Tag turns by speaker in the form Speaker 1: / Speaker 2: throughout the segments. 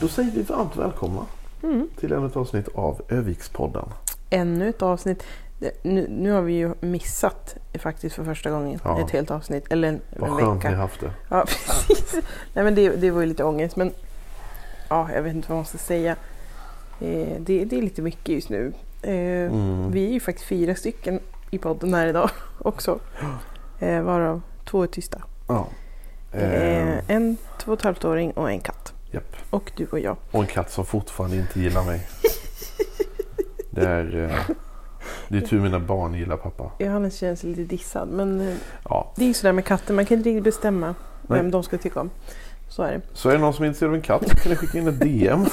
Speaker 1: Då säger vi varmt välkomna
Speaker 2: Mm.
Speaker 1: till ännu ett avsnitt av Övikspodden.
Speaker 2: Ännu ett avsnitt. Det- Nu, nu har vi ju missat faktiskt för första gången
Speaker 1: Ja.
Speaker 2: ett helt avsnitt. Eller en,
Speaker 1: Vad
Speaker 2: en
Speaker 1: skönt ni
Speaker 2: vecka.
Speaker 1: haft det.
Speaker 2: Ja, precis. Nej, men det, det var ju lite ångest. Men ja, jag vet inte vad man ska säga. Eh, det, det är lite mycket just nu. Eh,
Speaker 1: Mm.
Speaker 2: Vi är ju faktiskt fyra stycken i podden här idag också. Eh, varav två är tysta.
Speaker 1: Ja. Eh,
Speaker 2: Eh, en två och ett halvt åring och en katt.
Speaker 1: japp.
Speaker 2: Och du och jag.
Speaker 1: Och en katt som fortfarande inte gillar mig. Det är, eh, det är tur mina barn gillar pappa.
Speaker 2: Johannes känns lite dissad. Men eh,
Speaker 1: Ja.
Speaker 2: det är ju sådär med katter. Man kan inte riktigt bestämma vem
Speaker 1: Nej.
Speaker 2: de ska tycka om. Så är det.
Speaker 1: Så är det någon som är intresserad av en katt så kan ni skicka in ett DM.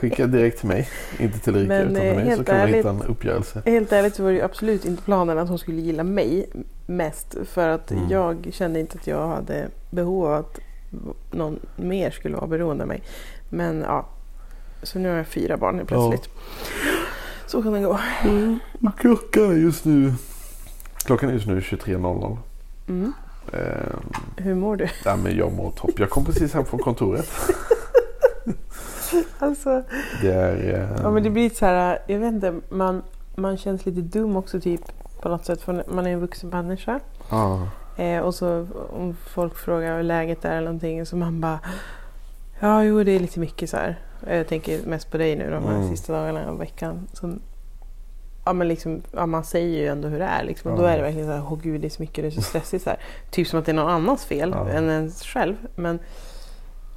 Speaker 1: Skicka direkt till mig. Inte till Erika
Speaker 2: Men,
Speaker 1: utan
Speaker 2: eh,
Speaker 1: till mig så
Speaker 2: helt
Speaker 1: kan vi
Speaker 2: ärligt-
Speaker 1: hitta en uppgörelse.
Speaker 2: Helt ärligt så var det ju absolut inte planen att hon skulle gilla mig mest. För att
Speaker 1: Mm.
Speaker 2: jag kände inte att jag hade behov av att någon mer skulle vara beroende av mig. Men ja, så nu har jag fyra barn helt plötsligt. Så kan det gå.
Speaker 1: Klockan är just nu Klockan är just nu 23.00.
Speaker 2: Mm.
Speaker 1: Eh,
Speaker 2: Hur mår du?
Speaker 1: nej, men jag mår topp. Jag kom precis hem från kontoret.
Speaker 2: Alltså,
Speaker 1: Det är... Eh,
Speaker 2: ja, men det blir så här, jag vet inte, man, man känns lite dum också typ på något sätt. För man är en vuxen människa.
Speaker 1: ja.
Speaker 2: Eh, och så om folk frågar hur läget är eller någonting så man bara Ja, jo det är lite mycket så här. Eh, Jag tänker mest på dig nu de här
Speaker 1: Mm.
Speaker 2: sista dagarna och veckan. Som, ja, men liksom, ja, man säger ju ändå hur det är. Liksom. Och
Speaker 1: Ja.
Speaker 2: Då är det verkligen så här, åh gud det är så mycket, det är så stressigt. Så här. Typ som att det är någon annans fel
Speaker 1: Ja.
Speaker 2: än ens själv. Men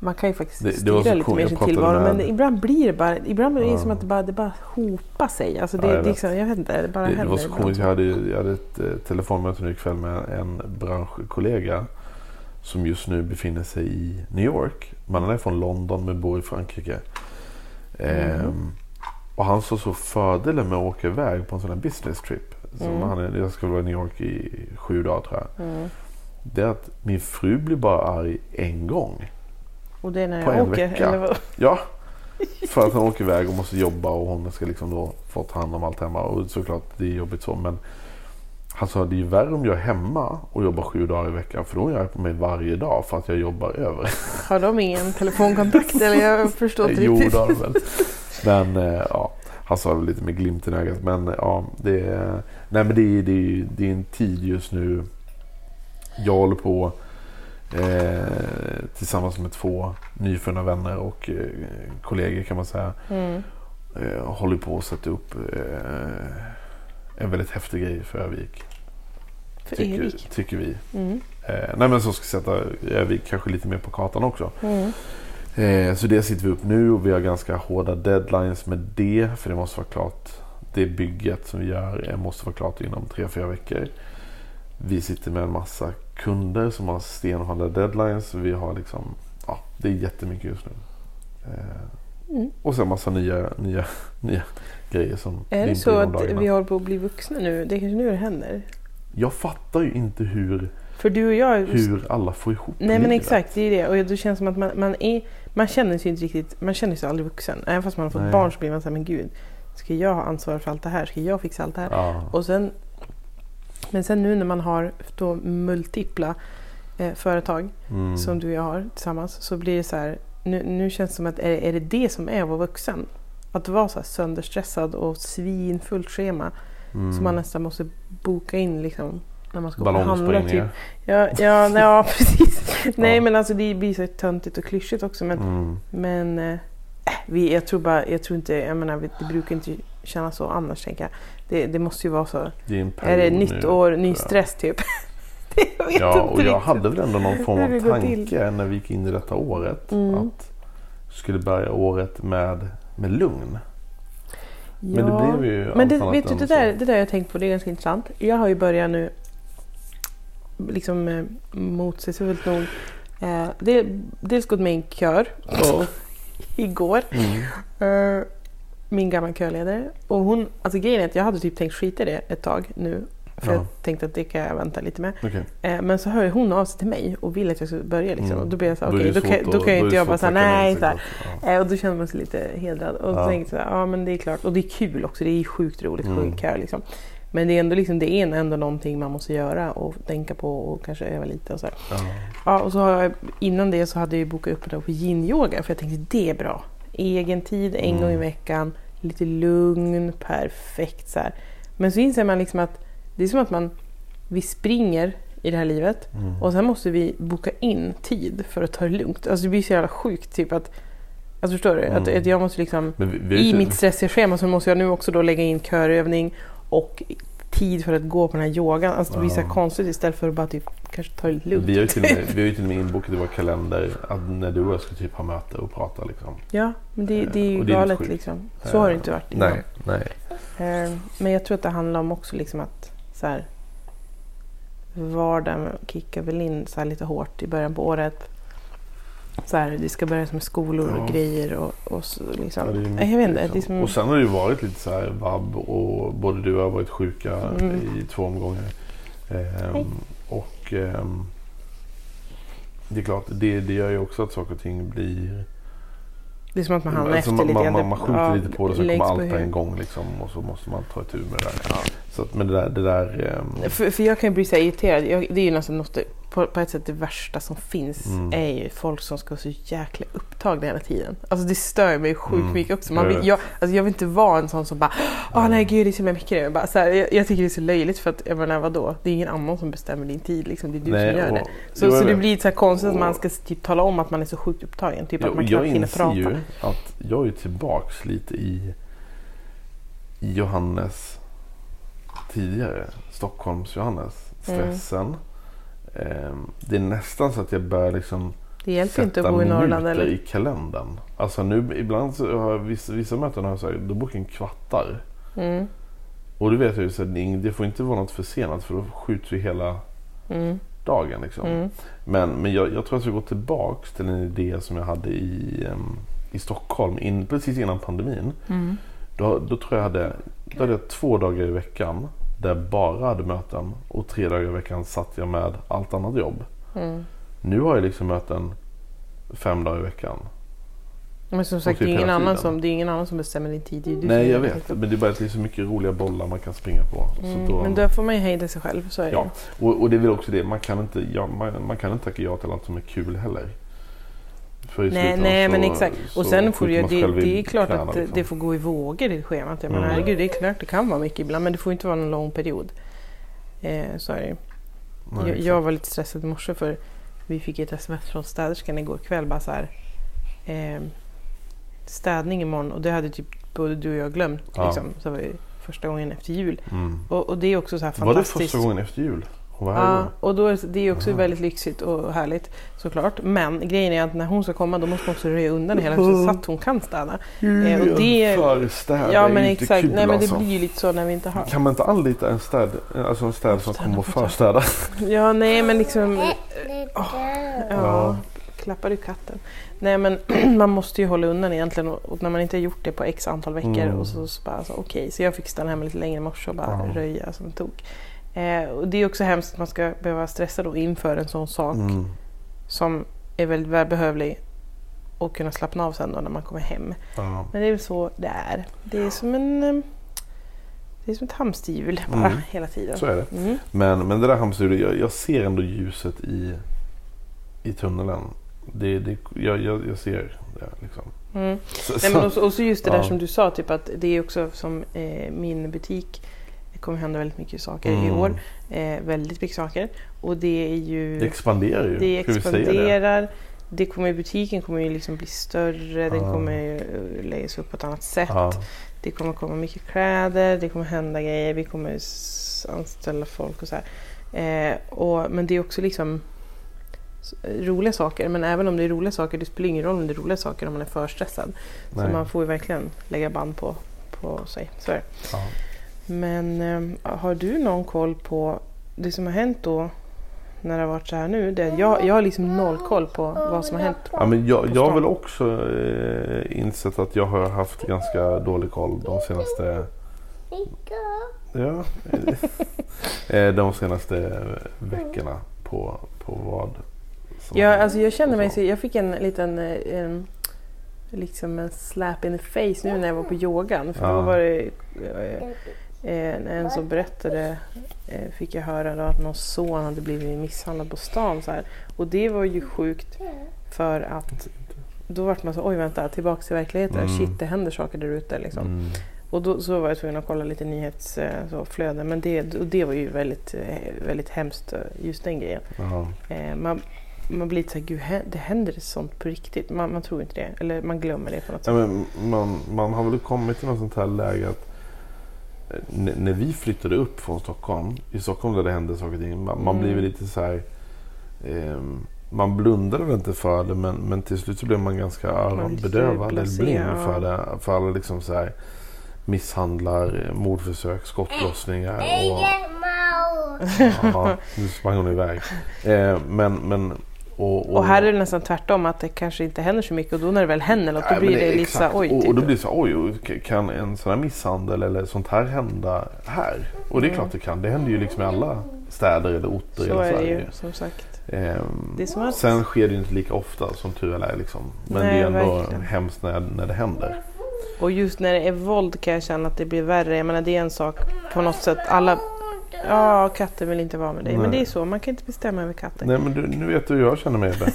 Speaker 2: man kan ju faktiskt
Speaker 1: Det- det var
Speaker 2: styra
Speaker 1: så
Speaker 2: lite
Speaker 1: coolt,
Speaker 2: mer
Speaker 1: jag
Speaker 2: sin
Speaker 1: pratade
Speaker 2: tillvaro.
Speaker 1: med-
Speaker 2: Men ibland blir det bara, ibland blir det
Speaker 1: Ja.
Speaker 2: som att det bara, det bara hopar sig. Alltså det,
Speaker 1: Ja, jag
Speaker 2: jag,
Speaker 1: vet.
Speaker 2: liksom, jag vet inte, det bara
Speaker 1: Det, det
Speaker 2: händer.
Speaker 1: var så
Speaker 2: ibland.
Speaker 1: komiskt. Jag hade, jag hade ett eh, telefonmöte nu ikväll med en branschkollega som just nu befinner sig i New York. Mannen är från London men bor i Frankrike. Ehm, och han såg så fördelen med att åka iväg på en sån här business trip. Som han, är- jag ska vara i New York i sju dagar tror jag. Det är att min fru blir bara arg en gång.
Speaker 2: Och det är när
Speaker 1: på
Speaker 2: jag
Speaker 1: en
Speaker 2: eh, åker.
Speaker 1: vecka.
Speaker 2: Eller vad?
Speaker 1: Ja. För att han åker iväg och måste jobba och hon ska liksom då få ta hand om allt hemma. Och såklart det är jobbigt så men han sa det är ju värre om jag är hemma och jobbar sju dagar i veckan för då är jag på mig varje dag för att jag jobbar över.
Speaker 2: Har de ingen telefonkontakt eller jag förstår inte
Speaker 1: Eh, jo det
Speaker 2: riktigt.
Speaker 1: har de väl. Men eh, ja, han sa det lite med glimten i ögat. Men eh, ja, det är, nej, men det är, det, är, det är en tid just nu. Jag håller på eh, tillsammans med två nyfunna vänner och eh, kollegor kan man säga.
Speaker 2: Mm.
Speaker 1: eh, håller på att sätta upp eh, en väldigt häftig grej för Övik.
Speaker 2: För
Speaker 1: Tycker,
Speaker 2: Erik.
Speaker 1: tycker vi.
Speaker 2: Mm.
Speaker 1: Eh, nej men som ska sätta Övik kanske lite mer på kartan också.
Speaker 2: Mm.
Speaker 1: Eh, så det sitter vi upp nu och vi har ganska hårda deadlines med det. För det måste vara klart. Det bygget som vi gör eh, måste vara klart inom 3-4 veckor. Vi sitter med en massa kunder som har stenhårda deadlines. Vi har liksom, ja, det är jättemycket just nu. Eh,
Speaker 2: Mm.
Speaker 1: Och sen massa nya, nya, nya grejer som
Speaker 2: Är det
Speaker 1: dimper
Speaker 2: så
Speaker 1: genom
Speaker 2: att
Speaker 1: dagarna.
Speaker 2: vi håller på att bli vuxna nu? Det är kanske nu det händer.
Speaker 1: Jag fattar ju inte hur,
Speaker 2: För du och jag...
Speaker 1: hur alla får ihop
Speaker 2: Nej men
Speaker 1: livet.
Speaker 2: exakt, det är det. Och det känns som att man, man är... Man känner sig inte riktigt... Man känner sig aldrig vuxen. Även fast man har fått
Speaker 1: Nej.
Speaker 2: barn så blir man såhär, men gud. Ska jag ha ansvar för allt det här? Ska jag fixa allt det här?
Speaker 1: Ja.
Speaker 2: Och sen, men sen nu när man har då multipla eh, företag
Speaker 1: Mm.
Speaker 2: som du och jag har tillsammans så blir det så här, nu, nu känns det som att är, är det det som är att vara vuxen? Att vara så här sönderstressad och svinfullt schema
Speaker 1: Mm.
Speaker 2: som man nästan måste boka in liksom när man ska gå och handla. Typ.
Speaker 1: Ballongsprängningar.
Speaker 2: Ja, ja, nej, ja, precis. Nej
Speaker 1: Ja.
Speaker 2: men alltså det blir så töntigt och klyschigt också men,
Speaker 1: Mm.
Speaker 2: men eh, äh, vi, jag tror bara, jag tror inte, jag menar vi- det brukar inte kännas så annars tänker jag. Det, det måste ju vara så
Speaker 1: Det är, en
Speaker 2: är det
Speaker 1: period
Speaker 2: nytt
Speaker 1: nu.
Speaker 2: år, ny
Speaker 1: jag.
Speaker 2: stress typ? Det- jag vet
Speaker 1: Ja,
Speaker 2: inte
Speaker 1: och jag
Speaker 2: riktigt.
Speaker 1: hade väl ändå någon form
Speaker 2: hur det
Speaker 1: av
Speaker 2: går till.
Speaker 1: tanke när vi gick in i detta året.
Speaker 2: Mm.
Speaker 1: Att vi skulle börja året med, med lugn. Men
Speaker 2: Ja.
Speaker 1: det blev ju
Speaker 2: Men
Speaker 1: allt
Speaker 2: det,
Speaker 1: annat
Speaker 2: vet du,
Speaker 1: än
Speaker 2: det
Speaker 1: så.
Speaker 2: där, det där jag har tänkt på, det är ganska intressant. Jag har ju börjat nu, liksom eh, motsägelsefullt nog, eh, det, dels gått med i en kör igår.
Speaker 1: Mm.
Speaker 2: Eh, min gamla körledare. Och hon, alltså grejen är att jag hade typ tänkt skita i det ett tag nu.
Speaker 1: Ja.
Speaker 2: För jag tänkte att det kan jag vänta lite med.
Speaker 1: Okej.
Speaker 2: Eh, Men så hör ju hon av sig till mig och vill att jag ska börja. Liksom.
Speaker 1: Mm.
Speaker 2: Och då blir jag så här,
Speaker 1: Då är
Speaker 2: okej,
Speaker 1: det
Speaker 2: då, kan-
Speaker 1: svårt
Speaker 2: då
Speaker 1: att-
Speaker 2: kan ju
Speaker 1: då är
Speaker 2: inte
Speaker 1: det
Speaker 2: jag bara
Speaker 1: svårt
Speaker 2: säga
Speaker 1: att tacka
Speaker 2: nej. Så här,
Speaker 1: exakt. Ja.
Speaker 2: Eh, Och då känner man sig lite hedrad. Och
Speaker 1: Ja.
Speaker 2: så tänkte jag, ja men det är klart. Och det är kul också. Det är sjukt roligt att
Speaker 1: Mm.
Speaker 2: sjunga kör liksom. Men det är ändå, liksom, det är ändå någonting man måste göra och tänka på och kanske öva lite och så här. Ja, och så har jag, innan det så hade jag ju bokat upp mig för yin-yoga för jag tänkte det är bra. Egen tid en
Speaker 1: Mm.
Speaker 2: gång i veckan, lite lugn, perfekt så här. Men så inser man liksom att det är som att man, vi springer i det här livet
Speaker 1: Ja. Mm.
Speaker 2: och sen måste vi boka in tid för att ta det lugnt. Alltså det blir så jävla sjukt typ att... Alltså förstår du? Att,
Speaker 1: Mm.
Speaker 2: att jag måste liksom...
Speaker 1: Men vi, vi har ju
Speaker 2: I
Speaker 1: inte-
Speaker 2: mitt stressiga schema så måste jag nu också då lägga in körövning och tid för att gå på den här yogan. Alltså det blir så här
Speaker 1: Ja.
Speaker 2: konstigt istället för att bara typ kanske ta det lugnt.
Speaker 1: Vi har ju till och med, vi har ju till och med inbokat i vår kalender att när du och jag ska typ ha möte och prata. Liksom.
Speaker 2: Ja, men det, det är ju
Speaker 1: Och det är lite
Speaker 2: galet
Speaker 1: sjukt.
Speaker 2: liksom. Så har det inte varit innan.
Speaker 1: Nej, nej.
Speaker 2: Eh, Men jag tror att det handlar om också liksom att så här, vardagen kickar väl in så här lite hårt i början på året. Så här, det ska börja med skolor och
Speaker 1: Ja.
Speaker 2: grejer och, och så liksom.
Speaker 1: Ja, det är ju
Speaker 2: jag vet inte. liksom-
Speaker 1: mycket, liksom.
Speaker 2: Det är som,
Speaker 1: Och sen har det ju varit lite så här vabb och både du och jag har varit sjuka
Speaker 2: Mm.
Speaker 1: i två omgångar. Ehm,
Speaker 2: Hej.
Speaker 1: och ehm, det är klart, det, det gör ju också att saker och ting blir...
Speaker 2: det är som att man hamnar
Speaker 1: Alltså,
Speaker 2: efter
Speaker 1: man,
Speaker 2: lite
Speaker 1: man,
Speaker 2: grann.
Speaker 1: man, man skjuter
Speaker 2: Ja,
Speaker 1: lite på det så
Speaker 2: läggs
Speaker 1: kommer
Speaker 2: på
Speaker 1: allt på
Speaker 2: hög.
Speaker 1: en gång liksom, och så måste man ta itu med det där. Så att, men det där... Det där ehm,
Speaker 2: För, för jag kan ju bli så här irriterad. Jag, det är ju nästan något, på, på ett sätt det värsta som finns
Speaker 1: Mm.
Speaker 2: är ju folk som ska vara så jäkla upptagna hela tiden. Alltså det stör mig sjukt
Speaker 1: Mm.
Speaker 2: mycket också. Man
Speaker 1: Jag
Speaker 2: vill,
Speaker 1: vet.
Speaker 2: jag, alltså jag vill inte vara en sån som bara Åh nej gud det är så himla mycket nu. Bara, så här, jag, jag tycker det är så löjligt för att jag menar vadå? Det är ingen annan som bestämmer din tid liksom. Det är du
Speaker 1: nej,
Speaker 2: som gör
Speaker 1: och-
Speaker 2: det.
Speaker 1: Jo,
Speaker 2: Så,
Speaker 1: jag
Speaker 2: så det
Speaker 1: vet.
Speaker 2: blir så här konstigt att
Speaker 1: Och-
Speaker 2: man ska typ tala om att man är så sjukt upptagen. Typ att man
Speaker 1: jag
Speaker 2: knappt hinner
Speaker 1: inser
Speaker 2: prata.
Speaker 1: ju att jag är tillbaks lite i i Johannes tidigare. Stockholms-Johannes. Stressen.
Speaker 2: Mm.
Speaker 1: Ehm, Det är nästan så att jag börjar liksom
Speaker 2: Det hjälper inte att bo i
Speaker 1: minuter
Speaker 2: Norrland eller?
Speaker 1: i kalendern. Alltså nu, ibland så har jag vissa, vissa möten har jag så här, då bokar jag en kvartar.
Speaker 2: Mm,
Speaker 1: Och du vet jag ju så här, det är ing- det får inte vara något försenat för då skjuter vi hela
Speaker 2: mm,
Speaker 1: dagen. Liksom.
Speaker 2: mm.
Speaker 1: Men, men jag, jag tror att jag går tillbaks till en idé som jag hade i, em, i Stockholm in, precis innan pandemin.
Speaker 2: Mm.
Speaker 1: Då, då tror jag jag hade, då hade jag två dagar i veckan där jag bara hade möten och tre dagar i veckan satt jag med allt annat jobb.
Speaker 2: Mm.
Speaker 1: Nu har jag liksom möten fem dagar i veckan.
Speaker 2: Men som sagt,
Speaker 1: typ
Speaker 2: det är, ingen
Speaker 1: hela
Speaker 2: annan
Speaker 1: tiden.
Speaker 2: som, det är ingen annan som bestämmer din tid. Det är du som
Speaker 1: Nej
Speaker 2: gör
Speaker 1: jag
Speaker 2: det.
Speaker 1: vet, men det är bara att det är så mycket roliga bollar man kan springa på.
Speaker 2: Mm,
Speaker 1: så då,
Speaker 2: men då får man ju hejda sig själv, så är det
Speaker 1: ja. och, och det är väl också det, man kan inte, ja, man, man kan inte tacka ja till allt som är kul heller. För i
Speaker 2: Nej,
Speaker 1: slutändan
Speaker 2: nej
Speaker 1: så-
Speaker 2: men exakt. Och
Speaker 1: så
Speaker 2: sen får
Speaker 1: skjuter
Speaker 2: det,
Speaker 1: man sig
Speaker 2: ju-
Speaker 1: själv
Speaker 2: det,
Speaker 1: i
Speaker 2: det är klart
Speaker 1: knäna,
Speaker 2: att
Speaker 1: liksom.
Speaker 2: det får gå i vågor i schemat. Jag menar,
Speaker 1: Mm.
Speaker 2: herregud, det är klart det kan vara mycket ibland men det får inte vara någon lång period. Eh, så är det ju.
Speaker 1: Nej,
Speaker 2: jag,
Speaker 1: exakt.
Speaker 2: jag var lite stressad i morse för vi fick ett sms från städerskan igår kväll. Bara så här, eh, städning imorgon och det hade typ både du och jag glömt.
Speaker 1: Ja.
Speaker 2: Liksom. Så var det första gången efter jul.
Speaker 1: Mm.
Speaker 2: Och, och det är också så här
Speaker 1: Var det
Speaker 2: fantastiskt.
Speaker 1: första gången efter jul? Hon var här
Speaker 2: Ja,
Speaker 1: igår.
Speaker 2: och då är det är också
Speaker 1: Aha.
Speaker 2: väldigt lyxigt och härligt såklart. Men grejen är att när hon ska komma då måste hon också röja undan hela huset så att hon kan städa. Eh, och det-
Speaker 1: För städ
Speaker 2: ja
Speaker 1: är
Speaker 2: men
Speaker 1: ju inte
Speaker 2: exakt,
Speaker 1: kul
Speaker 2: nej men
Speaker 1: alltså.
Speaker 2: det blir ju lite så när vi inte har.
Speaker 1: Kan man inte anlita en städ, alltså en städ som kommer och förstädar?
Speaker 2: eh, Ja nej men liksom, ja,
Speaker 1: Ja.
Speaker 2: klappar du katten? Nej men man måste ju hålla undan egentligen och, och när man inte har gjort det på x antal veckor
Speaker 1: Mm.
Speaker 2: och så, så bara alltså, okej. Så jag fick stanna hemma lite längre i morse och bara
Speaker 1: Ja.
Speaker 2: röja som tok. Eh, och det är också hemskt att man ska behöva stressa då inför en sån sak
Speaker 1: Mm.
Speaker 2: som är väldigt välbehövlig och kunna slappna av sen då när man kommer hem.
Speaker 1: Ja.
Speaker 2: Men det är väl så det är. Det är som en eh, det är som ett hamsterhjul bara
Speaker 1: Mm.
Speaker 2: hela tiden.
Speaker 1: Så är det.
Speaker 2: Mm.
Speaker 1: Men, men det där hamsterhjulet, jag, jag ser ändå ljuset i, i tunneln. Det, det, jag, jag, jag ser det liksom.
Speaker 2: Mm.
Speaker 1: Så,
Speaker 2: Nej, men
Speaker 1: så-
Speaker 2: och, så- och så just det där
Speaker 1: Ja.
Speaker 2: som du sa, typ att det är också som eh, min butik. Det kommer hända väldigt mycket saker i
Speaker 1: Mm.
Speaker 2: år. Eh, väldigt mycket saker. Och det är ju...
Speaker 1: Det expanderar ju.
Speaker 2: det
Speaker 1: Ska vi säga det?
Speaker 2: expanderar. Det kommer, butiken kommer ju liksom bli större. Den
Speaker 1: Ja.
Speaker 2: kommer ju eh, läggas upp på ett annat sätt.
Speaker 1: Ja.
Speaker 2: Det kommer komma mycket kläder, det kommer hända grejer, vi kommer s- anställa folk och så här. Eh, och, men det är också liksom s- roliga saker. Men även om det är roliga saker, det spelar ingen roll om det är roliga saker om man är för stressad.
Speaker 1: Nej.
Speaker 2: Så man får ju verkligen lägga band på, på sig. Så är det.
Speaker 1: Ja.
Speaker 2: Men eh, har du någon koll på det som har hänt då när det har varit så här nu? Det, är att jag, jag har liksom noll koll på vad som har hänt.
Speaker 1: Ja, men jag,
Speaker 2: på
Speaker 1: jag har
Speaker 2: stan.
Speaker 1: väl också eh, insett att jag har haft ganska dålig koll de senaste, ja, eh, de senaste veckorna på, på vad som
Speaker 2: Jag, alltså jag känner mig så, jag fick en liten eh, en, liksom en slap in the face nu när jag var på yogan. För
Speaker 1: Ja.
Speaker 2: då var det eh, eh, en som berättade, eh, fick jag höra då att någon son hade blivit misshandlad på stan. Så här. Och det var ju sjukt för att då vart man så oj vänta tillbaks till verkligheten.
Speaker 1: Mm.
Speaker 2: Shit det händer saker där ute liksom.
Speaker 1: Mm.
Speaker 2: Och då så var jag tvungen att kolla lite nyhetsflöden. Men det, och det var ju väldigt, eh, väldigt hemskt eh, just den grejen.
Speaker 1: Ja.
Speaker 2: Eh, man, man blir lite såhär, gud hä- det händer sånt på riktigt. Man, man tror inte det. Eller man glömmer det på något
Speaker 1: Ja,
Speaker 2: sätt.
Speaker 1: men man, man har väl kommit till något sånt här läge att eh, n- när vi flyttade upp från Stockholm, i Stockholm där det hände saker och ting, man, man
Speaker 2: Mm.
Speaker 1: blir väl lite så här... ehm, man blundar väl inte för det men, men till slut så blir man ganska
Speaker 2: blir lite
Speaker 1: öronbedövad eller
Speaker 2: blasé,
Speaker 1: blind
Speaker 2: ja.
Speaker 1: för det. För alla liksom så här misshandlar, eh, mordförsök, skottlossningar och... Ja, nu sprang hon iväg. Eh, men, men, och,
Speaker 2: Och här är det nästan tvärtom att det kanske inte händer så mycket och då när det väl händer något då
Speaker 1: Nej, men
Speaker 2: blir det, lite
Speaker 1: exakt.
Speaker 2: såhär oj.
Speaker 1: Och,
Speaker 2: Typ.
Speaker 1: och då blir det så här, oj, oj, kan en sån här misshandel eller sånt här hända här? Och det är klart det kan. Det händer ju liksom i alla städer eller orter i
Speaker 2: Mm. så
Speaker 1: hela
Speaker 2: är det ju
Speaker 1: Sverige.
Speaker 2: som sagt.
Speaker 1: Ehm,
Speaker 2: Det är som att-
Speaker 1: Sen sker det ju inte lika ofta som tur är. Liksom. Men
Speaker 2: Nej,
Speaker 1: det är ändå
Speaker 2: verkligen.
Speaker 1: hemskt när, när det händer.
Speaker 2: Och just när det är våld kan jag känna att det blir värre. Jag menar det är en sak på något sätt. Alla, ja katten vill inte vara med dig. Men
Speaker 1: Nej.
Speaker 2: det är så, man kan inte bestämma över katten.
Speaker 1: Nej men du, nu vet du hur jag känner mig. Ebbe.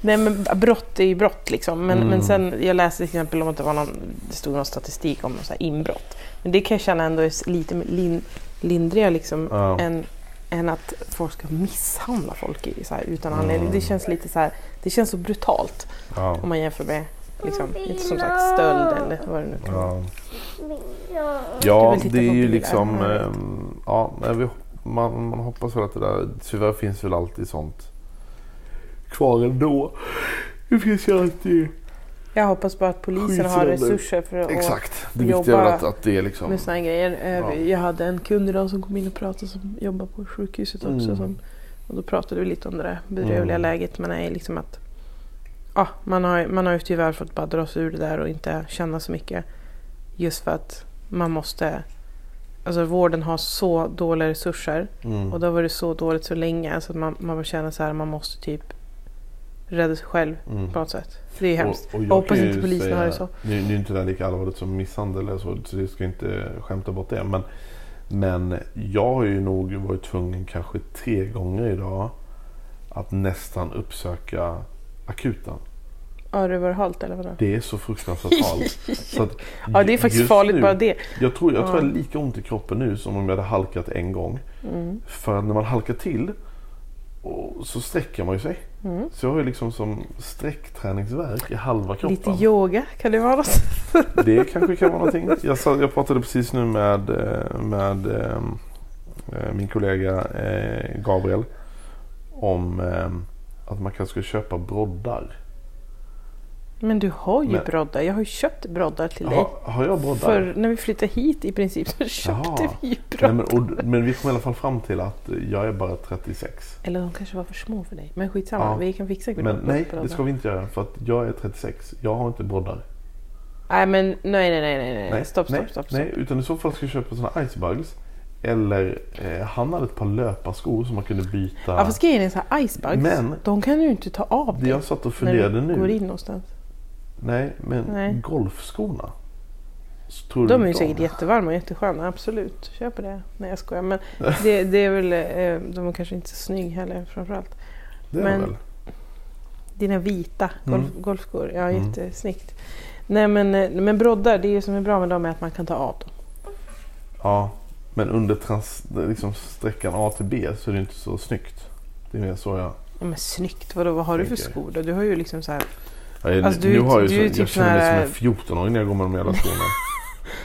Speaker 2: Nej men brott är ju brott liksom. Men,
Speaker 1: Mm.
Speaker 2: men sen, jag läste till exempel om att det var någon, det stod någon statistik om så här inbrott. Men det kan jag känna ändå är lite lin, lindrigare liksom
Speaker 1: Ja.
Speaker 2: än, än att folk ska misshandla folk i, så här, utan
Speaker 1: Mm.
Speaker 2: anledning. Det känns lite så här, det känns så brutalt
Speaker 1: Ja.
Speaker 2: om man jämför med liksom, inte som sagt stöld eller vad det nu kan
Speaker 1: Ja,
Speaker 2: vara. Jag
Speaker 1: ja
Speaker 2: vill titta
Speaker 1: det är
Speaker 2: på
Speaker 1: ju
Speaker 2: bilder.
Speaker 1: liksom...
Speaker 2: Ja, jag vet.
Speaker 1: ehm, ja, nej, vi, hop- man, man hoppas väl att det där... Tyvärr finns väl alltid sånt kvar ändå. Det finns ju alltid...
Speaker 2: Jag hoppas bara att polisen har
Speaker 1: Skitföräldrar.
Speaker 2: resurser för att
Speaker 1: Exakt. Det
Speaker 2: jobba
Speaker 1: viktiga är väl att, att det är liksom...
Speaker 2: med sådana grejer. Eh,
Speaker 1: Ja.
Speaker 2: Jag hade en kund idag som kom in och pratade som jobbar på sjukhuset också.
Speaker 1: Mm.
Speaker 2: Som, och då pratade vi lite om det där bedrövliga
Speaker 1: Mm.
Speaker 2: läget. Men är liksom att ja, man, har, man har ju tyvärr fått bara dra sig ur det där och inte känna så mycket. Just för att man måste Alltså vården har så dåliga resurser
Speaker 1: Mm.
Speaker 2: och det har varit så dåligt så länge så att man, man känner så här man måste typ rädda sig själv
Speaker 1: Mm.
Speaker 2: på något sätt. För det är hemskt.
Speaker 1: Och, och jag
Speaker 2: Jag hoppas
Speaker 1: kan
Speaker 2: inte
Speaker 1: ju
Speaker 2: polisen
Speaker 1: säga-
Speaker 2: har det så.
Speaker 1: Nu, nu är inte det här lika allvarligt som misshandel eller så, så jag ska inte skämta bort det. Men, men jag har ju nog varit tvungen kanske tre gånger idag att nästan uppsöka akuten.
Speaker 2: Har det varit halt eller vadå?
Speaker 1: Det är så fruktansvärt farligt. Så att
Speaker 2: Ja det är faktiskt
Speaker 1: just
Speaker 2: farligt
Speaker 1: nu-
Speaker 2: bara det.
Speaker 1: Jag tror jag, tror
Speaker 2: Ja.
Speaker 1: jag har lika ont i kroppen nu som om jag hade halkat en gång.
Speaker 2: Mm.
Speaker 1: För att när man halkar till och så sträcker man ju sig. Så jag har ju liksom som sträckträningsvärk i halva kroppen.
Speaker 2: Mm. Lite yoga kan det vara något?
Speaker 1: Det kanske kan vara någonting. Jag, sa, jag pratade precis nu med, eh, med ehm, eh, min kollega eh, Gabriel eh, om ehm, att man kanske ska köpa broddar.
Speaker 2: Men du har ju
Speaker 1: Men-
Speaker 2: broddar. Jag har ju köpt broddar till dig.
Speaker 1: Ha, har jag broddar?
Speaker 2: För när vi flyttade hit i princip så köpte
Speaker 1: Jaha.
Speaker 2: vi ju
Speaker 1: Nej,
Speaker 2: broddar.
Speaker 1: men, och, men vi kom i alla fall fram till att jag är bara 36.
Speaker 2: Eller de kanske var för små för dig. Men skitsamma,
Speaker 1: Ja.
Speaker 2: vi kan fixa
Speaker 1: Men nej, det ska vi inte göra för att jag är 36. Jag har inte broddar.
Speaker 2: Nej, men nej, nej, nej, nej, nej.
Speaker 1: Nej,
Speaker 2: Eh, Stopp,
Speaker 1: nej,
Speaker 2: stopp, stopp. stopp.
Speaker 1: Nej, utan i så fall ska vi köpa sådana icebugs. Eller eh, han hade ett par löparskor som man kunde byta.
Speaker 2: Ja, fast grejen är så här, icebugs,
Speaker 1: Men-
Speaker 2: de kan du ju inte ta av dig
Speaker 1: jag satt och
Speaker 2: när du
Speaker 1: funderade nu.
Speaker 2: går in någonstans.
Speaker 1: Nej, men
Speaker 2: Nej.
Speaker 1: golfskorna. Så tror du
Speaker 2: De är ju
Speaker 1: inte om
Speaker 2: säkert
Speaker 1: det?
Speaker 2: jättevarma och jättesköna, absolut. Köp det. Nej, jag skojar. Men det, det är väl, eh, de är kanske inte så snygg heller framförallt.
Speaker 1: Det är
Speaker 2: men-
Speaker 1: väl.
Speaker 2: Dina vita golf,
Speaker 1: Mm.
Speaker 2: golfskor, ja
Speaker 1: Mm.
Speaker 2: jättesnyggt. Nej men, eh, men broddar, det är ju som är bra med dem är att man kan ta av dem.
Speaker 1: Ja, men under trans, liksom sträckan A till B så är det inte så snyggt. Det är mer så jag...
Speaker 2: Ja, men snyggt, vadå, vad har du för
Speaker 1: Tänker.
Speaker 2: skor då? Du har ju liksom så här,
Speaker 1: jag
Speaker 2: Alltså, du
Speaker 1: nu
Speaker 2: är-
Speaker 1: har jag,
Speaker 2: du
Speaker 1: ju så,
Speaker 2: är
Speaker 1: jag
Speaker 2: typ
Speaker 1: känner
Speaker 2: sån här-
Speaker 1: mig som en 14-åring när jag går med de jävla skorna.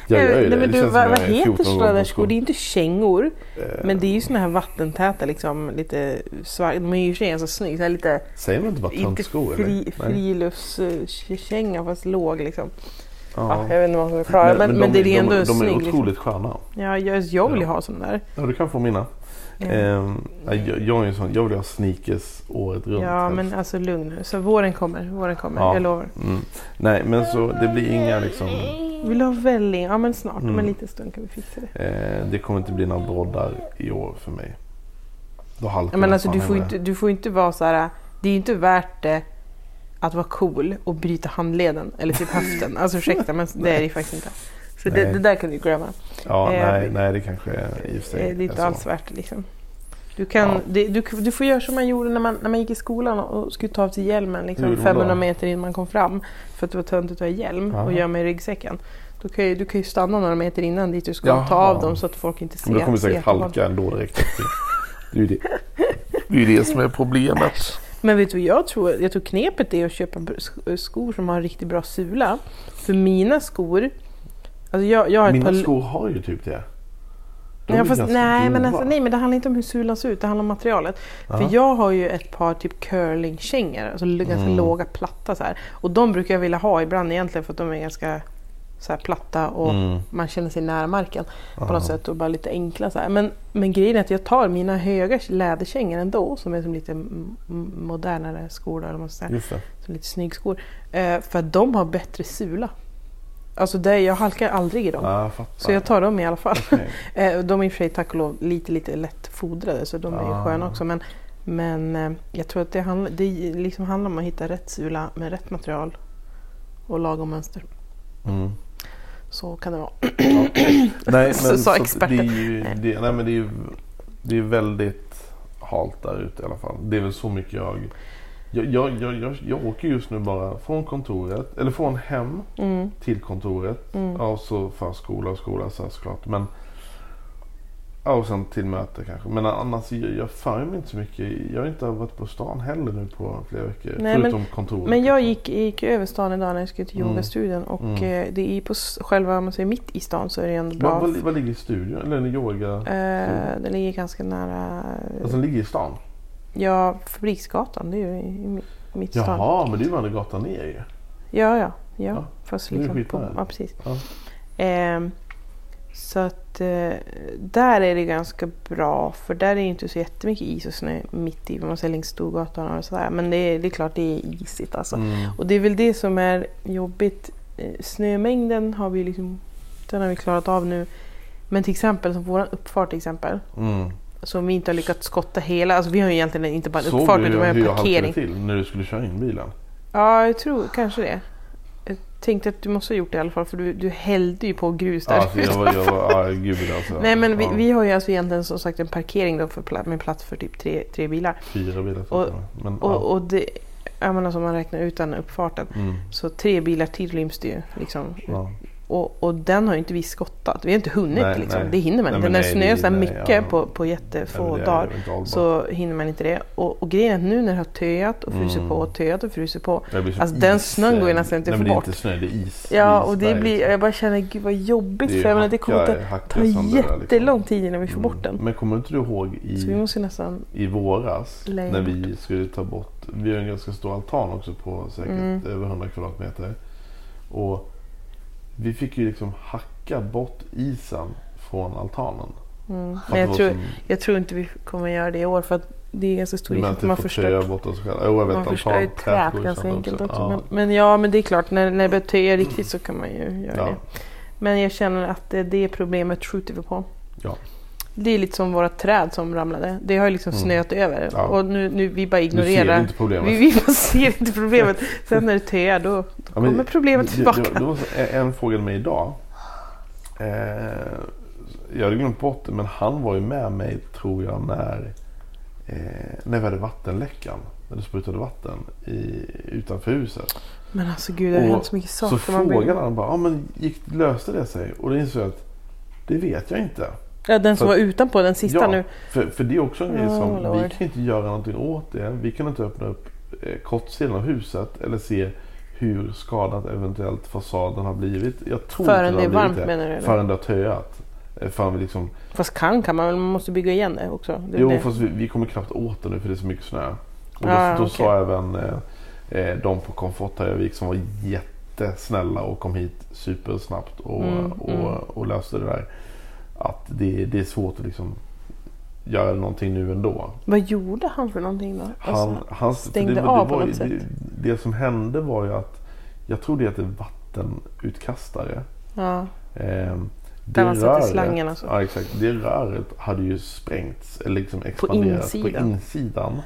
Speaker 1: Jag gör ju
Speaker 2: nej,
Speaker 1: det.
Speaker 2: men
Speaker 1: det
Speaker 2: du,
Speaker 1: känns
Speaker 2: vad,
Speaker 1: som
Speaker 2: vad
Speaker 1: jag är 14
Speaker 2: heter
Speaker 1: år
Speaker 2: sådana där
Speaker 1: gammal.
Speaker 2: skor? Det är inte kängor.
Speaker 1: Eh,
Speaker 2: Men det är ju såna här vattentäta, liksom, lite svarta. De är ju i och för sig ganska snygga. Så här lite
Speaker 1: Eh, Säger man inte bara
Speaker 2: inte
Speaker 1: töntskor? eller?
Speaker 2: fri,
Speaker 1: Nej.
Speaker 2: friluftskänga fast låg. Liksom.
Speaker 1: Ja.
Speaker 2: Ja. jag vet inte vad man ska förklara. Men, men,
Speaker 1: de,
Speaker 2: det är ändå
Speaker 1: de,
Speaker 2: en
Speaker 1: de är
Speaker 2: snygg. liksom.
Speaker 1: otroligt sköna.
Speaker 2: Ja, jag, jag vill ju
Speaker 1: Ja.
Speaker 2: ha sån där.
Speaker 1: Ja, du kan få mina.
Speaker 2: Ja.
Speaker 1: Ehm, nej, jag, jag, är ju sån, jag vill ha sneakers året runt.
Speaker 2: ja,
Speaker 1: helst.
Speaker 2: men alltså lugn nu. Så våren kommer. Våren kommer,
Speaker 1: Ja.
Speaker 2: jag lovar.
Speaker 1: Mm. Nej, men så det blir inga liksom...
Speaker 2: Vill du ha välling? Ja, men snart. Om en
Speaker 1: Mm.
Speaker 2: liten stund kan vi fixa det.
Speaker 1: Eh, det kommer inte bli några broddar i år för mig. Då halkar
Speaker 2: Ja, men
Speaker 1: jag
Speaker 2: alltså,
Speaker 1: fan
Speaker 2: du, får ju
Speaker 1: hellre.
Speaker 2: inte, du får ju inte vara så här. Det är ju inte värt det att vara cool och bryta handleden eller typ höften. Alltså ursäkta men det är det ju faktiskt inte. Så det,
Speaker 1: Nej.
Speaker 2: det där kan du glömma.
Speaker 1: Ja,
Speaker 2: eh,
Speaker 1: nej, nej, det kanske är i och för sig
Speaker 2: Det är
Speaker 1: är
Speaker 2: inte
Speaker 1: så.
Speaker 2: alls värt det liksom. Du, kan,
Speaker 1: Ja.
Speaker 2: det, du, du får göra som man gjorde när man, när man gick i skolan och och skulle ta av sig hjälmen
Speaker 1: Hur
Speaker 2: liksom,
Speaker 1: gjorde man
Speaker 2: 500
Speaker 1: då?
Speaker 2: meter innan man kom fram för att det var töntigt att ha hjälm
Speaker 1: Aha.
Speaker 2: och gömma i ryggsäcken. Du kan, ju, du kan ju stanna några meter innan dit du ska och ta
Speaker 1: Jaha.
Speaker 2: av dem så att folk inte ser.
Speaker 1: Men då kommer du
Speaker 2: ser
Speaker 1: säkert
Speaker 2: att de har-
Speaker 1: halka ändå direkt. efter. Det är ju det, det, är ju det som är problemet.
Speaker 2: Men vet du vad jag tror? Jag tror knepet är att köpa br- sk- skor som har en riktigt bra sula. För mina skor... Alltså jag, jag har ett
Speaker 1: Mina
Speaker 2: par...
Speaker 1: skor har ju typ det. De
Speaker 2: Ja,
Speaker 1: är
Speaker 2: fast,
Speaker 1: ganska
Speaker 2: nej, men
Speaker 1: grova.
Speaker 2: alltså, nej, men det handlar inte om hur sulan ser ut, det handlar om materialet.
Speaker 1: Ja.
Speaker 2: För jag har ju ett par typ curlingkängor, alltså l- ganska
Speaker 1: Mm.
Speaker 2: låga, platta så här. Och de brukar jag vilja ha ibland egentligen för att de är ganska så här, platta och
Speaker 1: Mm.
Speaker 2: man känner sig nära marken på
Speaker 1: Ja.
Speaker 2: något sätt och bara lite enkla så här. Men, men grejen är att jag tar mina höga läderkängor ändå som är som lite m- m- modernare skor då, eller vad man ska säga.
Speaker 1: Just det.
Speaker 2: Som lite snyggskor. Eh, för att de har bättre sula. Alltså det, jag halkar aldrig i dem.
Speaker 1: Ja, jag fattar.
Speaker 2: Så jag tar dem i alla fall.
Speaker 1: Okej.
Speaker 2: Eh, de är i och för sig tack och lov lite, lite lätt fodrade så de är ju
Speaker 1: Ah.
Speaker 2: sköna också. Men, men eh, jag tror att det, handl- det liksom handlar om att hitta rätt sula med rätt material och lagom mönster.
Speaker 1: Mm.
Speaker 2: Så kan det vara.
Speaker 1: Nej, men,
Speaker 2: Så sa
Speaker 1: att
Speaker 2: experten.
Speaker 1: Det är ju, det, nej, men det är ju det är väldigt halt där ute i alla fall. Det är väl så mycket jag... Jag, jag, jag, jag, jag åker just nu bara från kontoret, eller från hem
Speaker 2: Mm.
Speaker 1: till kontoret. Ja, och så förskola och skola så här, såklart. Men, ja, och sen till möte kanske. Men annars, jag, jag för mig inte så mycket. Jag har inte varit på stan heller nu på flera veckor.
Speaker 2: Nej, men-
Speaker 1: förutom kontoret.
Speaker 2: Men jag
Speaker 1: liksom.
Speaker 2: gick, gick över stan idag när jag skulle till
Speaker 1: Mm.
Speaker 2: yogastudion och
Speaker 1: Mm.
Speaker 2: eh, det är på s- själva, om man säger mitt i stan så är det ändå bra.
Speaker 1: Vad vad- vad ligger i studion? Eller yoga?
Speaker 2: Eh, det ligger ganska nära eh,
Speaker 1: Alltså den ligger i stan?
Speaker 2: ja, Fabriksgatan, det är ju i, i mitt- mitt stan.
Speaker 1: Jaha, men det är ju bara en gata ner ju.
Speaker 2: Ja, ja. ja.
Speaker 1: Ja,
Speaker 2: Fast
Speaker 1: det är
Speaker 2: liksom på,
Speaker 1: skitnära.
Speaker 2: ja, precis.
Speaker 1: Ja.
Speaker 2: Ehm, så att eh, där är det ganska bra för där är det inte så jättemycket is och snö mitt i, om man säger längs Storgatan och sådär. Men det är, det är klart det är isigt alltså.
Speaker 1: Mm.
Speaker 2: Och det är väl det som är jobbigt. Eh, Snömängden har vi liksom, den har vi klarat av nu. Men till exempel som våran uppfart till exempel.
Speaker 1: Mm.
Speaker 2: Som vi inte har lyckats skotta hela. Alltså vi har ju egentligen inte bara en
Speaker 1: Såg
Speaker 2: uppfart
Speaker 1: du
Speaker 2: utan vi har
Speaker 1: hur
Speaker 2: en
Speaker 1: jag halkade
Speaker 2: parkering.
Speaker 1: till när du skulle köra in bilen?
Speaker 2: Ja, jag tror kanske det. Jag tänkte att du måste ha gjort det i alla fall för du, du hällde ju på grus där.
Speaker 1: Alltså, jag var, jag var, ja, gud alltså.
Speaker 2: Nej men vi,
Speaker 1: ja,
Speaker 2: vi har ju alltså egentligen som sagt en parkering då för pla- med plats för typ tre, tre bilar.
Speaker 1: Fyra bilar
Speaker 2: och-
Speaker 1: tror jag. men,
Speaker 2: Och,
Speaker 1: ja.
Speaker 2: och det, alltså, jag menar som man räknar utan uppfarten.
Speaker 1: Mm,
Speaker 2: Så tre bilar till ryms det ju liksom
Speaker 1: ja.
Speaker 2: Och, och den har ju inte vi skottat. Vi har inte hunnit
Speaker 1: Nej,
Speaker 2: liksom.
Speaker 1: nej.
Speaker 2: Det hinner man
Speaker 1: Nej,
Speaker 2: inte.
Speaker 1: men
Speaker 2: När
Speaker 1: nej,
Speaker 2: snö är
Speaker 1: det-
Speaker 2: så här
Speaker 1: nej,
Speaker 2: mycket
Speaker 1: ja.
Speaker 2: på, på jättefå
Speaker 1: Nej, men det är
Speaker 2: dagar
Speaker 1: inte hållbart.
Speaker 2: så hinner man inte det. Och, och grejen är att nu när det har töat och frusit på och töat och frusit på.
Speaker 1: Det Mm. blir som
Speaker 2: Alltså den
Speaker 1: is,
Speaker 2: snön går ju
Speaker 1: eh,
Speaker 2: nästan inte
Speaker 1: nej,
Speaker 2: att
Speaker 1: men det är
Speaker 2: få bort.
Speaker 1: inte snö, det är is.
Speaker 2: Ja,
Speaker 1: is
Speaker 2: och det
Speaker 1: där,
Speaker 2: blir,
Speaker 1: liksom.
Speaker 2: jag bara känner gud vad jobbigt
Speaker 1: Det är
Speaker 2: för jag menar det
Speaker 1: hacka-
Speaker 2: kommer att
Speaker 1: hacka
Speaker 2: ta
Speaker 1: sönder det liksom. Mm. där,
Speaker 2: jättelång tid innan vi får bort den.
Speaker 1: Men kommer inte du ihåg i...
Speaker 2: Så vi måste ju nästan,
Speaker 1: i våras
Speaker 2: Lägga
Speaker 1: när vi skulle ta bort, vi har en ganska stor altan också på säkert
Speaker 2: Mm.
Speaker 1: över 100 kvadratmeter. Och vi fick ju liksom hacka bort isen från altanen. För att
Speaker 2: men
Speaker 1: det
Speaker 2: jag
Speaker 1: var
Speaker 2: tror,
Speaker 1: som-
Speaker 2: jag tror inte vi kommer göra det i år för att det är ganska stor
Speaker 1: men
Speaker 2: risk
Speaker 1: typ att
Speaker 2: att
Speaker 1: vi
Speaker 2: man
Speaker 1: får
Speaker 2: förstör
Speaker 1: töja bort oss själva. Jo, jag vet,
Speaker 2: Man förstör ju
Speaker 1: altan- tätort
Speaker 2: träet
Speaker 1: och
Speaker 2: ganska
Speaker 1: sånt
Speaker 2: enkelt också.
Speaker 1: Ja.
Speaker 2: Men, men ja, men det är klart, när, när det börjar töja riktigt så kan man ju göra
Speaker 1: Ja.
Speaker 2: det. Men jag känner att det, det problemet skjuter vi på.
Speaker 1: Ja.
Speaker 2: Det är lite som våra träd som ramlade. Det har ju liksom snöat över.
Speaker 1: Mm. Ja.
Speaker 2: Och nu, nu vi bara
Speaker 1: Nu ser
Speaker 2: ignorerar.
Speaker 1: vi inte problemet.
Speaker 2: vi, vi bara ser inte problemet. Sen när det töar då, då
Speaker 1: Ja, men
Speaker 2: kommer problemet
Speaker 1: det-
Speaker 2: tillbaka.
Speaker 1: Det, det var så, en- en fråga med mig idag. Eh, jag hade glömt bort det, men han var ju med mig tror jag när, eh, när vi hade vattenläckan. När det sprutade vatten i, utanför huset.
Speaker 2: Men alltså gud, det har
Speaker 1: Och
Speaker 2: hänt så mycket saker.
Speaker 1: så
Speaker 2: man blir-
Speaker 1: frågade han bara, ja, men gick, löste det sig? Och det insåg jag att det vet jag inte.
Speaker 2: ja, den som
Speaker 1: för-
Speaker 2: var utanpå, den sista
Speaker 1: ja,
Speaker 2: nu.
Speaker 1: För, för det är också en grej
Speaker 2: Oh,
Speaker 1: som vi
Speaker 2: Lord.
Speaker 1: kan inte göra någonting åt det. Vi kan inte öppna upp eh, kortsidan av huset eller se hur skadat eventuellt fasaden har blivit. Jag tror
Speaker 2: Förrän
Speaker 1: inte
Speaker 2: det är
Speaker 1: har
Speaker 2: varmt,
Speaker 1: blivit
Speaker 2: menar du, eller?
Speaker 1: Förrän det har töat. Eh, Förrän vi liksom,
Speaker 2: Fast kan kan man väl, man måste bygga igen det också. Det,
Speaker 1: jo,
Speaker 2: det.
Speaker 1: fast vi, vi kommer knappt åt det nu för det är så mycket snö. Och då,
Speaker 2: Ah,
Speaker 1: då
Speaker 2: okej.
Speaker 1: sa även eh, eh, de på Komfort Höjavik som var jättesnälla och kom hit supersnabbt och,
Speaker 2: Mm,
Speaker 1: och, och, löste det där. Att det, det är svårt att liksom göra någonting nu ändå.
Speaker 2: Vad gjorde han för någonting då? Alltså,
Speaker 1: Han, han för
Speaker 2: stängde
Speaker 1: det, det
Speaker 2: av på
Speaker 1: var, ju-
Speaker 2: något sätt.
Speaker 1: Det, det som hände var ju att jag tror det heter vattenutkastare.
Speaker 2: Ja.
Speaker 1: Ehm, det
Speaker 2: Där man sätter slangen alltså.
Speaker 1: Ja, exakt. Det röret hade ju sprängts eller liksom expanderat på insidan.
Speaker 2: insidan.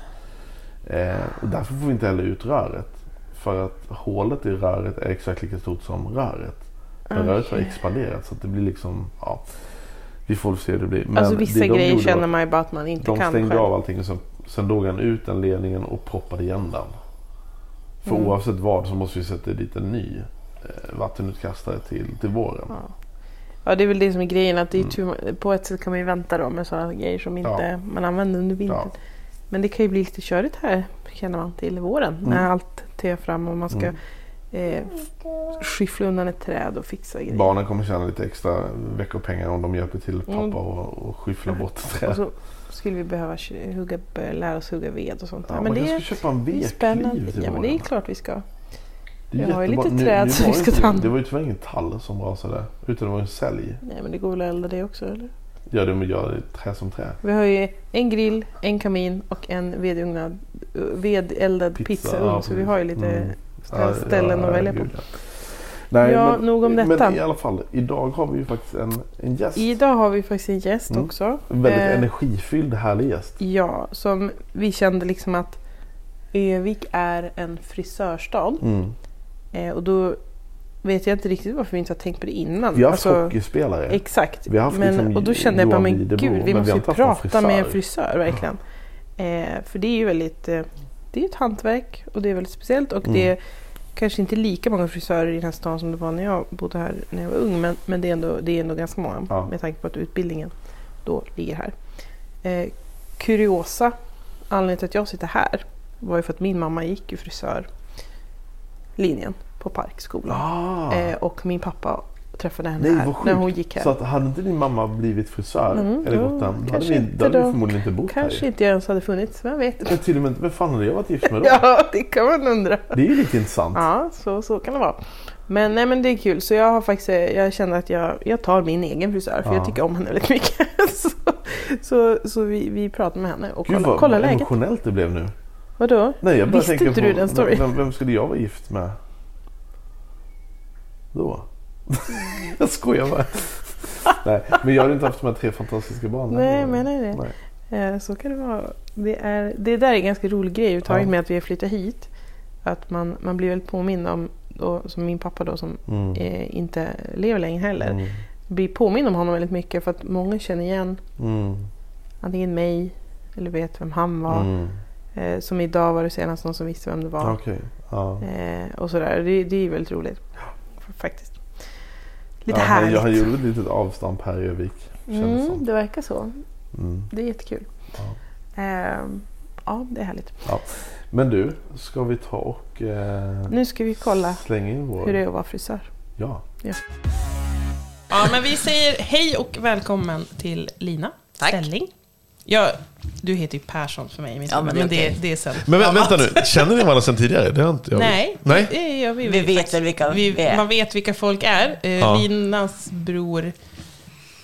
Speaker 1: Ehm, och därför får vi inte heller ut röret. För att hålet i röret är exakt lika stort som röret. Men röret har expanderat så att det blir liksom, ja. Vi får väl se hur det blir. Men
Speaker 2: alltså
Speaker 1: det
Speaker 2: vissa
Speaker 1: de
Speaker 2: grejer
Speaker 1: gjorde var-
Speaker 2: känner man ju bara att man inte
Speaker 1: de
Speaker 2: kan
Speaker 1: stängde
Speaker 2: själv.
Speaker 1: av allting och sen, sen drog han ut den ledningen och proppade igen den. För
Speaker 2: Mm.
Speaker 1: oavsett vad så måste vi sätta dit en ny eh, vattenutkastare till, till våren.
Speaker 2: Ja, det är väl det som är grejen. Att det är
Speaker 1: Mm.
Speaker 2: tur, på ett sätt kan man ju vänta då med sådana grejer som inte man använder under vintern.
Speaker 1: Ja.
Speaker 2: Men det kan ju bli lite körigt här känner man till våren.
Speaker 1: Mm.
Speaker 2: När allt töar fram och man ska eh, skyffla undan ett träd och fixa grejer.
Speaker 1: Barnen kommer tjäna lite extra veckopengar om de hjälper till pappa
Speaker 2: Mm.
Speaker 1: och, och skyffla bort
Speaker 2: Och
Speaker 1: träd.
Speaker 2: så skulle vi behöva kö- hugga, börja lära oss hugga ved och sånt.
Speaker 1: Ja,
Speaker 2: där.
Speaker 1: man
Speaker 2: men det
Speaker 1: kanske
Speaker 2: är,
Speaker 1: ska köpa en
Speaker 2: det är
Speaker 1: vedkniv
Speaker 2: spännande.
Speaker 1: till
Speaker 2: Ja, men det är
Speaker 1: våren.
Speaker 2: klart vi ska.
Speaker 1: Det är
Speaker 2: jag har ju
Speaker 1: jättebra.
Speaker 2: lite träd som
Speaker 1: var
Speaker 2: vi
Speaker 1: inte-
Speaker 2: ska ta hand om.
Speaker 1: Det var ju tyvärr ingen tall som rasade utan det var en sälj.
Speaker 2: Nej, men det går väl att elda det också eller?
Speaker 1: Ja, det gör trä som trä.
Speaker 2: Vi har ju en grill, en kamin och en vedugnad, vedeldad
Speaker 1: Pizza,
Speaker 2: pizzaugn.
Speaker 1: ja,
Speaker 2: så vi har ju lite
Speaker 1: mm.
Speaker 2: stä- ställen att välja på.
Speaker 1: herregud, ja. Nej,
Speaker 2: Ja, nog om detta.
Speaker 1: Men i alla fall, idag har vi ju faktiskt en, en gäst.
Speaker 2: Idag har vi faktiskt en gäst
Speaker 1: Mm.
Speaker 2: också.
Speaker 1: En väldigt
Speaker 2: Eh,
Speaker 1: energifylld, härlig gäst.
Speaker 2: Ja, som vi kände liksom att Övik är en frisörstad.
Speaker 1: Mm.
Speaker 2: Eh, och då vet jag inte riktigt varför vi inte har tänkt på det innan.
Speaker 1: Vi har haft
Speaker 2: Alltså,
Speaker 1: hockeyspelare.
Speaker 2: Exakt.
Speaker 1: Vi har haft
Speaker 2: men,
Speaker 1: liksom
Speaker 2: och då kände jag bara,
Speaker 1: Johan
Speaker 2: men
Speaker 1: Videbo,
Speaker 2: gud,
Speaker 1: men vi
Speaker 2: vi
Speaker 1: har
Speaker 2: måste ju
Speaker 1: inte haft någon
Speaker 2: prata med en
Speaker 1: frisör.
Speaker 2: frisör verkligen. Eh, för det är ju väldigt, eh, det är ju ett hantverk och det är väldigt speciellt. Och
Speaker 1: Mm.
Speaker 2: det är kanske inte lika många frisörer i den här stan som det var när jag bodde här när jag var ung. Men, men det, är ändå, det är ändå ganska många
Speaker 1: Ja.
Speaker 2: med tanke på att utbildningen då ligger här. Eh, kuriosa, anledningen till att jag sitter här var ju för att min mamma gick ju frisörlinjen på Parkskolan.
Speaker 1: Ah,
Speaker 2: Eh, och min pappa träffade henne
Speaker 1: nej,
Speaker 2: här
Speaker 1: vad sjukt.
Speaker 2: när hon gick här. Mm,
Speaker 1: Så att, hade inte din mamma blivit frisör eller gått den, då hade
Speaker 2: kanske
Speaker 1: vi,
Speaker 2: inte
Speaker 1: då hade vi
Speaker 2: då.
Speaker 1: förmodligen inte bott
Speaker 2: Kanske
Speaker 1: här.
Speaker 2: inte jag ens hade funnits, vem vet?
Speaker 1: Men till och med, vem fan hade jag varit gift med då?
Speaker 2: Ja, det kan man undra.
Speaker 1: Det är ju lite intressant.
Speaker 2: Ja, så, så kan det vara. Men, nej, men det är kul, så jag har faktiskt, eh, jag känner att jag, jag tar min egen frisör för
Speaker 1: Ja.
Speaker 2: jag tycker om henne väldigt mycket. Så, så, så vi, vi pratar med henne och
Speaker 1: Gud
Speaker 2: kollar
Speaker 1: vad
Speaker 2: kolla läget.
Speaker 1: emotionellt det blev nu.
Speaker 2: Vadå?
Speaker 1: Nej, jag bara
Speaker 2: Visste
Speaker 1: tänker
Speaker 2: inte
Speaker 1: på,
Speaker 2: du den storyn?
Speaker 1: Vem, vem skulle jag vara gift med? Då? jag skojar bara. Nej, men jag hade inte haft de här tre fantastiska barnen.
Speaker 2: Nej, jag menar det.
Speaker 1: Nej.
Speaker 2: Eh, Så kan det vara. Det, är, det där är en ganska rolig grej överhuvudtaget
Speaker 1: Ja.
Speaker 2: med att vi har flyttat hit. Att man, man blir väl påmind om, då, som min pappa då som
Speaker 1: Mm.
Speaker 2: eh, inte lever längre heller,
Speaker 1: Mm.
Speaker 2: blir påmind om honom väldigt mycket för att många känner igen
Speaker 1: Mm.
Speaker 2: antingen mig eller vet vem han var.
Speaker 1: Mm.
Speaker 2: Eh, som idag var det senast någon som visste vem det var.
Speaker 1: Okej. Ja.
Speaker 2: Eh, och sådär. Det, det är väldigt roligt. Faktiskt.
Speaker 3: Lite
Speaker 4: Ja, han,
Speaker 3: härligt.
Speaker 4: han gjorde ett litet avstamp här i Övik. Känns
Speaker 3: Mm,
Speaker 4: som.
Speaker 3: det verkar så.
Speaker 4: Mm.
Speaker 3: Det är jättekul. Ehm, ja, det är härligt.
Speaker 4: Men du, ska vi ta och eh,
Speaker 3: Nu ska vi kolla
Speaker 4: slänga in vår...
Speaker 3: hur det är att vara frisör.
Speaker 4: Ja.
Speaker 2: Ja, men vi säger hej och välkommen till Lina
Speaker 5: Tack.
Speaker 2: Stelling. Ja, du heter ju Persson för mig i mitt
Speaker 5: Ja, men
Speaker 2: huvud,
Speaker 5: det är
Speaker 2: det, det är sen.
Speaker 1: Men vä-
Speaker 2: annat.
Speaker 1: vänta nu, känner ni varandra sedan tidigare? Det har inte jag
Speaker 2: Nej,
Speaker 1: Nej?
Speaker 2: Det gör vi,
Speaker 5: Vi
Speaker 2: väl
Speaker 5: vet
Speaker 2: faktiskt.
Speaker 5: väl vilka
Speaker 2: vi,
Speaker 5: vi är.
Speaker 2: Man vet vilka folk är. Eh,
Speaker 1: Ja.
Speaker 2: Linas bror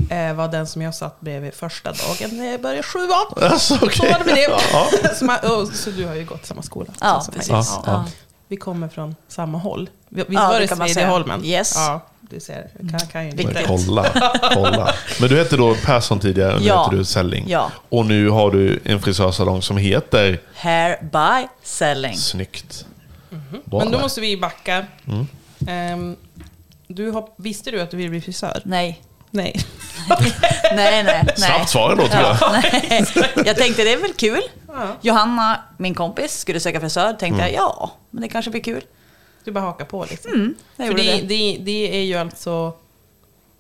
Speaker 2: eh, var den som jag satt bredvid första dagen när jag började sjuan.
Speaker 1: Alltså, okej.
Speaker 2: Så var det med det.
Speaker 1: Ja.
Speaker 2: Så, man, och, så du har ju gått samma skola.
Speaker 5: Ja,
Speaker 2: Så- så-
Speaker 5: precis.
Speaker 1: Ja,
Speaker 5: Ja.
Speaker 1: ja.
Speaker 2: Vi kommer från samma håll. Vi, vi
Speaker 5: Ja,
Speaker 2: var
Speaker 5: det
Speaker 2: i
Speaker 5: kan man säga.
Speaker 2: Smedjeholmen.
Speaker 5: Yes.
Speaker 2: Ja, du ser. Jag kan, kan ju inte.
Speaker 5: Viktigt.
Speaker 1: Kolla, kolla. Men du hette då Persson tidigare och nu
Speaker 5: Ja.
Speaker 1: heter du Selling.
Speaker 5: Ja.
Speaker 1: Och nu har du en frisörsalong som heter
Speaker 5: Hair by selling.
Speaker 1: Snyggt.
Speaker 2: Men då
Speaker 1: Bara.
Speaker 2: måste vi backa.
Speaker 1: Mm.
Speaker 2: Ehm, du har, visste du att du ville bli frisör?
Speaker 5: Nej.
Speaker 2: Nej.
Speaker 5: Nej, nej, nej.
Speaker 1: Snabbt svar då, tycker jag.
Speaker 5: nej. Jag tänkte det är väl kul.
Speaker 2: Ja.
Speaker 5: Johanna, min kompis, skulle söka frisör. Tänkte
Speaker 1: Mm.
Speaker 5: jag, ja, men det kanske blir kul.
Speaker 2: Du bara hakar på liksom.
Speaker 5: Jag
Speaker 2: För
Speaker 5: gjorde
Speaker 2: det,
Speaker 5: det.
Speaker 2: det, det är ju alltså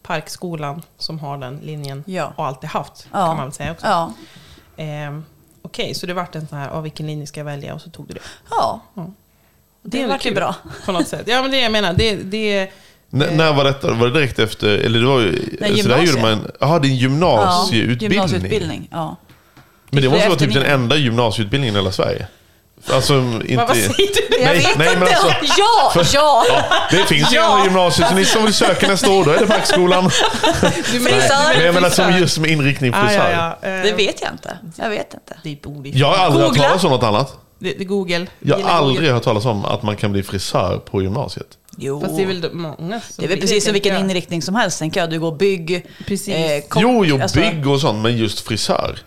Speaker 2: Parkskolan som har den linjen
Speaker 5: Ja.
Speaker 2: och alltid haft.
Speaker 5: Ja.
Speaker 2: kan man väl säga också.
Speaker 5: Ja.
Speaker 2: Ehm, Okej, så det vart en sån här, av vilken linje ska jag välja? Och så tog du det.
Speaker 5: ja. Det
Speaker 2: Mm. är
Speaker 5: vart ju
Speaker 2: kul,
Speaker 5: bra.
Speaker 2: På något sätt. Ja, men det är jag menar. Det, det,
Speaker 1: N- när var detta? Var det direkt efter? Eller det var ju... så
Speaker 5: Nej,
Speaker 1: där
Speaker 5: gymnasiet.
Speaker 1: gjorde man... Jaha, det är en
Speaker 5: Ja,
Speaker 1: gymnasieutbildning.
Speaker 5: Gymnasieutbildning, ja.
Speaker 1: Men det måste vara typ den
Speaker 5: Eftermiddag.
Speaker 1: enda gymnasieutbildningen i hela Sverige. Alltså, inte...
Speaker 2: vad säger du?
Speaker 5: Jag
Speaker 1: Nej,
Speaker 5: vet
Speaker 1: nej,
Speaker 5: inte.
Speaker 1: men alltså,
Speaker 5: Ja, ja.
Speaker 1: det finns ju
Speaker 5: Ja.
Speaker 1: andra gymnasier, så ni som vill söka nästa år, då är det fackskolan.
Speaker 2: Du
Speaker 5: Frisör.
Speaker 1: Men jag menar som
Speaker 2: frisör.
Speaker 1: just med inriktning
Speaker 2: Ah,
Speaker 1: frisör.
Speaker 2: ja, ja. Ehm,
Speaker 5: Det vet jag inte. Jag vet inte.
Speaker 2: det är ett ord i-
Speaker 1: Jag har aldrig hört
Speaker 5: Googla.
Speaker 1: talas om något annat.
Speaker 2: Det, det är Google.
Speaker 1: Jag har
Speaker 2: Gilla
Speaker 1: aldrig
Speaker 2: Google.
Speaker 1: hört talas om att man kan bli frisör på gymnasiet.
Speaker 5: Jo.
Speaker 2: Fast det är väl de- många som
Speaker 5: Det är väl precis som
Speaker 2: tänker
Speaker 5: vilken
Speaker 2: jag.
Speaker 5: inriktning som helst, tänker jag. Du går bygg,
Speaker 2: Precis.
Speaker 5: kock,
Speaker 1: jo, jo,
Speaker 5: alltså-
Speaker 1: bygg och sånt, men just frisör.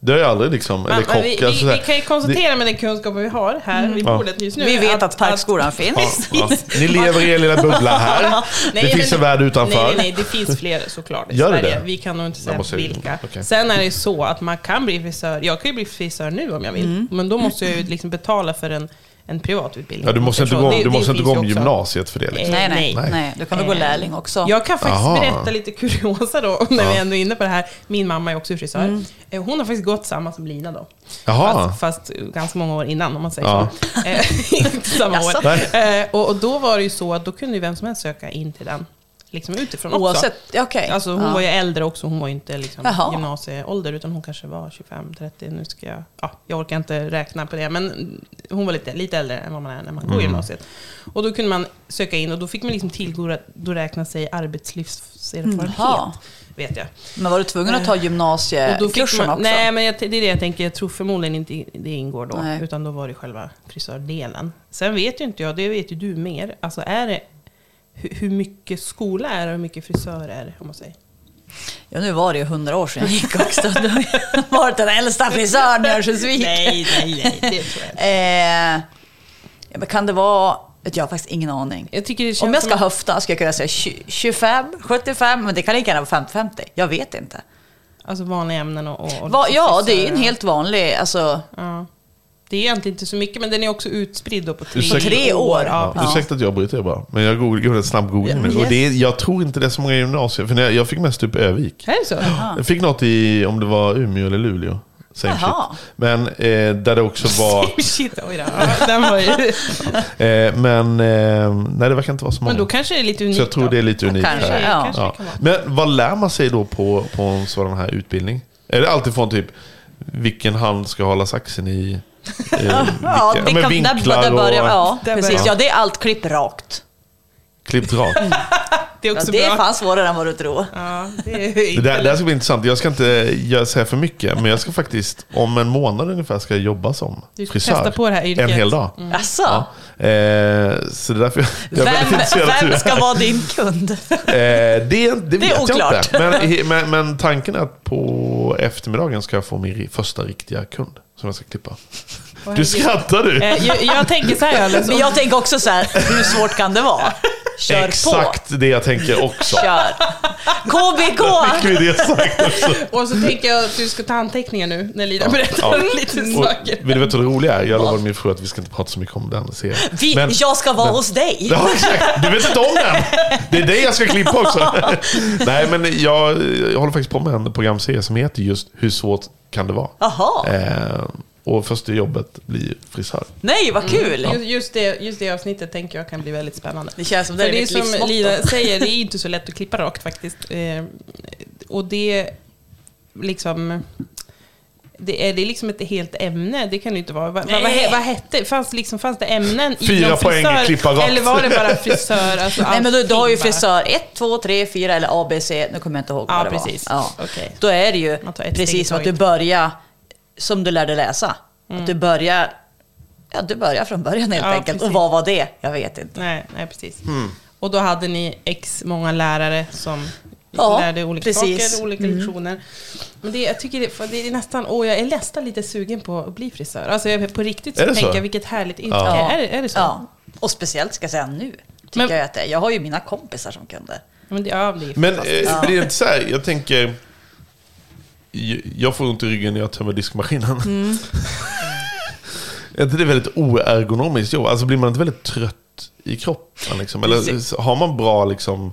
Speaker 1: Det har jag aldrig liksom, eller
Speaker 2: Men,
Speaker 1: kock.
Speaker 2: men vi,
Speaker 1: alltså,
Speaker 2: vi,
Speaker 1: så här.
Speaker 2: vi kan ju konstatera med den kunskapen vi har här vid bordet just nu.
Speaker 5: Mm. Vi vet att Parkskolan finns.
Speaker 1: Det- ja, ja. Ni lever i er lilla bubbla här.
Speaker 2: Nej,
Speaker 1: det
Speaker 2: men
Speaker 1: finns en värld utanför.
Speaker 2: Nej, nej, nej, det finns fler såklart i
Speaker 1: Gör det
Speaker 2: Sverige.
Speaker 1: det?
Speaker 2: Vi kan nog inte säga
Speaker 1: Jag måste-
Speaker 2: vilka.
Speaker 1: okej.
Speaker 2: Sen är det ju så att man kan bli frisör. Jag kan ju bli frisör nu om jag vill, men då måste jag ju liksom betala för en, en privat utbildning.
Speaker 1: Ja, du måste inte gå,
Speaker 2: Det-
Speaker 1: du
Speaker 2: det
Speaker 1: måste inte
Speaker 2: finns
Speaker 1: gå om
Speaker 2: ju också. Eh,
Speaker 1: gymnasiet för det. Liksom.
Speaker 5: Nej, nej,
Speaker 2: Nej.
Speaker 5: nej, Du kan väl gå lärling också.
Speaker 2: Eh, Jag kan faktiskt
Speaker 1: Aha.
Speaker 2: berätta lite kuriosa då, när vi ändå är inne på det här. Min mamma är också frisör.
Speaker 5: Mm.
Speaker 2: Eh, Hon har faktiskt gått samma som Lina då.
Speaker 1: Jaha.
Speaker 2: Fast, fast ganska många år innan, om man säger
Speaker 1: Ja.
Speaker 2: så. Eh, Inte samma år.
Speaker 5: Jaså?
Speaker 2: Eh, Och, och då var det ju så att då kunde ju vem som helst söka in till den. Liksom utifrån också.
Speaker 5: Oavsett, okej.
Speaker 2: Alltså hon
Speaker 5: Ja.
Speaker 2: var ju äldre också, hon var ju inte liksom
Speaker 5: Jaha.
Speaker 2: gymnasieålder utan hon kanske var 25-30, nu ska jag, ja, jag orkar inte räkna på det, men hon var lite, lite äldre än vad man är när man går gymnasiet. Och då kunde man söka in och då fick man liksom tillgodoräkna sig arbetslivserfarenhet,
Speaker 5: Jaha.
Speaker 2: vet jag.
Speaker 5: Men var du tvungen att ta
Speaker 2: Eh, Och då fick
Speaker 5: gymnasiekursen
Speaker 2: man,
Speaker 5: också?
Speaker 2: nej, men jag, det är det jag tänker. Jag tror förmodligen inte det ingår då.
Speaker 5: Nej.
Speaker 2: Utan då var det själva frisördelen. Sen vet ju inte jag, det vet ju du mer. Alltså är det, hur, hur mycket skola är det och hur mycket frisör är det? Om man säger.
Speaker 5: Ja, nu var det ju hundra år sedan jag gick också. Du har ju varit den äldsta frisören i Örnsköldsvik.
Speaker 2: Nej, nej, nej. Det tror jag inte.
Speaker 5: Eh, ja, men kan det vara... Vet jag har faktiskt ingen aning.
Speaker 2: Jag tycker det känns
Speaker 5: Om jag
Speaker 2: som
Speaker 5: ska
Speaker 2: att-
Speaker 5: höfta skulle jag kunna säga 20, 25, 75, men det kan lika gärna vara 50-50. Jag vet inte.
Speaker 2: Alltså vanliga ämnen och... och, och
Speaker 5: Va,
Speaker 2: liksom
Speaker 5: ja, det
Speaker 2: frisörer.
Speaker 5: är en helt vanlig... Alltså,
Speaker 2: Ja. Det är egentligen inte så mycket, men den är också utspridd då på tre,
Speaker 1: Ursäkta-
Speaker 5: Tre år.
Speaker 2: Ja,
Speaker 1: Ja. Ursäkta att jag bryter er bara, men jag googl- gjorde en snabb googling nu. Och det är, jag tror inte det är så många gymnasier, för när jag, jag fick mest upp Övik.
Speaker 2: Är det så?
Speaker 1: Jag fick något i, om det var Umeå eller Luleå. Same
Speaker 5: Jaha.
Speaker 1: shit. Men eh, där det också var...
Speaker 2: Shit, oj då. Ja, Den var ju...
Speaker 1: Eh, men eh, nej, det verkar inte vara så många.
Speaker 2: Men då kanske det är lite unikt.
Speaker 1: så jag tror
Speaker 2: då.
Speaker 1: det är lite unikt.
Speaker 5: kanske,
Speaker 1: här.
Speaker 5: ja.
Speaker 2: Kanske det kan vara.
Speaker 1: Men vad lär man sig då på, på en sådan här utbildning? Är det alltid från typ vilken hand ska hålla saxen i? Eh,
Speaker 5: ja,
Speaker 1: vilka-
Speaker 5: det
Speaker 1: men
Speaker 5: kan, där, där börjar,
Speaker 1: och
Speaker 5: ja,
Speaker 2: där
Speaker 5: precis.
Speaker 2: börjar-
Speaker 5: Ja, det är allt klipp rakt.
Speaker 1: klippt rakt.
Speaker 2: Det är
Speaker 5: Ja,
Speaker 2: också
Speaker 5: det är
Speaker 2: bra. Mm.
Speaker 5: fan svårare än vad du tror.
Speaker 2: Ja, det är
Speaker 1: Det där, det här ska bli intressant. Jag ska inte göra- säga för mycket, men jag ska faktiskt om en månad ungefär ska jag jobba som
Speaker 2: Du ska
Speaker 1: frisör.
Speaker 2: testa på det här yrket. Mm.
Speaker 1: En hel dag.
Speaker 5: Alltså,
Speaker 1: Ja. Eh, så det är därför jag, jag är väldigt
Speaker 5: vem,
Speaker 1: intresserad av hur
Speaker 5: vem
Speaker 1: det
Speaker 5: ska
Speaker 1: här-
Speaker 5: vara din kund?
Speaker 1: Eh, det, det vet
Speaker 5: är
Speaker 1: jag
Speaker 5: oklart.
Speaker 1: inte. Men, men, men tanken är att på eftermiddagen ska jag få min ri- första riktiga kund som jag ska klippa. Du skrattar du!
Speaker 2: Eh, jag, jag tänker så här, Alice.
Speaker 5: Men jag tänker också så här, hur svårt kan det vara? Kör på!
Speaker 1: Exakt det jag tänker också.
Speaker 5: Kör! KBK!
Speaker 1: Fick vi det sagt också?
Speaker 2: Och så tänker jag att du ska ta anteckningar nu när Lina berättar
Speaker 1: ja.
Speaker 2: lite
Speaker 1: Och
Speaker 2: saker.
Speaker 1: vill du veta vad det roliga är? Jag lovade min fru att vi ska inte prata så mycket om den serien.
Speaker 5: Vi,
Speaker 1: Men-
Speaker 5: jag ska vara hos dig!
Speaker 1: Ja, exakt. Du vet inte om den! Det är det jag ska klippa också. Nej, men jag, jag håller faktiskt på med en programserie som heter just Hur svårt kan det vara?
Speaker 5: Jaha.
Speaker 1: Eh, och första jobbet blir frisör.
Speaker 5: Nej, vad
Speaker 1: Mm.
Speaker 5: kul!
Speaker 2: Ju- Just det, just det avsnittet tänker jag kan bli väldigt spännande.
Speaker 5: Det känns som det
Speaker 2: För
Speaker 5: är
Speaker 2: det är
Speaker 5: mitt livsmotto.
Speaker 2: som Lina säger, det är inte så lätt att klippa rakt faktiskt. Eh, Och det liksom... Det är, det är liksom ett helt ämne, det kan det ju inte vara. Vad, vad, vad, he- vad hette fanns, liksom, fanns det ämnen
Speaker 1: Fyra
Speaker 2: någon
Speaker 1: poäng, klippa rakt.
Speaker 2: Eller var det bara frisör? Alltså
Speaker 5: Nej men du, du har ju
Speaker 2: allting bara.
Speaker 5: frisör 1, 2, 3, 4 eller ABC, nu kommer jag inte ihåg
Speaker 2: Ja,
Speaker 5: vad det
Speaker 2: precis.
Speaker 5: var.
Speaker 2: Okej.
Speaker 5: Då är det ju
Speaker 2: Man tar ett steg i
Speaker 5: precis som att du
Speaker 2: taget. Mm.
Speaker 5: börjar som du lärde läsa. Att du börjar Ja, du börjar från början helt
Speaker 2: Ja,
Speaker 5: enkelt. Och
Speaker 2: precis.
Speaker 5: vad var det? Jag vet inte. Hmm.
Speaker 2: Nej, nej precis. Och då hade ni x många lärare som
Speaker 5: Ja,
Speaker 2: lärde olika
Speaker 5: precis. Mm.
Speaker 2: saker, olika lektioner. Men det, jag tycker det, för det är nästan, åh jag är nästan lite sugen på att bli frisör. Alltså jag, på riktigt så
Speaker 1: Är det så?
Speaker 2: tänker jag vilket härligt yrke.
Speaker 5: Ja.
Speaker 2: Är, det- är det så?
Speaker 5: Ja. Och speciellt ska jag säga nu, tycker
Speaker 2: Men-
Speaker 5: jag att det är. Jag har ju mina kompisar som kunde.
Speaker 2: Men det, ja, det är
Speaker 1: Men
Speaker 2: fantastiskt.
Speaker 1: eh, blir det inte så här, jag tänker... j- Jag får ont i ryggen när jag tömmer diskmaskinen.
Speaker 5: Mm.
Speaker 1: Är inte det väldigt oergonomiskt jobb? Alltså blir man inte väldigt trött i kroppen? Liksom? Eller har man bra liksom,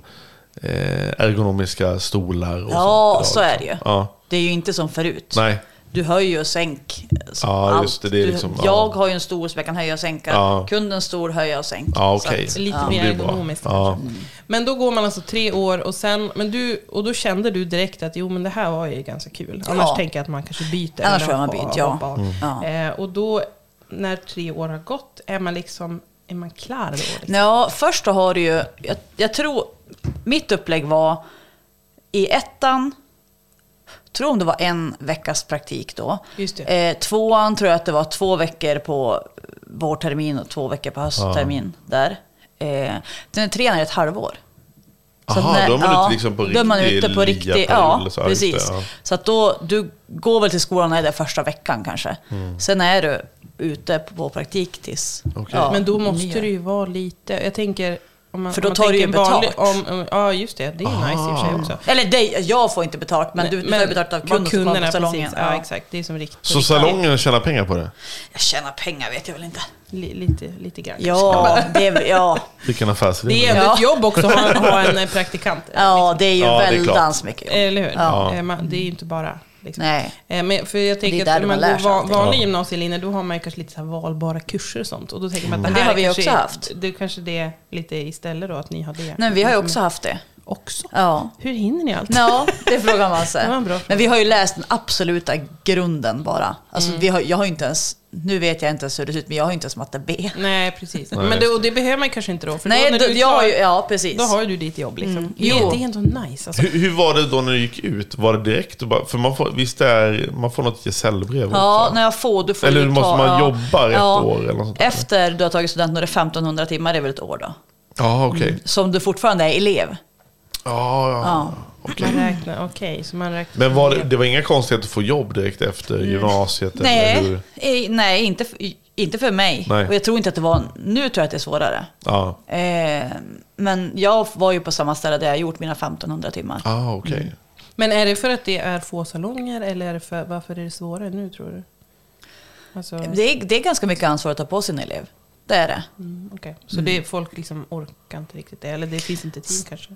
Speaker 1: eh, ergonomiska stolar? Och
Speaker 5: Ja,
Speaker 1: sånt
Speaker 5: så
Speaker 1: idag,
Speaker 5: är det ju.
Speaker 1: liksom? Ja.
Speaker 5: Det är ju inte som förut.
Speaker 1: Nej.
Speaker 5: Du höjer och sänk så
Speaker 1: Ja, just det, det är
Speaker 5: Du-
Speaker 1: liksom-
Speaker 5: jag
Speaker 1: ja.
Speaker 5: har ju en stor som jag kan höja och sänka.
Speaker 1: Ja.
Speaker 5: Kunden stor, höja och sänk.
Speaker 1: Ja,
Speaker 5: Så
Speaker 1: okej.
Speaker 5: att-
Speaker 2: Lite
Speaker 1: Det
Speaker 2: mer
Speaker 1: blir bra.
Speaker 2: ekonomiskt
Speaker 1: Ja.
Speaker 2: kanske. Men då går man alltså tre år och sen, men du, och då kände du direkt att jo men det här var ju ganska kul. Annars
Speaker 5: Ja.
Speaker 2: tänker jag att man kanske byter.
Speaker 5: Annars
Speaker 2: eller
Speaker 5: har man
Speaker 2: hoppa
Speaker 5: bytt,
Speaker 2: av,
Speaker 5: ja.
Speaker 2: hoppa av.
Speaker 5: Mm. Ja.
Speaker 2: Eh, och då, när tre år har gått, är man liksom, är man klar då? Liksom?
Speaker 5: Ja, först då har du ju, jag, jag tror, mitt upplägg var i ettan, tror om det var en veckas praktik då.
Speaker 2: Just det.
Speaker 5: Eh, tvåan tror jag att det var två veckor på vårtermin och två veckor på hösttermin där. Eh, den trean är ett halvår. Så
Speaker 1: Aha,
Speaker 5: att
Speaker 1: då är man ute liksom på
Speaker 5: då är man
Speaker 1: riktig
Speaker 5: ute på
Speaker 1: lia
Speaker 5: riktig,
Speaker 1: period
Speaker 5: ja,
Speaker 1: eller så, ja, just det,
Speaker 5: precis.
Speaker 1: ja.
Speaker 5: Så att då, du går väl till skolan när det är första veckan kanske. Sen är du ute på praktik tills...
Speaker 1: Mm. Okej.
Speaker 2: Men då
Speaker 5: nyår.
Speaker 2: måste det ju vara lite, jag tänker... Om man,
Speaker 5: För då
Speaker 2: om man
Speaker 5: tar du ju
Speaker 2: tänker en vanlig-
Speaker 5: betalt.
Speaker 2: Om, om, ja, just det. Det är nice i och för sig också.
Speaker 5: Eller dig, jag får inte betalt, men du, du får ju betalt av
Speaker 2: vad
Speaker 5: kunden som kommer
Speaker 2: kunderna,
Speaker 5: på salongen.
Speaker 2: precis. Ja,
Speaker 5: Ja.
Speaker 2: exakt. Det är som rikt,
Speaker 1: Så
Speaker 2: rikt-
Speaker 1: salongen tjänar pengar på det?
Speaker 5: Jag tjänar pengar vet jag väl inte.
Speaker 2: Li, lite, lite grann.
Speaker 5: Ja, det, är- ja.
Speaker 1: Vilken affärsidé.
Speaker 2: Det är
Speaker 1: men-
Speaker 2: ändå
Speaker 5: Ja.
Speaker 2: ett jobb också att ha, ha en eh, praktikant.
Speaker 5: ja, det är ju
Speaker 1: Ja, det är
Speaker 5: väldans mycket jobb.
Speaker 2: Eller hur?
Speaker 5: Ja.
Speaker 2: Eh, man- Det är ju inte bara... Liksom.
Speaker 5: Nej.
Speaker 2: Eh, Men för jag tänker
Speaker 5: där
Speaker 2: att
Speaker 5: du
Speaker 2: när man
Speaker 5: lär
Speaker 2: går
Speaker 5: sig
Speaker 2: van,
Speaker 5: allting.
Speaker 2: vanlig
Speaker 1: Ja.
Speaker 2: gymnasielinje, då har man ju kanske lite så här valbara kurser och sånt. Och då tänker man att
Speaker 1: Mm.
Speaker 5: Men
Speaker 2: det
Speaker 5: det
Speaker 2: här
Speaker 5: har vi
Speaker 2: kanske
Speaker 5: också
Speaker 2: är-
Speaker 5: haft.
Speaker 2: Det kanske det är lite istället då, att ni har det.
Speaker 5: Nej, men vi har ju också haft det.
Speaker 2: Också?
Speaker 5: Ja.
Speaker 2: Hur hinner ni allt?
Speaker 5: Ja, det frågar man sig.
Speaker 2: Det var en bra fråga.
Speaker 5: Men vi har ju läst den absoluta grunden bara. Alltså, vi
Speaker 2: Mm.
Speaker 5: har, jag har ju inte ens, nu vet jag inte ens hur det ser ut, men jag har ju inte ens matte B.
Speaker 2: Nej, precis.
Speaker 1: Nej.
Speaker 2: Men det, och det behöver man kanske inte då. Mm. För
Speaker 5: Nej,
Speaker 2: då, när
Speaker 5: då,
Speaker 2: du är
Speaker 5: jag
Speaker 2: klar,
Speaker 5: har ju, ja precis.
Speaker 2: då har ju du ditt jobb. Liksom.
Speaker 5: jo.
Speaker 2: Det, det är ändå nice. Alltså.
Speaker 1: Hur, hur var det då när du gick ut? Var det direkt? och bara- För man får, visst är, man får något gesällbrev
Speaker 5: Ja,
Speaker 1: också?
Speaker 5: när jag får, du får
Speaker 1: Eller
Speaker 5: ju
Speaker 1: måste
Speaker 5: ta-
Speaker 1: man
Speaker 5: ja.
Speaker 1: jobba ett år eller något sånt där?
Speaker 5: Efter du har tagit studenten, då är det 1500 timmar, det är väl ett år då.
Speaker 1: Ja, okej.
Speaker 5: Som du fortfarande är elev.
Speaker 1: Ja, ja.
Speaker 5: Mm. Ja.
Speaker 1: okej.
Speaker 2: Man räknar, okej. så man räknar.
Speaker 1: Men var det, det var inga konstigheter att få jobb direkt efter gymnasiet? Eller
Speaker 5: Mm. Nej,
Speaker 1: hur?
Speaker 5: eh, nej inte, f- inte för mig.
Speaker 1: Nej.
Speaker 5: Och jag tror inte att det var, nu tror jag att det är svårare.
Speaker 1: Ja,
Speaker 5: Eh, men jag var ju på samma ställe där jag gjort mina 1500 timmar.
Speaker 1: ah, okej.
Speaker 5: Mm.
Speaker 2: Men är det för att det är få salonger eller är det för, varför är det svårare nu tror du? Alltså,
Speaker 5: Det, är, det är ganska mycket ansvar att ta på sin elev. Det är det.
Speaker 2: mm, okej. Så det är, folk liksom orkar inte riktigt det? Eller det finns inte tid kanske?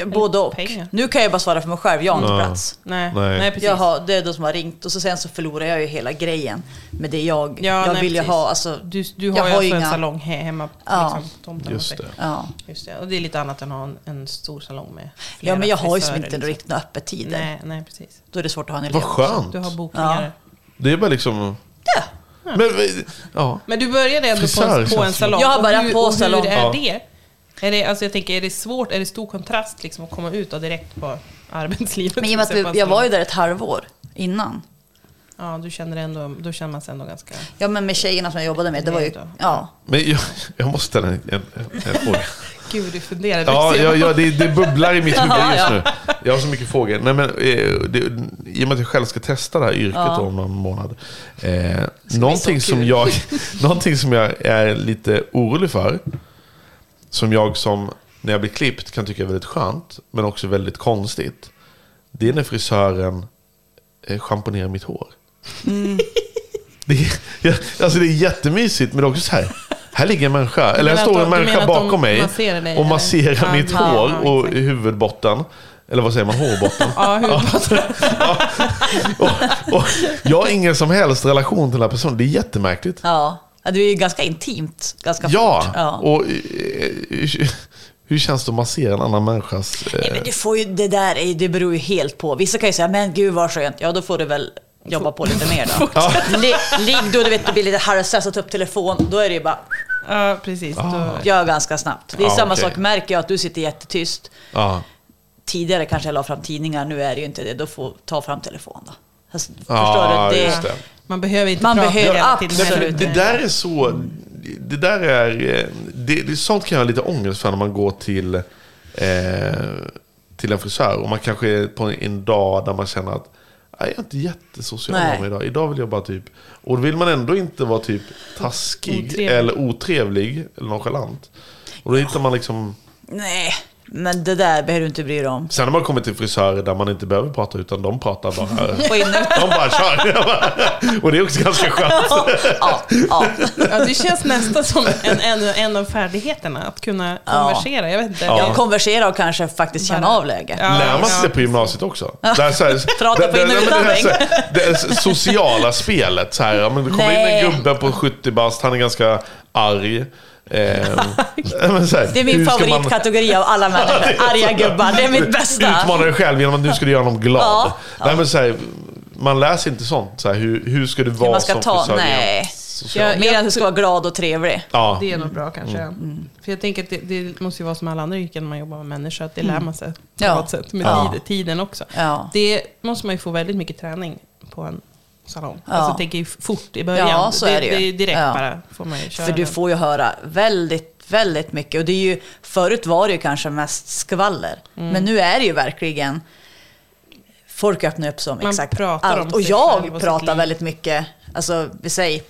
Speaker 5: Eh, Både och.
Speaker 2: pengar.
Speaker 5: Nu kan jag bara svara för mig själv, jag har inte
Speaker 1: Ja.
Speaker 5: plats.
Speaker 2: Nej,
Speaker 1: Nej.
Speaker 2: nej. precis.
Speaker 5: Jag har, det är de som har ringt och så sen så förlorar jag ju hela grejen. Men det är jag,
Speaker 2: Ja,
Speaker 5: jag
Speaker 2: nej,
Speaker 5: vill ju
Speaker 2: precis.
Speaker 5: ha, alltså,
Speaker 2: du, du har
Speaker 5: jag
Speaker 2: ju
Speaker 5: har
Speaker 2: alltså en
Speaker 5: inga-
Speaker 2: salong he, hemma på
Speaker 5: Ja.
Speaker 2: liksom, tomten.
Speaker 1: Just
Speaker 2: och så.
Speaker 1: det.
Speaker 5: ja.
Speaker 2: Just det. Och det är lite annat än att ha en, en stor salong med flera
Speaker 5: ja men jag har ju som
Speaker 2: frisörer,
Speaker 5: inte
Speaker 2: liksom.
Speaker 5: riktigt några öppettider.
Speaker 2: Nej, nej, precis.
Speaker 5: Då är det svårt att ha en elev.
Speaker 1: Vad skönt.
Speaker 2: Du har bokningar.
Speaker 5: Ja.
Speaker 1: Det är bara liksom... Ja. Men, eh, ja.
Speaker 2: Men du började ändå på
Speaker 1: Frisör
Speaker 2: en, på en
Speaker 1: känns det.
Speaker 2: salong.
Speaker 5: Jag har
Speaker 2: Och
Speaker 5: börjat
Speaker 2: hur-
Speaker 5: på
Speaker 2: och hur
Speaker 5: salong.
Speaker 2: är
Speaker 1: Ja.
Speaker 2: det? Är det, alltså jag tänker, är det svårt, är det stor kontrast liksom att komma ut och direkt på arbetslivet?
Speaker 5: Men i och med
Speaker 2: Så på
Speaker 5: att
Speaker 2: en
Speaker 5: vi, jag
Speaker 2: salong.
Speaker 5: var typ- ju där ett halvår innan.
Speaker 2: Ja, du känner ändå, då känner man sig ändå ganska...
Speaker 5: Ja men med tjejerna som jag jobbade med, det var ju...
Speaker 2: Nej då.
Speaker 5: Ja.
Speaker 1: Men jag, jag måste ställa en, en, en fråga.
Speaker 2: Gud, du funderar.
Speaker 1: Ja,
Speaker 2: Du ser-
Speaker 1: ja, ja det, det bubblar i mitt huvud
Speaker 5: Ja,
Speaker 1: just
Speaker 5: ja.
Speaker 1: nu. Jag har så mycket frågor. Nej, men, eh, det, I och med att jag själv ska testa det här yrket
Speaker 5: Ja.
Speaker 1: då om någon månad. Eh, någonting, som jag, någonting som jag är lite orolig för, som jag som när jag blir klippt kan tycka är väldigt skönt, men också väldigt konstigt. Det är när frisören eh, schamponerar mitt hår.
Speaker 2: Mm.
Speaker 1: Det, är, jag, alltså det är jättemysigt, men det är också så här. Här ligger en människa, eller här
Speaker 2: menar
Speaker 1: står
Speaker 2: att
Speaker 1: en
Speaker 2: de- du
Speaker 1: människa
Speaker 2: menar att de
Speaker 1: bakom mig
Speaker 2: masserar dig,
Speaker 1: och
Speaker 2: eller?
Speaker 1: masserar
Speaker 2: Ja,
Speaker 1: mitt
Speaker 2: ja,
Speaker 1: hår
Speaker 2: ja,
Speaker 1: och
Speaker 2: exakt.
Speaker 1: huvudbotten. Eller vad säger man? Hårbotten.
Speaker 2: Ja, hur,
Speaker 1: och, och jag har ingen som helst relation till den här personen. Det är jättemärkligt.
Speaker 5: Ja. ja, det är ju ganska intimt. Ganska
Speaker 1: Ja,
Speaker 5: fort. Ja.
Speaker 1: och eh, hur- hur känns det att massera en annan människas...
Speaker 5: Nej,
Speaker 1: Eh,
Speaker 5: men du får ju, det där är, ju- det beror ju helt på. Vissa kan ju säga, men gud vad skönt. Ja, då får du väl jobba på lite mer då.
Speaker 1: Ja.
Speaker 5: Li- Ligg då, du vet, du blir lite harmstressad, ta upp telefon. Då är det ju bara,
Speaker 2: ja,
Speaker 1: Ah,
Speaker 2: precis. Då,
Speaker 5: gör ganska snabbt. Det är
Speaker 1: Ja,
Speaker 5: samma
Speaker 1: okej.
Speaker 5: sak, märker jag att du sitter jättetyst.
Speaker 1: ja,
Speaker 5: Tidigare kanske jag la fram tidningar, nu är det ju inte det. Då får ta fram telefon då. Alltså,
Speaker 1: ja,
Speaker 5: förstår du?
Speaker 1: just det.
Speaker 2: man behöver inte
Speaker 5: Man
Speaker 2: prata
Speaker 5: behöver
Speaker 2: hela tiden
Speaker 5: absolut
Speaker 2: heller.
Speaker 1: Nej, för det där är så... Det där är... eh, Det, det, sånt kan jag ha lite ångest för när man går till, eh, till en frisör. Och man kanske är på en dag där man känner att "Nej, jag är inte jättesocial
Speaker 5: Nej.
Speaker 1: av mig idag. Idag vill jag bara typ... Och då vill man ändå inte vara typ taskig
Speaker 2: Otrevlig.
Speaker 1: eller otrevlig eller nonchalant. Och då hittar man liksom...
Speaker 5: Nej, men det där behöver du inte bry dig om.
Speaker 1: Sen har man kommit till frisörer där man inte behöver prata utan de pratar bara.
Speaker 5: Gå in och-
Speaker 1: De bara kör. Och det är också ganska skönt.
Speaker 5: ja, ja.
Speaker 2: Ja, det känns nästan som en, en, en av färdigheterna, att kunna konversera. Jag vet inte.
Speaker 1: Ja.
Speaker 5: Jag konverserar och kanske faktiskt känna
Speaker 2: Bara-
Speaker 5: av läget.
Speaker 2: Ja,
Speaker 1: Lär man sig
Speaker 2: ja.
Speaker 1: det på gymnasiet också? Det här, så här,
Speaker 5: Prata på in- och
Speaker 1: det, här,
Speaker 5: utandning.
Speaker 1: så här, det här sociala spelet. Så här, ja, men det kommer
Speaker 5: Nej.
Speaker 1: in en gubbe på 70 bast, han är ganska arg. Ehm, men så här,
Speaker 5: Det är
Speaker 1: hur
Speaker 5: min
Speaker 1: ska man-
Speaker 5: favoritkategori av alla människor. Arga gubbar, det är mitt bästa.
Speaker 1: Utmana dig själv genom att nu ska du göra honom glad.
Speaker 5: Ja.
Speaker 1: Nej, men så här, man läser inte sånt. Så här, hur, hur ska du vara
Speaker 5: man ska
Speaker 1: som
Speaker 5: ta-
Speaker 1: frisör?
Speaker 5: nej.
Speaker 1: rent socialt?
Speaker 5: Mer än att du ska vara glad och trevlig.
Speaker 1: Ja. Mm.
Speaker 2: Det är nog bra kanske.
Speaker 5: Mm.
Speaker 2: För jag tänker att det, det måste ju vara som alla andra yrken när man jobbar med människor, att det lär man sig på
Speaker 5: Mm. Ja.
Speaker 2: något sätt med
Speaker 5: Ja.
Speaker 2: tid, tiden också.
Speaker 5: Ja.
Speaker 2: Det måste man ju få väldigt mycket träning på en salong.
Speaker 5: Ja.
Speaker 2: Alltså jag tänker ju fort i början.
Speaker 5: Ja, så är det ju.
Speaker 2: det är direkt
Speaker 5: Ja.
Speaker 2: bara får man ju köra
Speaker 5: För du
Speaker 2: den.
Speaker 5: får ju höra väldigt, väldigt mycket. Och det är ju, förut var det ju kanske mest skvaller.
Speaker 2: Mm.
Speaker 5: Men nu är det ju verkligen... Folk öppnar upp som
Speaker 2: Man
Speaker 5: exakt
Speaker 2: pratar om
Speaker 5: allt. Och
Speaker 2: sig själv
Speaker 5: jag
Speaker 2: och sitt
Speaker 5: pratar
Speaker 2: liv.
Speaker 5: väldigt mycket. Alltså, vi säger...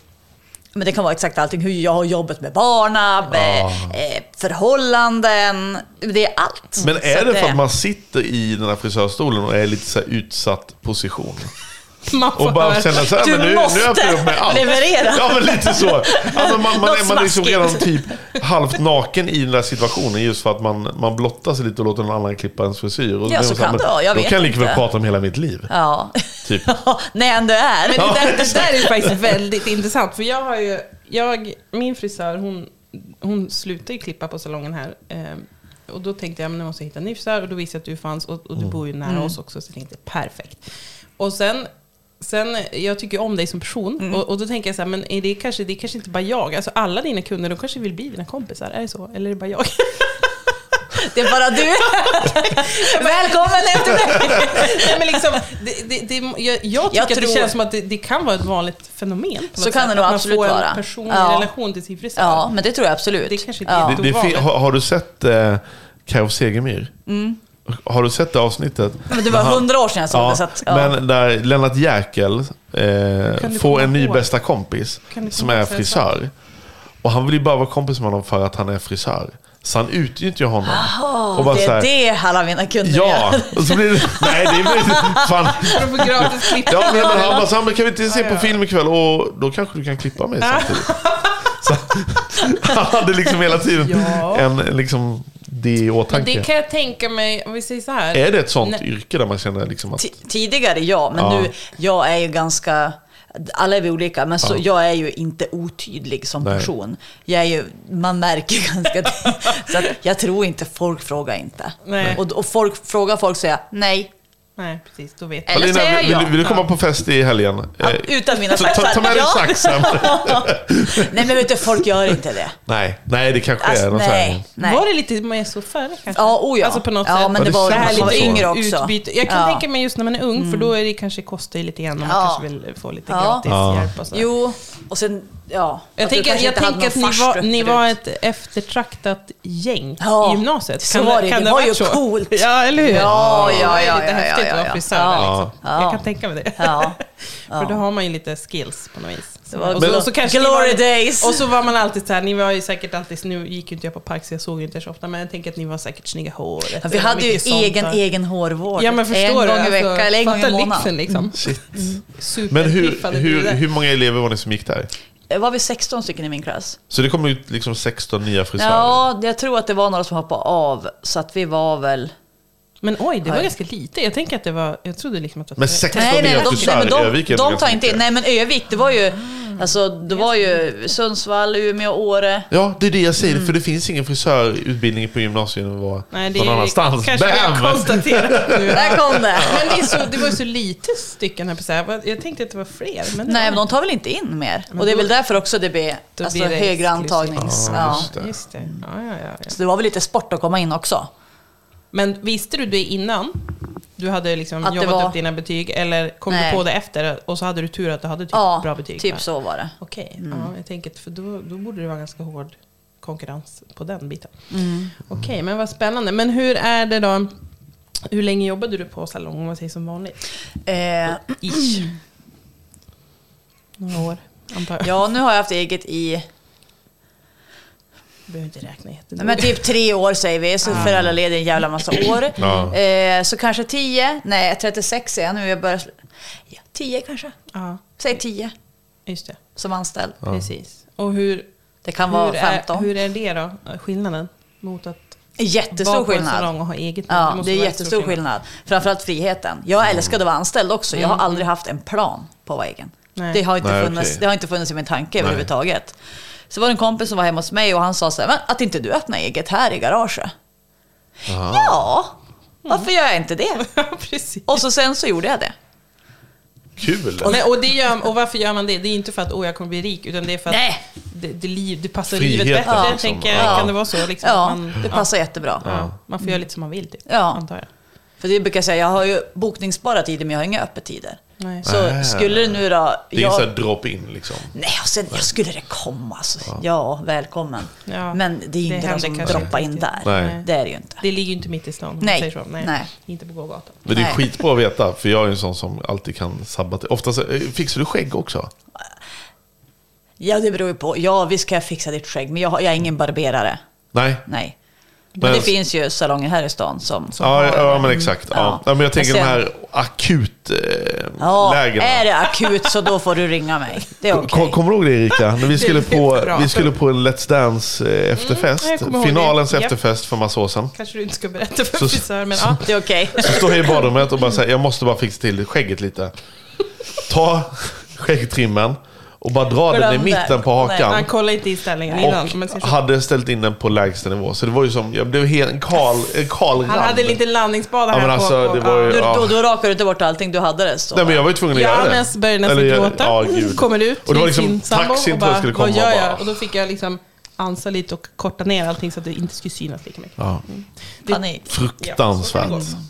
Speaker 5: Men det kan vara exakt allting. Hur jag har jobbet med barna, med, eh, förhållanden. Det är allt.
Speaker 1: Men
Speaker 5: Så
Speaker 1: är
Speaker 5: att
Speaker 1: det för att man sitter i den här frisörstolen och är i lite så här utsatt position?
Speaker 2: Man får
Speaker 1: Och bara
Speaker 2: höra-
Speaker 1: känna så här,
Speaker 5: Du
Speaker 1: men nu, nu
Speaker 5: måste
Speaker 1: öppnar jag upp med allt.
Speaker 5: leverera.
Speaker 1: Ja, men lite så. Ja, men man, man,
Speaker 5: Något
Speaker 1: är- man är liksom
Speaker 5: smaskigt.
Speaker 1: redan typ halvt naken i den där situationen just för att man, man blottar sig lite och låter någon annan klippa ens frisyr. Och
Speaker 5: Ja,
Speaker 1: då
Speaker 5: så
Speaker 1: är man här,
Speaker 5: kan
Speaker 1: men
Speaker 5: det vara. Jag
Speaker 1: då
Speaker 5: vet
Speaker 1: kan jag lika väl
Speaker 5: inte.
Speaker 1: prata om hela mitt liv.
Speaker 5: Ja.
Speaker 1: Typ.
Speaker 5: Ja, när jag ändå är.
Speaker 2: Men det, där, det där är ju faktiskt väldigt intressant. För jag har ju, jag, min frisör, hon, hon slutade ju klippa på salongen här. ehm, och då tänkte jag, men nu måste jag hitta en ny frisör. Och då visste jag att du fanns och,
Speaker 5: Mm.
Speaker 2: och du bor ju nära oss också. Så jag tänkte, perfekt. Och sen, sen jag tycker ju om dig som person.
Speaker 5: Mm.
Speaker 2: Och, och då tänker jag så här, men är det, kanske, det är kanske inte bara jag. Alltså alla dina kunder, de kanske vill bli dina kompisar. Är det så? Eller är det bara jag?
Speaker 5: Det är bara du. Välkommen efter mig.
Speaker 2: Nej, men liksom, det, det, det, jag, jag tycker
Speaker 5: Jag
Speaker 2: att det
Speaker 5: tror-
Speaker 2: känns som att det, det kan vara ett vanligt fenomen. på
Speaker 5: Så
Speaker 2: något
Speaker 5: kan
Speaker 2: sätt,
Speaker 5: det nog
Speaker 2: att
Speaker 5: absolut
Speaker 2: man får
Speaker 5: vara.
Speaker 2: en personlig
Speaker 5: Ja.
Speaker 2: relation till sin frisör.
Speaker 5: Ja, men det tror jag absolut.
Speaker 2: Det kanske inte är
Speaker 5: ja.
Speaker 1: Det, det fin- har, har du sett eh, Karo Segemyr?
Speaker 2: Mm.
Speaker 1: Har du sett det avsnittet?
Speaker 5: Men det var
Speaker 1: När han-
Speaker 5: hundra år sedan jag såg det. Så att, ja.
Speaker 1: Men där Lennart Jäkel eh,
Speaker 2: Kan
Speaker 1: får
Speaker 2: du komma
Speaker 1: en ny
Speaker 2: ihåg?
Speaker 1: bästa kompis
Speaker 2: Kan du
Speaker 1: som
Speaker 2: komma
Speaker 1: är
Speaker 2: ihåg vad jag sa?
Speaker 1: frisör. Och han vill ju bara vara kompis med honom för att han är frisör. Så han utnyttjar honom. och bara
Speaker 5: det
Speaker 1: så
Speaker 5: är
Speaker 1: här,
Speaker 5: det alla mina kunder
Speaker 1: Ja,
Speaker 5: gör.
Speaker 1: och så blir det... Nej, det är fan.
Speaker 2: För att få gratis klipp.
Speaker 1: Ja, men han bara, så här, men kan vi inte se på film ikväll? Och då kanske du kan klippa mig samtidigt. Så, han hade liksom hela tiden
Speaker 2: Ja.
Speaker 1: en liksom, det i åtanke.
Speaker 2: Det kan jag tänka mig, om vi säger så här.
Speaker 1: Är det ett sånt
Speaker 2: Nej.
Speaker 1: yrke där man känner liksom att...
Speaker 5: Ti- Tidigare ja, men
Speaker 1: Ja.
Speaker 5: nu, jag är ju ganska... Alla är vi olika, men så, jag är ju inte otydlig som
Speaker 1: Nej.
Speaker 5: person. Jag är ju, man märker ju ganska tydligt. Så att jag tror inte folk frågar inte.
Speaker 2: Nej.
Speaker 5: Och, och folk, frågar folk säger jag nej.
Speaker 2: Nej, precis. Då vet jag.
Speaker 5: Eller
Speaker 1: Alina,
Speaker 5: säger
Speaker 1: vill,
Speaker 5: jag.
Speaker 1: vill, vill du komma på fest i helgen?
Speaker 5: Ja,
Speaker 1: Eh,
Speaker 5: utan mina
Speaker 1: ta, ta, ta med dig
Speaker 5: Ja.
Speaker 1: saxen.
Speaker 5: Nej men vet du, folk gör inte det.
Speaker 1: nej, nej, det kanske
Speaker 5: Alltså,
Speaker 1: är någon
Speaker 5: nej,
Speaker 1: sån
Speaker 5: nej.
Speaker 2: Var det lite mer så förr kanske?
Speaker 5: Ja, oh ja.
Speaker 2: Alltså på något
Speaker 5: ja,
Speaker 2: sätt.
Speaker 5: men
Speaker 1: Ja,
Speaker 5: det
Speaker 1: det
Speaker 5: var
Speaker 1: känns
Speaker 5: när jag var
Speaker 1: så.
Speaker 5: yngre också.
Speaker 2: Utbyte. Jag kan
Speaker 5: ja.
Speaker 2: tänka mig just när man är ung, för då är det kanske kostar ju lite grann om man
Speaker 5: Mm. Ja.
Speaker 2: kanske vill få lite
Speaker 5: Ja.
Speaker 2: gratis hjälp och så.
Speaker 5: Jo, och sen ja.
Speaker 2: Jag
Speaker 5: att du
Speaker 2: tänker,
Speaker 5: kanske
Speaker 2: jag
Speaker 5: inte hade
Speaker 2: tänker att ni
Speaker 5: någon
Speaker 2: var,
Speaker 5: farstu
Speaker 2: ni
Speaker 5: förut.
Speaker 2: var ett eftertraktat gäng
Speaker 5: Ja,
Speaker 2: i gymnasiet.
Speaker 5: så var det. Det var
Speaker 2: ha
Speaker 5: ju
Speaker 2: varit så?
Speaker 5: coolt.
Speaker 2: Ja, eller hur?
Speaker 5: Ja, ja,
Speaker 2: det var
Speaker 5: ja,
Speaker 2: lite
Speaker 5: ja,
Speaker 2: häftigt
Speaker 5: ja,
Speaker 2: att
Speaker 5: ja.
Speaker 2: vara frisör.
Speaker 5: Ja.
Speaker 2: Liksom.
Speaker 5: Ja.
Speaker 2: Jag kan tänka mig det.
Speaker 5: Ja.
Speaker 2: För då har man ju lite skills på något vis.
Speaker 5: var
Speaker 2: och, så,
Speaker 5: glo-
Speaker 2: och, så kanske ni
Speaker 5: glory
Speaker 2: var,
Speaker 5: days.
Speaker 2: och så var man alltid så här, ni var ju säkert alltid, nu gick ju inte jag på park så jag såg ju inte er så ofta, men jag tänker att ni var säkert snygga i håret.
Speaker 5: Ja, vi
Speaker 2: Det var
Speaker 5: hade ju
Speaker 2: mycket sånt
Speaker 5: egen,
Speaker 2: där.
Speaker 5: egen hårvård.
Speaker 2: Ja, men förstår
Speaker 5: en
Speaker 2: du?
Speaker 5: gång i
Speaker 2: Alltså,
Speaker 5: veckan eller en gång
Speaker 2: fatta
Speaker 5: i månaden.
Speaker 2: lyxen liksom.
Speaker 1: Shit.
Speaker 5: Mm.
Speaker 1: Men hur,
Speaker 2: Superpiffade
Speaker 1: hur,
Speaker 2: brudar.
Speaker 1: hur många elever var det som gick där?
Speaker 5: Det var vi 16 stycken i min klass.
Speaker 1: Så det kom ut liksom 16 nya frisörer?
Speaker 5: Ja, jag tror att det var några som hoppade av. Så att vi var väl...
Speaker 2: Men oj, det var
Speaker 5: Oj.
Speaker 2: ganska lite. Jag tänker att det var, jag trodde liksom att det
Speaker 1: Men
Speaker 2: var...
Speaker 1: 16
Speaker 5: Nej, nej,
Speaker 1: nya
Speaker 5: de, nej,
Speaker 1: frisörer
Speaker 5: men
Speaker 1: i Örnsköldsvik
Speaker 5: de,
Speaker 1: är
Speaker 5: de
Speaker 1: ganska
Speaker 5: tar inte in.
Speaker 1: mycket.
Speaker 5: Nej, men Övik, det var ju...
Speaker 2: Mm.
Speaker 5: Alltså, det var ju Sundsvall, Umeå, Åre.
Speaker 1: Ja, det är det jag säger. För det finns ingen frisörutbildning på gymnasiet och var
Speaker 2: Nej, det
Speaker 1: någon annanstans.
Speaker 2: kanske vi har
Speaker 1: Bam!
Speaker 2: konstaterat nu.
Speaker 5: Där kom det!
Speaker 2: Men det, är så, det var ju så lite stycken här på så här. Jag tänkte att det var fler. Men det
Speaker 5: Nej, men
Speaker 2: var,
Speaker 5: de tar väl inte in mer? Och det är väl därför också det blir
Speaker 2: Då
Speaker 5: alltså,
Speaker 2: blir det liksom.
Speaker 5: högre
Speaker 2: exklusivt.
Speaker 5: antagnings... Ja.
Speaker 1: just det.
Speaker 2: Just det. Ja, ja, ja, ja.
Speaker 5: Så det var väl lite sport att komma in också.
Speaker 2: Typ Men visste du det innan? Du hade liksom
Speaker 5: Att det
Speaker 2: jobbat
Speaker 5: var-
Speaker 2: upp dina betyg eller kom
Speaker 5: Nej.
Speaker 2: du på det efter och så hade du tur att du hade typ
Speaker 5: Ja,
Speaker 2: bra betyg?
Speaker 5: typ
Speaker 2: va?
Speaker 5: så Mm. var det.
Speaker 2: Okej, ja, jag tänker att för då, då borde det vara ganska hård konkurrens på den biten.
Speaker 5: Mm.
Speaker 2: Okej, men vad spännande. Men hur är det då? Hur länge jobbade du på salong om man säger som vanligt?
Speaker 5: Eh,
Speaker 2: Ish. Några år, antar jag.
Speaker 5: ja, nu har jag haft eget i
Speaker 2: behöver inte räkna
Speaker 5: Nej,
Speaker 2: jättenoga.
Speaker 5: men typ tre år säger vi, så för alla led är en jävla massa år.
Speaker 1: Ja.
Speaker 5: Eh, så kanske 10, nej 36 är jag nu, jag börjar... Ja, 10 kanske,
Speaker 2: Ja,
Speaker 5: säg 10
Speaker 2: just det.
Speaker 5: som anställd.
Speaker 2: Precis. Och hur,
Speaker 5: Det kan vara
Speaker 2: hur, är,
Speaker 5: 15.
Speaker 2: hur är det då, skillnaden mot att
Speaker 5: Jättestor
Speaker 2: vara på en
Speaker 5: skillnad.
Speaker 2: salong och ha eget
Speaker 5: Ja,
Speaker 2: måste
Speaker 5: det är
Speaker 2: vara
Speaker 5: jättestor skillnad. Framförallt friheten. Jag
Speaker 1: Mm.
Speaker 5: älskade att vara anställd också, jag har aldrig haft en plan på att vara egen.
Speaker 2: Mm. Nej.
Speaker 5: Det har, inte
Speaker 1: Nej,
Speaker 5: funnits,
Speaker 1: okej.
Speaker 5: det har inte funnits i min tanke
Speaker 1: Nej.
Speaker 5: överhuvudtaget. Så var det en kompis som var hemma hos mig och han sa så här, "Men att inte du öppnar eget här i garaget? Ja, varför gör jag inte det?
Speaker 2: Ja, precis.
Speaker 5: Och så sen så gjorde jag det.
Speaker 1: Kul!
Speaker 2: Och, nej, och, det gör, och varför gör man det? Det är inte för att åh, jag kommer bli rik, utan det är för att
Speaker 5: Nej.
Speaker 2: det, det, liv, det passar
Speaker 1: Friheten,
Speaker 2: livet bättre.
Speaker 1: liksom.
Speaker 2: Jag tänker,
Speaker 1: Ja.
Speaker 2: Kan det vara så? Liksom,
Speaker 5: Ja,
Speaker 2: att man,
Speaker 5: det passar jättebra.
Speaker 2: Ja, man får göra lite som man vill, typ,
Speaker 5: Ja.
Speaker 2: antar jag.
Speaker 5: För det brukar jag säga, jag har ju bokningsbara tider men jag har inga öppettider.
Speaker 2: Nej.
Speaker 5: Så
Speaker 1: Ah.
Speaker 5: skulle det nu då...
Speaker 1: Det är ingen
Speaker 5: Jag,
Speaker 1: sån här drop-in liksom.
Speaker 5: nej, och sen jag skulle det komma alltså. Ja, välkommen.
Speaker 2: Ja,
Speaker 5: Men det är ju inte
Speaker 2: det
Speaker 5: någon
Speaker 2: händer
Speaker 5: som
Speaker 2: kanske
Speaker 5: droppar in
Speaker 2: inte.
Speaker 5: där.
Speaker 1: Nej.
Speaker 5: Det är det ju inte.
Speaker 2: Det ligger ju inte mitt i stan, om man
Speaker 5: Nej.
Speaker 2: säger så. Nej.
Speaker 5: Nej.
Speaker 2: Inte på gågatan.
Speaker 1: Men det är
Speaker 5: Nej.
Speaker 1: skitbra att veta, för jag är en sån som alltid kan sabbatera. Oftast, eh, fixar du skägg också?
Speaker 5: Ja, det beror ju på. Ja, visst kan jag fixa ditt skägg, men jag, har, jag är ingen barberare.
Speaker 1: Nej?
Speaker 5: Nej. Men det
Speaker 1: Men-
Speaker 5: finns ju salonger här i stan som...
Speaker 1: Ja, ja, men exakt. Ja.
Speaker 5: Mm. Ja.
Speaker 1: Ja, men jag tänker
Speaker 5: Men
Speaker 1: de
Speaker 5: sen-
Speaker 1: här eh,
Speaker 5: Ja,
Speaker 1: akutlägena.
Speaker 5: är det akut så då får du ringa mig. Det är okej.
Speaker 1: Kom- Kommer du ihåg det Erika? När vi skulle,
Speaker 2: Det är
Speaker 1: på,
Speaker 2: jättebra.
Speaker 1: vi skulle på en Let's Dance eh,
Speaker 2: ja,
Speaker 1: efterfest.
Speaker 2: Mm, jag kommer ihåg
Speaker 1: Finalens
Speaker 2: det. Ja.
Speaker 1: efterfest för massa år sedan.
Speaker 2: Kanske du inte ska berätta för
Speaker 1: Så-
Speaker 2: en frisör, men ja.
Speaker 5: Det är okej.
Speaker 1: Så står jag i badrummet och bara säger jag måste bara fixa till skägget lite. Ta skäggtrimmen och bara dra
Speaker 5: Glöm
Speaker 1: den i mitten
Speaker 5: det.
Speaker 1: på hakan.
Speaker 2: Man kollar inte i ställningen innan. om man säger
Speaker 1: Och
Speaker 2: så.
Speaker 1: hade ställt in den på lägsta nivå. Så det var ju som, jag blev helt en kal, en kal
Speaker 2: Han hade
Speaker 1: rand.
Speaker 2: lite landningsbana
Speaker 1: Ja,
Speaker 2: här
Speaker 1: men alltså,
Speaker 2: på.
Speaker 1: det var ju-
Speaker 5: Du,
Speaker 1: Ja.
Speaker 5: då, då rakar du inte bort allting du hade det. Så.
Speaker 1: Nej men jag var ju tvungen att
Speaker 2: Ja,
Speaker 1: göra det.
Speaker 2: men så började nästan
Speaker 1: Eller jag-
Speaker 2: gråta. Mm,
Speaker 1: Ja, gud.
Speaker 2: Kommer ut
Speaker 1: Och det var
Speaker 2: till
Speaker 1: liksom
Speaker 2: sin sambo
Speaker 1: taxin
Speaker 2: och
Speaker 1: tror
Speaker 2: bara,
Speaker 1: jag skulle komma.
Speaker 2: vad gör
Speaker 1: och
Speaker 2: jag?
Speaker 1: bara-
Speaker 2: Och då fick jag liksom ansa lite och korta ner allting så att det inte skulle synas lika mycket.
Speaker 1: Ja,
Speaker 5: Panik.
Speaker 1: fruktansvärt.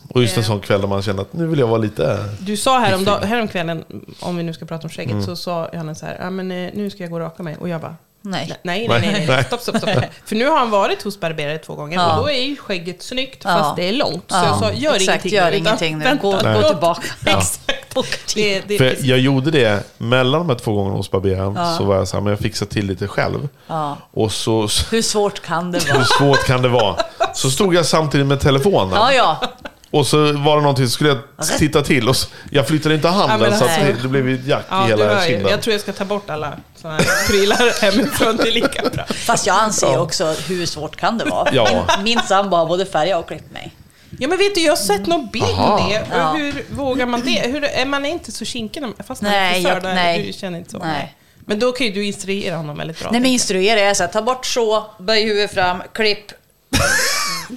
Speaker 1: och just en sån kväll där man känner att nu vill jag vara lite...
Speaker 2: Du sa häromdag, häromkvällen, om vi nu ska prata om skägget,
Speaker 1: Mm.
Speaker 2: så sa Johannes så här, ja men eh, nu ska jag gå och raka mig. Och jag bara,
Speaker 5: Nej.
Speaker 2: nej, nej, nej,
Speaker 1: Nej.
Speaker 2: nej. stopp, stopp, stopp. För nu har han varit hos barberare två gånger
Speaker 5: Ja.
Speaker 2: och då är ju skägget snyggt
Speaker 5: Ja.
Speaker 2: fast det är långt. Så jag sa, gör
Speaker 5: Exakt,
Speaker 2: ingenting
Speaker 5: gör
Speaker 2: nu, utan
Speaker 5: ingenting nu.
Speaker 2: vänta,
Speaker 5: Gå, gå
Speaker 2: låt-
Speaker 5: tillbaka. Ja.
Speaker 2: Exakt. Det, det,
Speaker 1: För jag gjorde det mellan de här två gångerna hos barberaren. Så var jag så här, men jag fixar till lite själv. Och så, så-
Speaker 5: Hur svårt kan det
Speaker 1: hur
Speaker 5: vara?
Speaker 1: svårt kan det vara? Så stod jag samtidigt med telefonen.
Speaker 5: Ja, ja.
Speaker 1: Och så var det någonting, så skulle jag titta till. Och så, jag flyttade inte handen
Speaker 2: Ja, men
Speaker 1: så att
Speaker 2: alltså-
Speaker 1: det, det blev ju ett jack
Speaker 2: Ja,
Speaker 1: i
Speaker 2: du
Speaker 1: hela
Speaker 2: hör ju.
Speaker 1: kinden.
Speaker 2: Jag tror jag ska ta bort alla sådana här prylar hemifrån, det är lika bra.
Speaker 5: Fast jag anser ju också hur svårt kan det vara?
Speaker 1: Ja.
Speaker 5: Min, min sambo har både färgat och klippt mig.
Speaker 2: Ja men vet du, jag har sett någon bild
Speaker 1: Aha.
Speaker 2: på det. Och
Speaker 5: Ja.
Speaker 2: Hur vågar man det? Hur, är man är inte så kinkig när man- fast man
Speaker 5: Nej,
Speaker 2: är frisör.
Speaker 5: jag-
Speaker 2: där,
Speaker 5: nej.
Speaker 2: Du känner inte så.
Speaker 5: Nej.
Speaker 2: Men då kan ju du instruera honom väldigt bra.
Speaker 5: Nej, men instruera är så här, ta bort så, böj huvudet fram, klipp.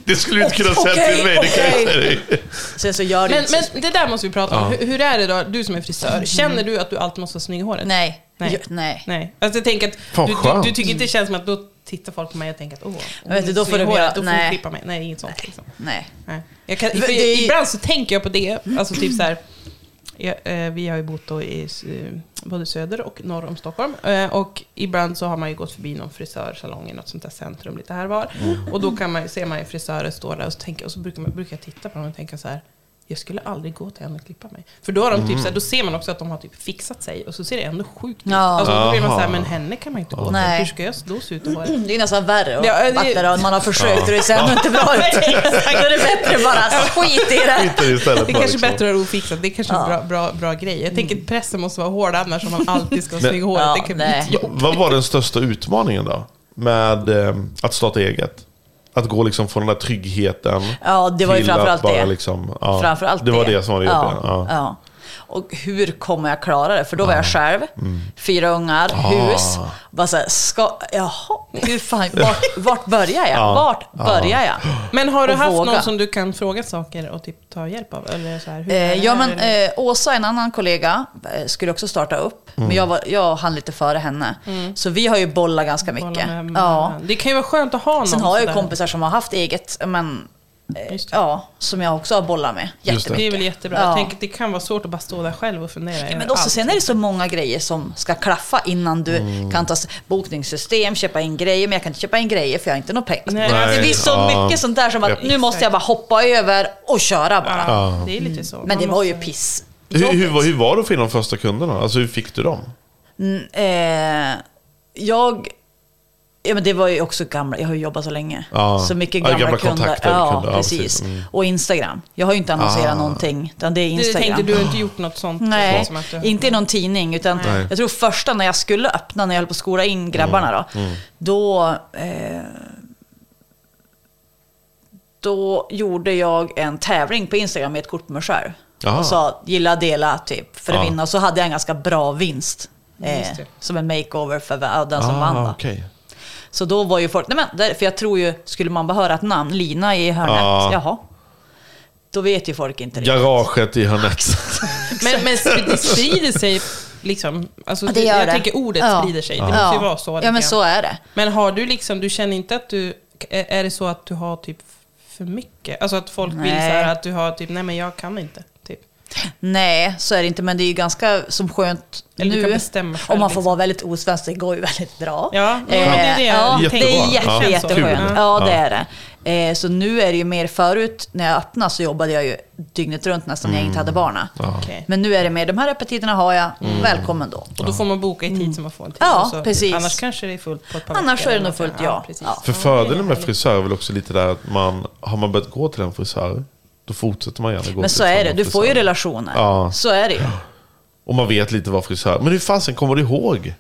Speaker 1: Det skulle du inte kunna säga
Speaker 5: Okej,
Speaker 1: till mig, det kan jag
Speaker 5: okej.
Speaker 1: säga dig.
Speaker 5: Sen så gör det
Speaker 2: men,
Speaker 5: inte så.
Speaker 2: men det där måste vi prata om. Hur, hur är det då, du som är frisör, känner du att du alltid måste vara snygg i håret?
Speaker 5: Mm. Nej.
Speaker 2: Nej.
Speaker 5: Jo, nej.
Speaker 2: Nej. Alltså jag tänker
Speaker 1: Fan,
Speaker 2: att du,
Speaker 1: skönt.
Speaker 2: du, du tycker inte det känns som att då tittar folk på mig och tänker att åh, hon
Speaker 5: vet du,
Speaker 2: är
Speaker 5: då får
Speaker 2: snygg i
Speaker 5: de
Speaker 2: håret,
Speaker 5: göra-
Speaker 2: då får
Speaker 5: nej.
Speaker 2: hon klippa mig. Nej, inget sånt. Liksom.
Speaker 5: Nej.
Speaker 2: Nej. Jag kan,
Speaker 5: Men
Speaker 2: för
Speaker 5: det-
Speaker 2: Ibland så tänker jag på det, alltså typ så här, Ja, eh, Vi har ju bott då i s- eh, både söder och norr om Stockholm. Eh, Och ibland så har man ju gått förbi någon frisörsalong i något sånt där centrum lite här var.
Speaker 5: Mm.
Speaker 2: Och då kan man, ju- ser man ju frisörer stå där och så, tänker, och så brukar, man, brukar jag titta på dem och tänka så här. Jag skulle aldrig gå till henne och klippa mig. För då, har de
Speaker 5: Mm.
Speaker 2: typ så här, då ser man också att de har typ fixat sig och så ser det ändå sjukt ut.
Speaker 5: Ja.
Speaker 2: Alltså, då blir man så här,
Speaker 1: Aha.
Speaker 2: men henne kan man ju inte gå till.
Speaker 5: Nej.
Speaker 2: Hur ska jag då se ut och vara?
Speaker 5: Det är nästan värre att
Speaker 2: Ja, det-
Speaker 5: vackla om man har försökt och det ser ändå inte bra ut. Då är det bättre att bara skit i det.
Speaker 1: Skiter istället
Speaker 2: Det är
Speaker 1: bara,
Speaker 2: kanske
Speaker 1: liksom.
Speaker 2: är bättre att ha ofixat, det är kanske är en
Speaker 5: Ja. Mm.
Speaker 2: bra, bra, bra grej. Jag tänker att pressen måste vara hård annars om man alltid ska ha
Speaker 1: Men-
Speaker 2: snygg hår.
Speaker 5: Ja,
Speaker 2: det kan bli
Speaker 5: nej.
Speaker 2: ett jobb.
Speaker 1: Va- Vad var den största utmaningen då? Med ehm, att starta eget? Att gå liksom från den där tryggheten
Speaker 5: Ja, det var ju
Speaker 1: till
Speaker 5: framförallt
Speaker 1: att bara
Speaker 5: det.
Speaker 1: Liksom, ja,
Speaker 5: Framförallt
Speaker 1: det var det som var det
Speaker 5: ja,
Speaker 1: jobbiga. Ja.
Speaker 5: ja. Och hur kommer jag klara det? För då var jag själv,
Speaker 1: Mm.
Speaker 5: fyra ungar,
Speaker 1: Ah.
Speaker 5: hus. Bara så här, ska, jaha, hur fan, vart, vart börjar jag?
Speaker 1: Ja.
Speaker 5: Vart börjar jag?
Speaker 2: Men har du
Speaker 5: Och
Speaker 2: haft
Speaker 5: våga.
Speaker 2: någon som du kan fråga saker och typ ta hjälp av? Eller så här, hur
Speaker 5: Eh,
Speaker 2: är det
Speaker 5: ja,
Speaker 2: här?
Speaker 5: men
Speaker 2: Eller-
Speaker 5: eh, Åsa, en annan kollega, eh, skulle också starta upp. Men
Speaker 1: Mm.
Speaker 5: jag, var, jag hann lite före henne. Så vi har ju bollat ganska
Speaker 2: Bolla
Speaker 5: mycket.
Speaker 2: Mm. med- med
Speaker 5: Ja.
Speaker 2: varandra. Det kan ju vara skönt att ha någon.
Speaker 5: Sen har jag ju
Speaker 2: sådär.
Speaker 5: kompisar som har haft eget, men eh,
Speaker 2: Just det.
Speaker 5: ja, som jag också har bollat med
Speaker 1: Just
Speaker 2: Det är
Speaker 5: jättemycket.
Speaker 2: väl jättebra.
Speaker 5: Ja.
Speaker 2: Jag tänker att det kan vara svårt att bara stå där själv och fundera. över
Speaker 5: Men också,
Speaker 2: Eh, allt.
Speaker 5: sen är det så många grejer som ska klaffa innan du
Speaker 1: Mm.
Speaker 5: kan ta s- bokningssystem, köpa in grejer, men jag kan inte köpa in grejer för jag har inte några pengar.
Speaker 2: Nej.
Speaker 5: Alltså, det blir så
Speaker 1: Ja.
Speaker 5: mycket sånt där som att
Speaker 1: Japp.
Speaker 5: nu måste jag bara hoppa över och köra bara.
Speaker 2: Ja, Mm. det är lite så.
Speaker 5: Men
Speaker 2: Man
Speaker 5: det var ju
Speaker 2: måste-
Speaker 5: piss.
Speaker 1: Hur, hur, var- hur var det att få in de första kunderna? Alltså hur fick du dem?
Speaker 5: Mm, eh, jag... Ja, men det var ju också gamla, jag har ju jobbat så länge.
Speaker 1: Ja.
Speaker 5: Så mycket
Speaker 1: Ja,
Speaker 5: gamla,
Speaker 1: gamla
Speaker 5: kunder.
Speaker 1: kontakter,
Speaker 5: Ja,
Speaker 1: kunder. Ja,
Speaker 5: precis.
Speaker 1: precis. Mm.
Speaker 5: Och Instagram. Jag har ju inte annonserat
Speaker 1: Ah.
Speaker 5: någonting, utan det är
Speaker 2: Du
Speaker 5: Instagram.
Speaker 2: tänkte, du har inte gjort något sånt?
Speaker 5: Nej,
Speaker 2: som att du-
Speaker 5: inte i någon tidning. Utan
Speaker 1: Nej.
Speaker 5: jag tror första när jag skulle öppna, när jag höll på att skola
Speaker 2: Mm.
Speaker 5: in grabbarna då. Då, eh, då gjorde jag en tävling på Instagram med ett kort på mig själv.
Speaker 1: Aha.
Speaker 5: Och sa gilla, dela, typ, för att
Speaker 1: Ja.
Speaker 5: vinna. Och så hade jag en ganska bra vinst. Eh,
Speaker 2: Just det. Ah,
Speaker 5: som en makeover för den som vann. Då.
Speaker 1: okej.
Speaker 5: Så då var ju folk, nej men, där, för jag tror ju, skulle man bara höra ett namn, Lina i hörnet,
Speaker 1: Ja.
Speaker 5: jaha. Då vet ju folk inte riktigt.
Speaker 1: Garaget i Hörnet.
Speaker 2: Men, men det sprider sig liksom. Alltså,
Speaker 5: Ja, det gör
Speaker 2: jag
Speaker 5: det.
Speaker 2: tänker ordet
Speaker 5: Ja.
Speaker 2: sprider sig. Det
Speaker 5: Ja.
Speaker 2: måste ju vara så.
Speaker 5: Ja,
Speaker 2: lite
Speaker 5: men
Speaker 2: grann.
Speaker 5: så är det.
Speaker 2: Men har du liksom, du känner inte att du, är är det så att du har typ för mycket? Alltså att folk vill så
Speaker 5: Nej.
Speaker 2: här att du har typ, nej men jag kan inte. Typ.
Speaker 5: Nej, så är det inte, men det är ju ganska som skönt
Speaker 2: Eller du kan
Speaker 5: nu.
Speaker 2: bestämma själv,
Speaker 5: Om man får
Speaker 2: liksom.
Speaker 5: vara väldigt osvensk, det går ju väldigt bra. Eh,
Speaker 2: Ja, jo, men det är det jag
Speaker 5: ja,
Speaker 1: tänker.
Speaker 5: det är
Speaker 1: Jättebra.
Speaker 5: jätte,
Speaker 1: Ja,
Speaker 5: jätteskönt.
Speaker 1: kul.
Speaker 5: Ja, det
Speaker 1: Ja.
Speaker 5: är det. Eh, Så nu är det ju mer förut, när jag öppnade så jobbade jag ju dygnet runt nästan
Speaker 1: Mm.
Speaker 5: när jag inte hade barna.
Speaker 2: Okej.
Speaker 5: Men nu är det mer, de här öppettiderna har jag,
Speaker 1: Mm.
Speaker 5: välkommen då.
Speaker 2: Och då får man boka i tid som man får en tid.
Speaker 5: Mm. Ja,
Speaker 2: Och så,
Speaker 5: precis.
Speaker 2: Annars kanske det är fullt på ett par
Speaker 5: Annars är
Speaker 2: veckor
Speaker 5: det
Speaker 2: eller
Speaker 5: nog
Speaker 2: något sånt.
Speaker 5: fullt, ja.
Speaker 2: precis.
Speaker 5: Ja.
Speaker 1: För fördelen med frisör är väl också lite där att man, har man börjat gå till en frisör, då fortsätter man gärna gå
Speaker 5: Men
Speaker 1: till
Speaker 5: så är
Speaker 1: samma
Speaker 5: det, du får ju
Speaker 1: frisör.
Speaker 5: relationer.
Speaker 1: Ja.
Speaker 5: Så är det ju.
Speaker 1: Och man vet lite vad frisör... Men hur fasen kommer du ihåg?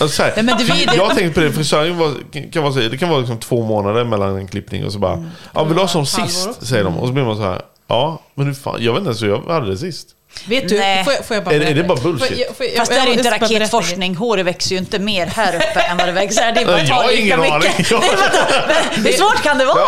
Speaker 1: Alltså, så här,
Speaker 5: Nej, men det blir-
Speaker 1: Jag har tänkt på det, frisören var, kan vara, så här, det kan vara liksom två månader mellan en klippning och så bara...
Speaker 5: Mm.
Speaker 1: Ja, vill du ha som
Speaker 2: Halvår.
Speaker 1: sist? Säger de. Och så blir man så här... Ja, men hur fan, jag vet inte ens hur jag hade det sist.
Speaker 2: Vet du,
Speaker 5: Nej.
Speaker 2: får jag, får jag bara
Speaker 1: Är det- är det
Speaker 2: berätta?
Speaker 1: bara bullshit?
Speaker 2: Får jag- får jag-
Speaker 5: Fast det
Speaker 2: jag-
Speaker 5: här är ju
Speaker 2: jag
Speaker 5: inte
Speaker 2: ska bara berätta en grej.
Speaker 5: raketforskning. Håret växer ju inte mer här uppe än vad det växer här. Det är bara
Speaker 1: Jag
Speaker 5: att ta
Speaker 1: har
Speaker 5: lika
Speaker 1: ingen aning.
Speaker 5: mycket.
Speaker 1: Jag-
Speaker 5: Nej, vänta. Hur svårt kan det vara?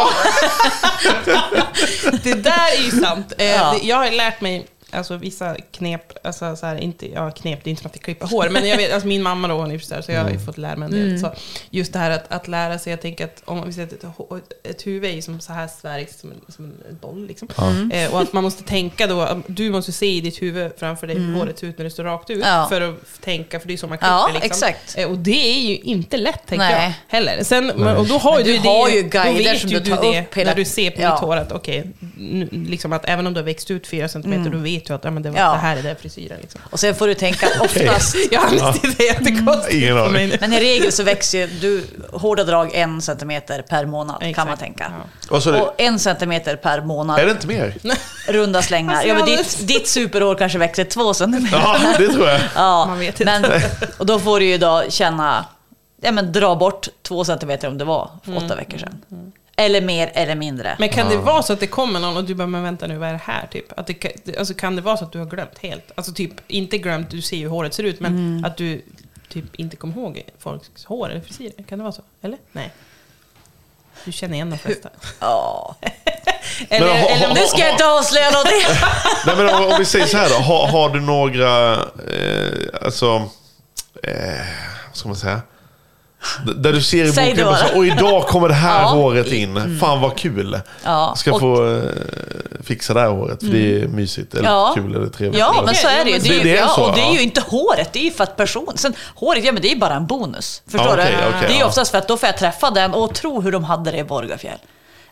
Speaker 2: Det där är ju sant. Eh,
Speaker 5: Ja.
Speaker 2: det- Jag har lärt mig alltså, vissa knep, alltså, så här, inte, ja, knep, det är inte för att jag klipper hår, men jag vet, alltså, min mamma då, hon är frisör, så jag
Speaker 5: Mm.
Speaker 2: har ju fått lära mig en del. Så just det här att, att lära sig, jag tänker att om vi säger att ett, hår- ett huvud är ju som så här sverigt, som, en- som en boll liksom.
Speaker 5: Mm.
Speaker 2: Eh, och att man måste tänka då, du måste se i ditt huvud framför dig hur håret ser ut när det står rakt ut,
Speaker 5: Mm. Ja.
Speaker 2: för att tänka, för det är ju så man klipper.
Speaker 5: Ja,
Speaker 2: liksom.
Speaker 5: exakt.
Speaker 2: Eh, och det är ju inte lätt, tänker
Speaker 5: Nej.
Speaker 2: jag, heller. Sen, men, och då har
Speaker 5: Men
Speaker 2: ju
Speaker 5: du
Speaker 2: det,
Speaker 5: har ju
Speaker 2: då
Speaker 5: guider
Speaker 2: vet
Speaker 5: som
Speaker 2: ju
Speaker 5: du tar
Speaker 2: det
Speaker 5: upp hela-
Speaker 2: När du ser på
Speaker 5: Ja.
Speaker 2: mitt hår att okej, nu- liksom att även om du har växt ut fyra centimeter, då vet du att ja, men det, var,
Speaker 5: Ja.
Speaker 2: det här är den frisyren. Liksom.
Speaker 5: Och sen får du tänka att oftast,
Speaker 2: Jag har alltid det jättekonstigt
Speaker 1: Ingen
Speaker 2: för
Speaker 1: aning.
Speaker 2: mig.
Speaker 5: men i regel så växer ju du hårda drag en centimeter per månad kan man
Speaker 2: Exakt.
Speaker 5: tänka.
Speaker 1: Vad sa du?
Speaker 5: Och en centimeter per månad,
Speaker 1: Är det inte mer?
Speaker 5: runda slängar.
Speaker 2: Alltså,
Speaker 5: Ja, men
Speaker 2: jag
Speaker 5: ditt, ditt superhår kanske växer två centimeter.
Speaker 1: Ja, det tror jag.
Speaker 5: Ja,
Speaker 2: Man vet inte.
Speaker 5: men, och då får du ju då känna, ja men dra bort två centimeter om det var för
Speaker 2: Mm,
Speaker 5: åtta veckor sedan. Eller mer eller mindre.
Speaker 2: Men kan det vara så att det kommer någon och du bara, men vänta nu, vad är det här? Typ? Att det, kan- alltså, kan det vara så att du har glömt helt? Alltså typ, inte glömt, du ser ju hur håret ser ut, men att du typ inte kommer ihåg folks hår eller frisyrer? Kan det vara så? Eller? Nej. Du känner igen de flesta.
Speaker 5: Ja.
Speaker 2: Eller,
Speaker 1: Men har-
Speaker 2: eller om
Speaker 5: Nu
Speaker 2: det
Speaker 5: ska jag inte avslöja någonting.
Speaker 1: Nej, men om, om vi säger så här då. Har, har du några, eh, alltså, eh, vad ska man säga? D- Där du ser i
Speaker 5: Säg
Speaker 1: boken,
Speaker 5: då.
Speaker 1: så, och idag kommer det här
Speaker 5: Ja.
Speaker 1: håret in. Fan vad kul.
Speaker 5: Ja,
Speaker 1: Ska
Speaker 5: och- Mm.
Speaker 1: få eh, fixa det här håret, för det är mysigt eller
Speaker 5: Ja.
Speaker 1: kul eller trevligt.
Speaker 5: Ja,
Speaker 1: eller-
Speaker 5: men så är det ju. Det är ju,
Speaker 1: Det- det är
Speaker 5: ja,
Speaker 1: så,
Speaker 5: och det är
Speaker 1: ja.
Speaker 5: ju inte håret, det är ju för att person... Sen, håret, ja men det är ju bara en bonus. Förstår
Speaker 1: Ja, okej,
Speaker 5: du?
Speaker 1: okej,
Speaker 5: det är ju
Speaker 1: ja.
Speaker 5: oftast för att då får jag träffa den och tro hur de hade det i Borgafjäll.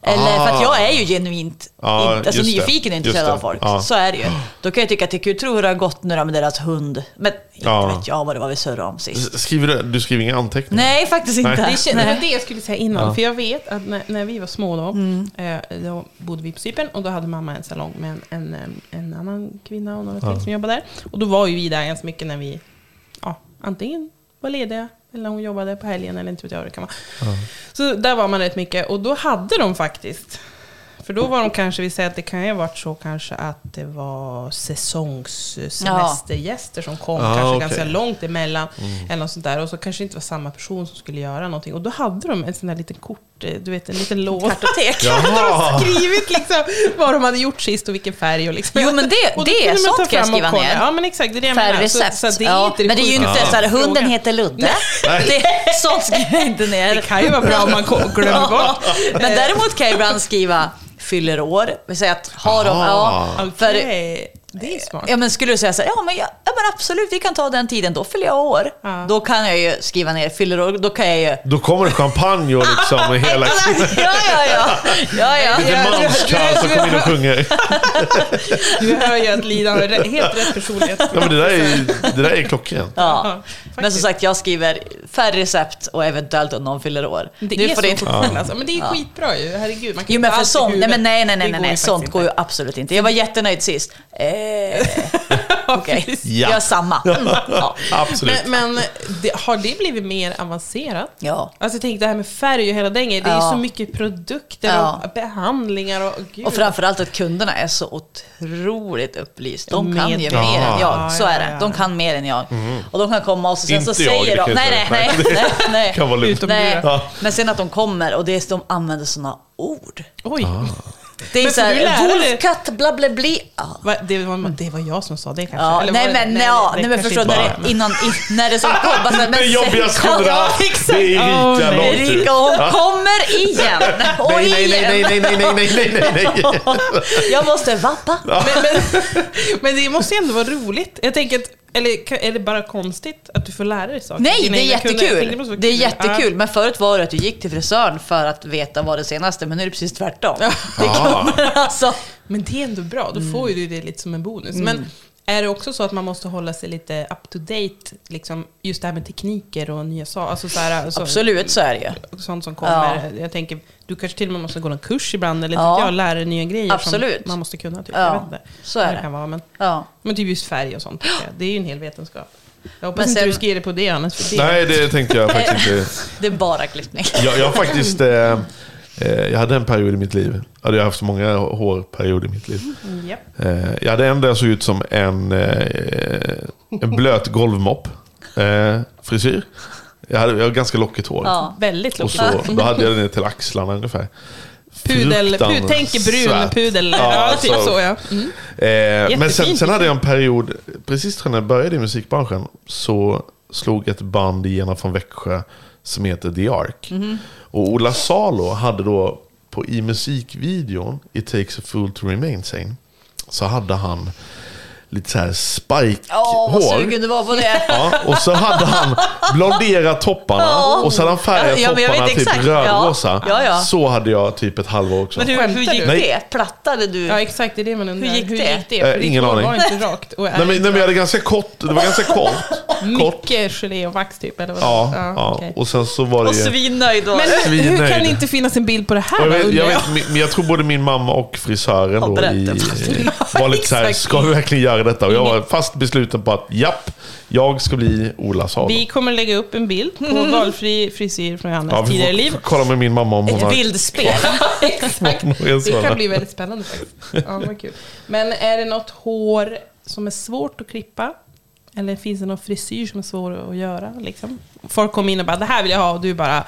Speaker 5: Eller för att jag är ju genuint
Speaker 1: Ah. Ja,
Speaker 5: inte, alltså,
Speaker 1: just det.
Speaker 5: nyfiken och intresserad
Speaker 1: Just det.
Speaker 5: av folk.
Speaker 1: Ja.
Speaker 5: Så är det ju. Då kan jag tycka att det är kul. Tro hur det har gått nu då med deras hund. Men inte
Speaker 1: Ja.
Speaker 5: vet jag vad det var vi surrade om sist.
Speaker 1: S- Skriver du, du skriver inga anteckningar?
Speaker 5: Nej, faktiskt inte.
Speaker 1: Nej.
Speaker 2: Det, känns, det var
Speaker 5: Nej.
Speaker 2: det jag skulle säga innan. För jag vet att när, när vi var små då, eh, då bodde vi på Cypern och då hade mamma en salong med en, en, eh, en annan kvinna och några till som jobbade där. Och då var ju vi där ganska mycket när vi ja, antingen var lediga eller när hon jobbade på helgen eller inte vet jag vad det kan vara. Så där var man rätt mycket och då hade de faktiskt för då var de kanske, vi säger att det kan ju ha varit så kanske att det var säsongssemestergäster som kom,
Speaker 1: Ja,
Speaker 2: kanske
Speaker 1: okej.
Speaker 2: ganska långt emellan. Eller något sånt där. Och så kanske det inte var samma person som skulle göra någonting. Och då hade de en sån där liten kort, eh, du vet en liten låda.
Speaker 5: Kartotek.
Speaker 2: Då hade
Speaker 1: Jaha.
Speaker 2: de skrivit liksom vad de hade gjort sist och vilken färg. Och liksom.
Speaker 5: Jo, men det-
Speaker 2: och då
Speaker 5: det-
Speaker 2: kunde man
Speaker 5: sånt
Speaker 2: ta
Speaker 5: kan jag
Speaker 2: fram och
Speaker 5: skriva
Speaker 2: kolla.
Speaker 5: ner.
Speaker 2: Ja men exakt, det är det jag menar. Så,
Speaker 5: Färgrecept.
Speaker 2: så det är
Speaker 5: ja,
Speaker 2: inte det
Speaker 5: men det är ju
Speaker 2: sjuka.
Speaker 5: inte så här, hunden
Speaker 2: Frågan.
Speaker 5: heter Ludde.
Speaker 1: Nej.
Speaker 5: Det, sånt skriver jag inte ner.
Speaker 2: Det kan ju vara bra om man ko- glömmer bort.
Speaker 5: Men däremot kan jag ibland skriva fyller år. Vi säger att har de... Ja,
Speaker 1: Ah.
Speaker 5: för,
Speaker 2: Eh, Okej, det är smart.
Speaker 5: ja, men skulle du säga så här, ja men, jag, ja men absolut vi kan ta den tiden, då fyller jag år. Då kan jag ju skriva ner fyller år, då kan jag ju...
Speaker 1: Då kommer det champagne och liksom och hela...
Speaker 5: Ja, ja, ja. ja, ja.
Speaker 1: Lite manskall som kommer in och sjunger.
Speaker 2: Du hör ju att Lina har re- helt rätt personlighet.
Speaker 1: Ja, men det, där är, det där är klockrent.
Speaker 5: Ja.
Speaker 2: faktiskt.
Speaker 5: Men som sagt, jag skriver färre recept och eventuellt om någon fyller år.
Speaker 2: Det
Speaker 5: Nu
Speaker 2: är
Speaker 5: får
Speaker 2: så
Speaker 5: det
Speaker 2: det
Speaker 5: inte-
Speaker 2: fortfarande alltså. Men det är skitbra ju. Herregud, man kan
Speaker 5: Jo
Speaker 2: inte
Speaker 5: men för
Speaker 2: allt i
Speaker 5: sånt, nej
Speaker 2: huvudet.
Speaker 5: men nej nej nej, nej,
Speaker 2: Det går
Speaker 5: nej
Speaker 2: ju
Speaker 5: sånt
Speaker 2: faktiskt
Speaker 5: går ju
Speaker 2: inte.
Speaker 5: absolut inte. Jag var jättenöjd sist. Eh, Okej,
Speaker 1: Ja.
Speaker 5: jag gör samma. Mm, Ja.
Speaker 1: Absolut.
Speaker 2: Men, men det, har det blivit mer avancerat?
Speaker 5: Ja.
Speaker 2: Alltså jag tänkte det här med färg och hela den grejen. Det är ju
Speaker 5: Ja.
Speaker 2: så mycket produkter
Speaker 5: Ja.
Speaker 2: och behandlingar och gud.
Speaker 5: Och framförallt att kunderna är så otroligt upplysta. De kan ju
Speaker 2: Med-
Speaker 5: mer än
Speaker 2: Ja,
Speaker 5: jag, så är
Speaker 2: ja,
Speaker 5: det.
Speaker 2: ja.
Speaker 5: De kan mer än jag. Och de kan komma och så sen så
Speaker 1: Mm. Inte jag,
Speaker 5: säger
Speaker 1: det
Speaker 5: de...
Speaker 1: kan jag
Speaker 5: Nej,
Speaker 1: säga.
Speaker 5: nej, nej. nej, nej.
Speaker 1: kan vara lugnt.
Speaker 2: Utom-
Speaker 5: Nej,
Speaker 1: Ja.
Speaker 5: men sen att de kommer och det är, de använder sådana ord.
Speaker 2: Oj,
Speaker 5: Det är
Speaker 2: Men får du lära
Speaker 5: såhär,
Speaker 2: dig?
Speaker 5: wolfkatt, bla bla bli. Ja,
Speaker 2: Va, det, var, det var jag som sa det kanske.
Speaker 5: Ja,
Speaker 2: Eller
Speaker 5: nej
Speaker 2: var-
Speaker 5: men, nej, ja, nej, men
Speaker 2: kanske
Speaker 5: förstår du,
Speaker 2: inte
Speaker 5: när
Speaker 2: var
Speaker 5: det, innan, i- när det som kom, bara så
Speaker 1: Det
Speaker 5: här, men
Speaker 1: jobbigaste kunde ha haft, det är Erika
Speaker 2: nej.
Speaker 1: Långtid.
Speaker 5: Erika, hon kommer igen! Och
Speaker 1: Nej, nej, nej,
Speaker 5: igen!
Speaker 1: nej, nej, nej, nej, nej, nej, nej.
Speaker 5: Jag måste vappa.
Speaker 2: Men, men, men det måste ju ändå vara roligt. Jag tänker att, eller kan- är det bara konstigt att du får lära dig saker?
Speaker 5: Nej,
Speaker 2: Dina
Speaker 5: det är
Speaker 2: egna kunder. Jag tänker måste
Speaker 5: jättekul.
Speaker 2: vara
Speaker 5: Det är
Speaker 2: kul.
Speaker 5: jättekul. Men förut var det att du gick till frisören för att veta vad det senaste, men nu är det precis tvärtom. Det kommer alltså...
Speaker 2: Ja, men det är ändå bra, då får ju du det lite som en bonus.
Speaker 5: Mm.
Speaker 2: Men är det också så att man måste hålla sig lite up to date, liksom, just det här med tekniker och nya saker? Alltså, så här, alltså,
Speaker 5: Absolut så är det ju.
Speaker 2: Sånt som kommer. Jag tänker, du kanske till och med måste gå någon kurs ibland, eller
Speaker 5: Ja.
Speaker 2: ja. jag, lära dig nya grejer
Speaker 5: Absolut.
Speaker 2: som man måste kunna. Typ.
Speaker 5: Ja,
Speaker 2: Jag vet inte.
Speaker 5: så är
Speaker 2: Vad
Speaker 5: det.
Speaker 2: Kan vara, men,
Speaker 5: Ja.
Speaker 2: men typ just färg och sånt, tycker jag. det är ju en hel vetenskap. Jag hoppas
Speaker 5: Men
Speaker 2: inte
Speaker 5: sen-
Speaker 2: du ska ge dig på det annars, för det
Speaker 1: Nej, det tänkte jag faktiskt inte.
Speaker 5: Det är bara klippning.
Speaker 1: Jag, jag har faktiskt... Eh, eh, jag hade en period i mitt liv. Ja, Jag har haft så många hårperioder i mitt liv.
Speaker 2: Japp.
Speaker 1: Eh, jag hade en där jag såg ut som en, eh, en blöt golvmopp. Eh, frisyr. Jag hade, jag hade ganska lockigt hår.
Speaker 5: Ja.
Speaker 2: Väldigt
Speaker 1: Och
Speaker 2: lågt.
Speaker 1: så, då hade jag det ner till axlarna ungefär.
Speaker 2: Pudel, pud,
Speaker 1: Fruktansvärt.
Speaker 2: tänk brun pudel. Ja, typ
Speaker 1: alltså.
Speaker 2: så ja. Mm.
Speaker 1: Eh, men sen,
Speaker 2: Jättefint.
Speaker 1: sen hade jag en period, precis när jag började i musikbranschen, så slog ett band igenom från Växjö som heter The Ark.
Speaker 5: Mhm.
Speaker 1: Och Ola Salo hade då på, i musikvideon It takes a fool to remain sane, så hade han lite så här
Speaker 5: Åh, vad
Speaker 1: spike-hår.
Speaker 5: sugen du var på det.
Speaker 1: Ja, och så hade han blonderat topparna
Speaker 5: Ja.
Speaker 1: och så hade han färgat
Speaker 5: Ja, men jag vet
Speaker 1: topparna typ
Speaker 5: exakt. Ja.
Speaker 1: rödrosa.
Speaker 5: Ja, ja.
Speaker 1: Så hade jag typ ett halvår också.
Speaker 5: Men hur, hur gick
Speaker 1: Nej.
Speaker 5: det? Plattade du?
Speaker 2: Ja, exakt. Det är det man undrar.
Speaker 5: Hur gick det?
Speaker 1: Eh,
Speaker 2: För ditt
Speaker 1: ingen
Speaker 2: hår
Speaker 1: aning.
Speaker 2: var inte rakt. Och är
Speaker 1: Nej men, nej men jag hade ganska kort, det var ganska kort. kort.
Speaker 2: mycket gelé och vax typ, eller vad
Speaker 1: Ja,
Speaker 2: det-
Speaker 1: ja,
Speaker 2: okej.
Speaker 1: Och sen så var det
Speaker 5: Och
Speaker 1: ju...
Speaker 5: svinnöjd var
Speaker 2: Men
Speaker 5: du.
Speaker 2: hur, hur
Speaker 1: Svinnöjd.
Speaker 2: kan det inte finnas en bild på det här
Speaker 1: Jag
Speaker 2: då,
Speaker 1: vet,
Speaker 2: undrar
Speaker 1: jag, vet, men- men jag tror både min mamma och frisören
Speaker 5: Har
Speaker 1: då i,
Speaker 5: berättat.
Speaker 1: var lite såhär,
Speaker 2: Exakt.
Speaker 1: ska vi verkligen göra detta? Och jag var fast besluten på att japp, jag ska bli Ola Salo.
Speaker 2: Vi kommer lägga upp en bild på valfri frisyr från Johannas
Speaker 1: Ja, vi
Speaker 2: tidigare liv.
Speaker 1: får kolla med min mamma om hon
Speaker 5: Ett
Speaker 1: har...
Speaker 5: bildspel.
Speaker 2: Exakt.
Speaker 1: någon
Speaker 2: Det
Speaker 1: sån.
Speaker 2: kan bli väldigt spännande faktiskt. Ja, vad kul. Men är det något hår som är svårt att klippa? Eller finns det någon frisyr som är svår att göra? Liksom? Folk kommer in och bara, det här vill jag ha, och du bara,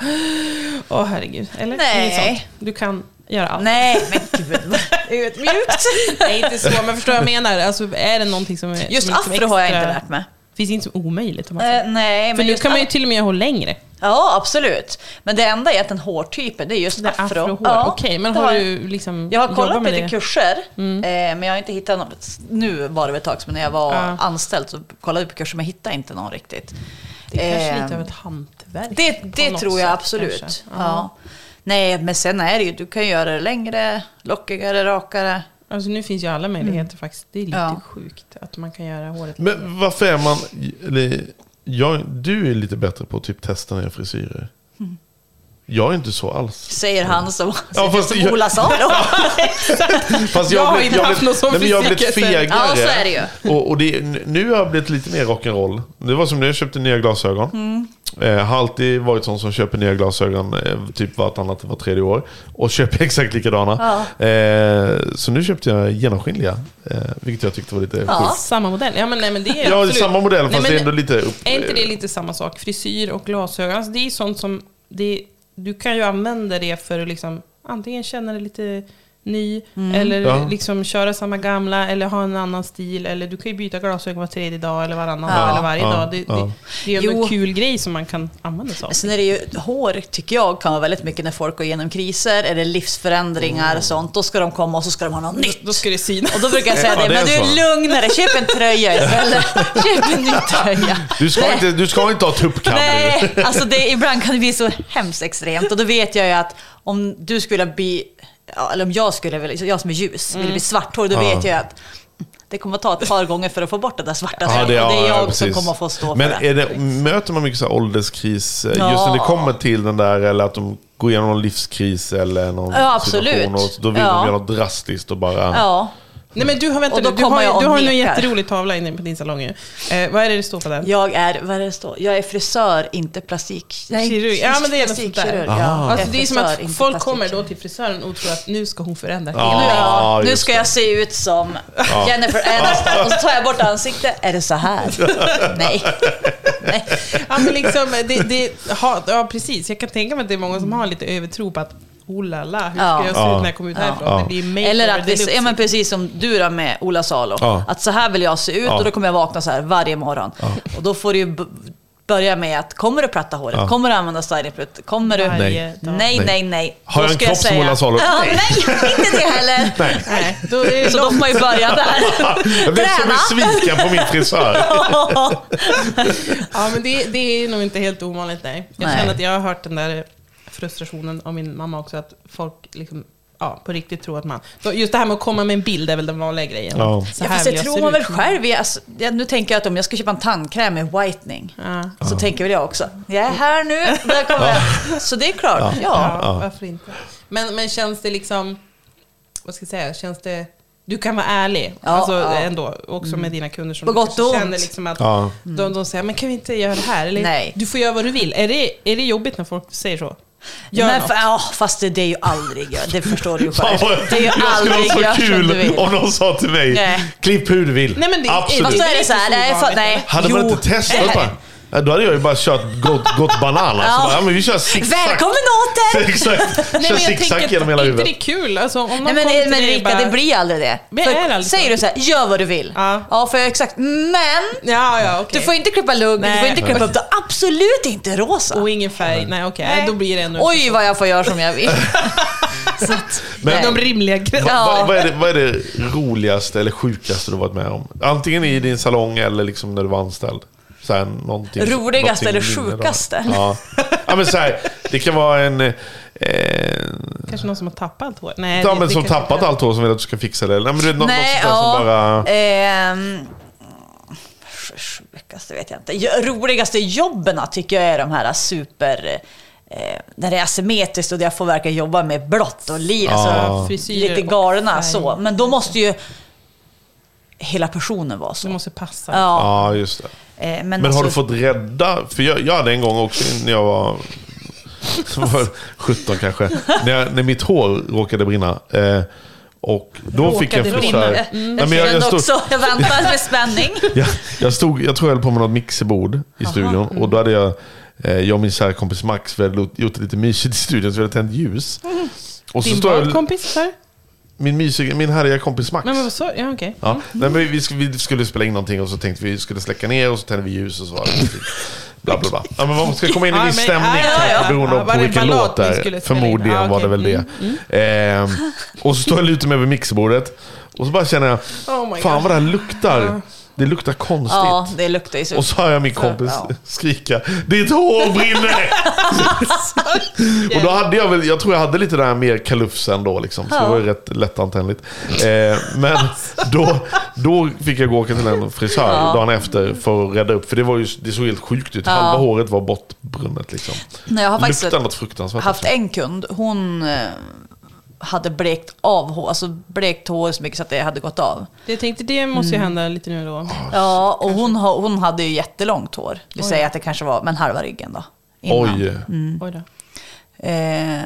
Speaker 2: åh herregud. Eller?
Speaker 5: Nej.
Speaker 2: Inget sånt. Du kan göra allt.
Speaker 5: Nej, men gud. Mjukt.
Speaker 2: Nej, inte så, men förstår vad jag menar? Alltså, är det någonting som är...
Speaker 5: Just
Speaker 2: som är liksom
Speaker 5: afro har jag inte
Speaker 2: extra-
Speaker 5: lärt mig.
Speaker 2: Finns inte så omöjligt. Om man säger.
Speaker 5: Eh, nej,
Speaker 2: För
Speaker 5: men
Speaker 2: nu
Speaker 5: just
Speaker 2: kan man ju till och med ha längre.
Speaker 5: Ja, absolut. Men det enda är egentligen hårtypen, det är just
Speaker 2: Det är
Speaker 5: afro.
Speaker 2: afrohår.
Speaker 5: Ja,
Speaker 2: Okej, men
Speaker 5: det
Speaker 2: har du liksom
Speaker 5: Jag har kollat
Speaker 2: jobbat
Speaker 5: på typ
Speaker 2: med
Speaker 5: lite
Speaker 2: det? Mm.
Speaker 5: kurser, eh, men jag har inte hittat någon. Nu var det väl ett tag sedan, men när jag var
Speaker 2: Ja.
Speaker 5: anställd så kollade jag på kurser, men jag hittade inte någon riktigt.
Speaker 2: Det är kanske
Speaker 5: Ehm,
Speaker 2: lite av ett hantverk.
Speaker 5: det,
Speaker 2: på
Speaker 5: det
Speaker 2: något
Speaker 5: tror jag
Speaker 2: sätt,
Speaker 5: absolut.
Speaker 2: kanske.
Speaker 5: Ja. Nej, men sen är det ju, du kan ju göra det längre, lockigare, rakare.
Speaker 2: Alltså nu finns ju alla möjligheter faktiskt. Det är lite
Speaker 5: Mm. Ja.
Speaker 2: sjukt att man kan göra håret.
Speaker 1: Men varför är man... Eller, jag, du är lite bättre på att typ testa nya frisyrer.
Speaker 2: Mm.
Speaker 1: Jag är inte så alls.
Speaker 5: Säger han som,
Speaker 1: Ja, fast
Speaker 5: som
Speaker 1: jag-
Speaker 5: Ola sa då.
Speaker 1: Fast
Speaker 2: Jag har
Speaker 1: blev-
Speaker 2: inte haft
Speaker 1: blev-
Speaker 2: någon sån
Speaker 1: nej, men jag har blivit
Speaker 2: fysik efter.
Speaker 1: fegare.
Speaker 5: Ja, så är det ju.
Speaker 1: Och, och det, nu har jag blivit lite mer rock'n'roll. Det var som när jag köpte nya glasögon.
Speaker 2: Mm.
Speaker 1: Eh, har alltid varit sån som köper nya glasögon eh, typ vartannat, var tredje år. Och köper exakt likadana. Eh, så nu köpte jag genomskinliga. Eh, vilket jag tyckte var lite
Speaker 5: Ja.
Speaker 1: sjukt.
Speaker 2: Samma modell? Ja, men nej, men det är
Speaker 1: Ja, det är
Speaker 2: absolut-
Speaker 1: samma modell
Speaker 2: Nej,
Speaker 1: fast
Speaker 2: men
Speaker 1: det är ändå lite upp...
Speaker 2: Är inte det lite samma sak? Frisyr och glasögon. Alltså, det är sånt som... Det, du kan ju använda det för att liksom, antingen känna dig lite ny,
Speaker 5: Mm.
Speaker 2: eller
Speaker 1: Ja.
Speaker 2: liksom köra samma gamla, eller ha en annan stil. Eller du kan ju byta glasögon var tredje dag, eller varannan
Speaker 5: Ja.
Speaker 2: dag, eller varje
Speaker 1: Ja,
Speaker 2: dag. Det,
Speaker 1: ja.
Speaker 2: det, det är ju ändå
Speaker 5: Jo. Alltså-
Speaker 2: en kul grej som man kan använda sig av.
Speaker 5: Sen är det ju, hår tycker jag kan vara väldigt mycket när folk går igenom kriser eller livsförändringar
Speaker 1: Mm.
Speaker 5: och sånt. Då ska de komma och så ska de ha något nytt.
Speaker 2: Då ska det sina.
Speaker 5: Och då brukar jag säga
Speaker 1: Ja,
Speaker 5: det,
Speaker 1: det är
Speaker 5: men du
Speaker 1: så.
Speaker 5: är lugnare, köp en tröja istället. Köp en ny tröja.
Speaker 1: Du ska, inte, du ska inte ha tuppkam nu.
Speaker 5: Nej, alltså det, ibland kan det bli så hemskt extremt. Och då vet jag ju att om du skulle bli, ja, eller om jag skulle, vilja- jag som är ljus, vill bli svarthårig, då
Speaker 1: Mm. Ja.
Speaker 5: vet jag ju att det kommer att ta ett par gånger för att få bort det där svarta.
Speaker 1: Ja,
Speaker 5: det, och det är
Speaker 1: ja,
Speaker 5: jag
Speaker 1: ja,
Speaker 5: som
Speaker 1: precis.
Speaker 5: kommer att få stå
Speaker 1: Men
Speaker 5: för det.
Speaker 1: är det, möter man mycket så här ålderskris eh,
Speaker 5: Ja.
Speaker 1: just när det kommer till den där eller att de går igenom någon livskris eller någon
Speaker 5: Ja, absolut.
Speaker 1: situation och då vill
Speaker 5: Ja.
Speaker 1: de göra något drastiskt och bara...
Speaker 5: Ja.
Speaker 2: Nej men du har, vänta,
Speaker 5: Och då
Speaker 2: nu, du
Speaker 5: kommer
Speaker 2: har, ju-
Speaker 5: jag och
Speaker 2: du har ju en
Speaker 5: nekar.
Speaker 2: jätterolig tavla inne på din salong ju. Eh, vad är det det står på den?
Speaker 5: Jag är, vad är det står? Jag är frisör, inte plastik... Nej,
Speaker 2: Kirurg. Ja, men det är något sånt där.
Speaker 5: plastikkirurg. Ja.
Speaker 2: Alltså, det är som att
Speaker 5: Frisör, inte
Speaker 2: folk kommer då
Speaker 5: plastikkirurg.
Speaker 2: till frisören och tror att nu ska hon förändra
Speaker 1: Ja.
Speaker 2: hela.
Speaker 5: Ja, nu
Speaker 1: just
Speaker 5: ska
Speaker 1: det.
Speaker 5: jag se ut som Jennifer Aniston och så tar jag bort ansiktet. Är det så här? Nej. Nej.
Speaker 2: Ja, men liksom, det, det, ha, ja, precis. Jag kan tänka mig att det är många som har lite övertro på att oh la la, hur ska
Speaker 5: Ja.
Speaker 2: jag se ut när jag kommer ut härifrån? Det blir makeover
Speaker 5: Eller att vi,
Speaker 2: deluxe.
Speaker 5: ja, men precis som du då med Ola Salo.
Speaker 1: Ja.
Speaker 5: Att så här vill jag se ut
Speaker 1: Ja.
Speaker 5: och då kommer jag vakna så här varje morgon. Och då får du ju b- börja med att kommer du platta håret? Kommer du använda stylingplutt? Kommer du?
Speaker 2: Varje
Speaker 1: Nej.
Speaker 2: dag.
Speaker 5: Nej,
Speaker 1: Nej.
Speaker 5: nej, nej.
Speaker 1: Har
Speaker 5: Då
Speaker 1: jag en
Speaker 5: ska
Speaker 1: kropp som
Speaker 5: säga-
Speaker 1: Ola Salo?
Speaker 5: Ja, nej, inte det heller.
Speaker 2: Nej, då är det
Speaker 5: Så då får man ju börja där.
Speaker 1: Jag blev så besviken på min frisör.
Speaker 2: Ja, men det, det är nog inte helt ovanligt, nej. Jag
Speaker 5: Nej.
Speaker 2: känner att jag har hört den där frustrationen av min mamma också, att folk liksom, ja, på riktigt tror att man... Så Just det här med att komma med en bild är väl den vanliga grejen.
Speaker 1: Ja.
Speaker 2: Så
Speaker 5: Ja,
Speaker 2: här
Speaker 5: fast det
Speaker 2: vill
Speaker 5: tror
Speaker 2: se
Speaker 5: man
Speaker 2: ut.
Speaker 5: väl själv. Jag, alltså, jag, nu tänker jag att om jag ska köpa en tandkräm med whitening,
Speaker 2: Ja.
Speaker 5: så tänker väl jag också, jag är här nu, där kommer jag. Så det är klart, ja.
Speaker 2: Ja, varför inte? Men, men känns det liksom, vad ska jag säga, känns det, du kan vara ärlig
Speaker 5: Ja,
Speaker 2: alltså,
Speaker 5: ja. Mm.
Speaker 2: ändå, också med dina kunder som
Speaker 5: På
Speaker 2: du
Speaker 5: gott
Speaker 2: kanske
Speaker 5: och ont.
Speaker 2: känner liksom att
Speaker 1: Ja.
Speaker 2: de, de säger, men kan vi inte göra det här? Eller,
Speaker 5: Nej.
Speaker 2: Du får göra vad du vill. Är det, är det jobbigt när folk säger så? Gör
Speaker 5: Men,
Speaker 2: något.
Speaker 5: fa- ja, fast det, det är ju aldrig jag. Det förstår du ju själv. Det är ju
Speaker 1: jag skulle
Speaker 5: aldrig
Speaker 1: ha
Speaker 5: jag
Speaker 1: så
Speaker 5: som du
Speaker 1: kul
Speaker 5: vill.
Speaker 1: om någon sa till mig,
Speaker 5: Nej.
Speaker 1: klipp hur du vill.
Speaker 2: Nej, men det är-
Speaker 5: Och
Speaker 1: Absolut.
Speaker 5: så är det så här, nej, fa- nej.
Speaker 1: Hade man
Speaker 5: jo.
Speaker 1: inte testat bara, ja, då hade jag ju bara kört gått, gått banana. Så
Speaker 5: Ja.
Speaker 1: bara, alltså. ja, men vi kör zigzag.
Speaker 5: Välkommen åter!
Speaker 1: Exakt. Kör zigzag
Speaker 2: att
Speaker 1: genom hela
Speaker 2: inte
Speaker 1: huvudet.
Speaker 2: det är kul. Alltså, om någon
Speaker 5: Nej, men,
Speaker 2: kommer till
Speaker 5: men
Speaker 2: dig och
Speaker 5: Rika,
Speaker 2: bara,
Speaker 5: det blir aldrig det.
Speaker 2: Men
Speaker 5: För
Speaker 2: är det aldrig så?
Speaker 5: säger du så här, gör vad du vill.
Speaker 2: Ja.
Speaker 5: för jag är exakt, men
Speaker 2: Ja, ja, okej.
Speaker 5: du får inte klippa lugg, du
Speaker 2: Nej.
Speaker 5: får inte klippa upp det. Absolut inte rosa.
Speaker 2: Och ingen färg. Nej, okej.
Speaker 5: Nej.
Speaker 2: Då blir det ännu...
Speaker 5: Oj, vad jag får göra som jag vill. Så att,
Speaker 1: Men-
Speaker 2: De rimliga gränserna.
Speaker 5: Ja.
Speaker 1: Vad, vad, är det, vad är det roligaste eller sjukaste du varit med om? Antingen i din salong eller liksom när du var anställd. Så här, någonting,
Speaker 5: Roligaste
Speaker 1: någonting
Speaker 5: eller
Speaker 1: minne då.
Speaker 5: sjukaste?
Speaker 1: Ja. ja, men så här, det kan vara en... Eh,
Speaker 2: Kanske någon som har tappat hår. Nej,
Speaker 1: ja,
Speaker 2: det-
Speaker 1: men
Speaker 2: det
Speaker 1: som
Speaker 2: kanske
Speaker 1: tappat
Speaker 2: inte-
Speaker 1: allt hår som vill att du ska fixa det. Eller, Nej, men det är någon,
Speaker 5: Nej,
Speaker 1: något sånt där
Speaker 5: ja.
Speaker 1: som bara...
Speaker 5: ehm, Sjukaste vet jag inte. Jo- Roligaste jobben tycker jag är de här super... Eh, när det är asymmetriskt och jag får verkligen jobba med blått och lila.
Speaker 1: Ja.
Speaker 5: Alltså,
Speaker 2: Frisyrer
Speaker 5: lite
Speaker 2: och
Speaker 5: galna
Speaker 2: färg.
Speaker 5: så. Men då måste ju hela personen vara
Speaker 2: Du
Speaker 5: så.
Speaker 2: måste passa.
Speaker 5: Ja,
Speaker 1: Ja, just det.
Speaker 5: eh, men
Speaker 1: Men har
Speaker 5: alltså-
Speaker 1: du fått rädda... För jag, jag hade en gång också när jag var, var 17 kanske. När, jag, när mitt hår råkade brinna. Eh, och då fick jag en
Speaker 5: Råkade
Speaker 1: frisör...
Speaker 5: brinna.
Speaker 1: Nej, men jag, jag,
Speaker 5: kände
Speaker 1: stod,
Speaker 5: också, jag väntar med spänning.
Speaker 1: jag, jag, stod, jag tror jag höll på med något mixerbord i studion.
Speaker 5: Mm.
Speaker 1: Och då hade jag, eh, jag och min kära kompis Max, vi hade lo- gjort det lite mysigt i studion så vi hade tänt ljus.
Speaker 5: Mm.
Speaker 1: Och så
Speaker 2: Din
Speaker 1: står jag,
Speaker 2: badkompis där?
Speaker 1: min, mysiga, min härliga kompis Max.
Speaker 2: Nej, men vad sa Ja, okej.
Speaker 1: Ja. Nej, men vi, sk- vi skulle spela in någonting och så tänkte vi skulle släcka ner och så tände vi ljus och så var det någonting. Bla, bla, bla. Ja, men man ska komma in i
Speaker 2: Ja,
Speaker 1: en viss
Speaker 2: men-
Speaker 1: stämning
Speaker 2: ja, ja,
Speaker 1: kanske,
Speaker 2: ja.
Speaker 1: beroende
Speaker 2: Ja,
Speaker 1: på
Speaker 2: var det
Speaker 1: vilken
Speaker 2: ballad
Speaker 1: låt det
Speaker 2: ni
Speaker 1: är.
Speaker 2: skulle spela in?
Speaker 1: Förmodligen
Speaker 2: Ja,
Speaker 1: var det
Speaker 2: okej. Mm,
Speaker 1: väl det. Ehm, och så står jag och lutar mig över mixbordet och så bara känner jag,
Speaker 2: Oh my
Speaker 1: fan
Speaker 2: God.
Speaker 1: vad det här luktar. Det luktar konstigt.
Speaker 5: Ja, det luktar ju så.
Speaker 1: Och så hör jag min kompis
Speaker 5: Ja.
Speaker 1: skrika Ditt hår brinner! och då hade jag väl, jag tror jag hade lite den här mer kalufsen då liksom. Så det var ju rätt lättantändligt. Eh, men då, då fick jag gå och åka till en frisör dagen efter för att rädda upp. För det, var ju, det såg helt sjukt ut. Halva håret var bortbrunnet liksom.
Speaker 5: Nej, jag har faktiskt
Speaker 1: Luktade något fruktansvärt.
Speaker 5: haft
Speaker 1: också.
Speaker 5: en kund, hon eh, hade blekt av hår, alltså blekt hår så mycket så att det hade gått av.
Speaker 2: Jag tänkte det måste
Speaker 1: Mm.
Speaker 2: ju hända lite nu då.
Speaker 5: Ja, och hon, ha- hon hade ju jättelångt hår. Vi säger att det kanske var, men halva ryggen då. innan.
Speaker 1: Oj.
Speaker 2: Oj då.
Speaker 5: Eh,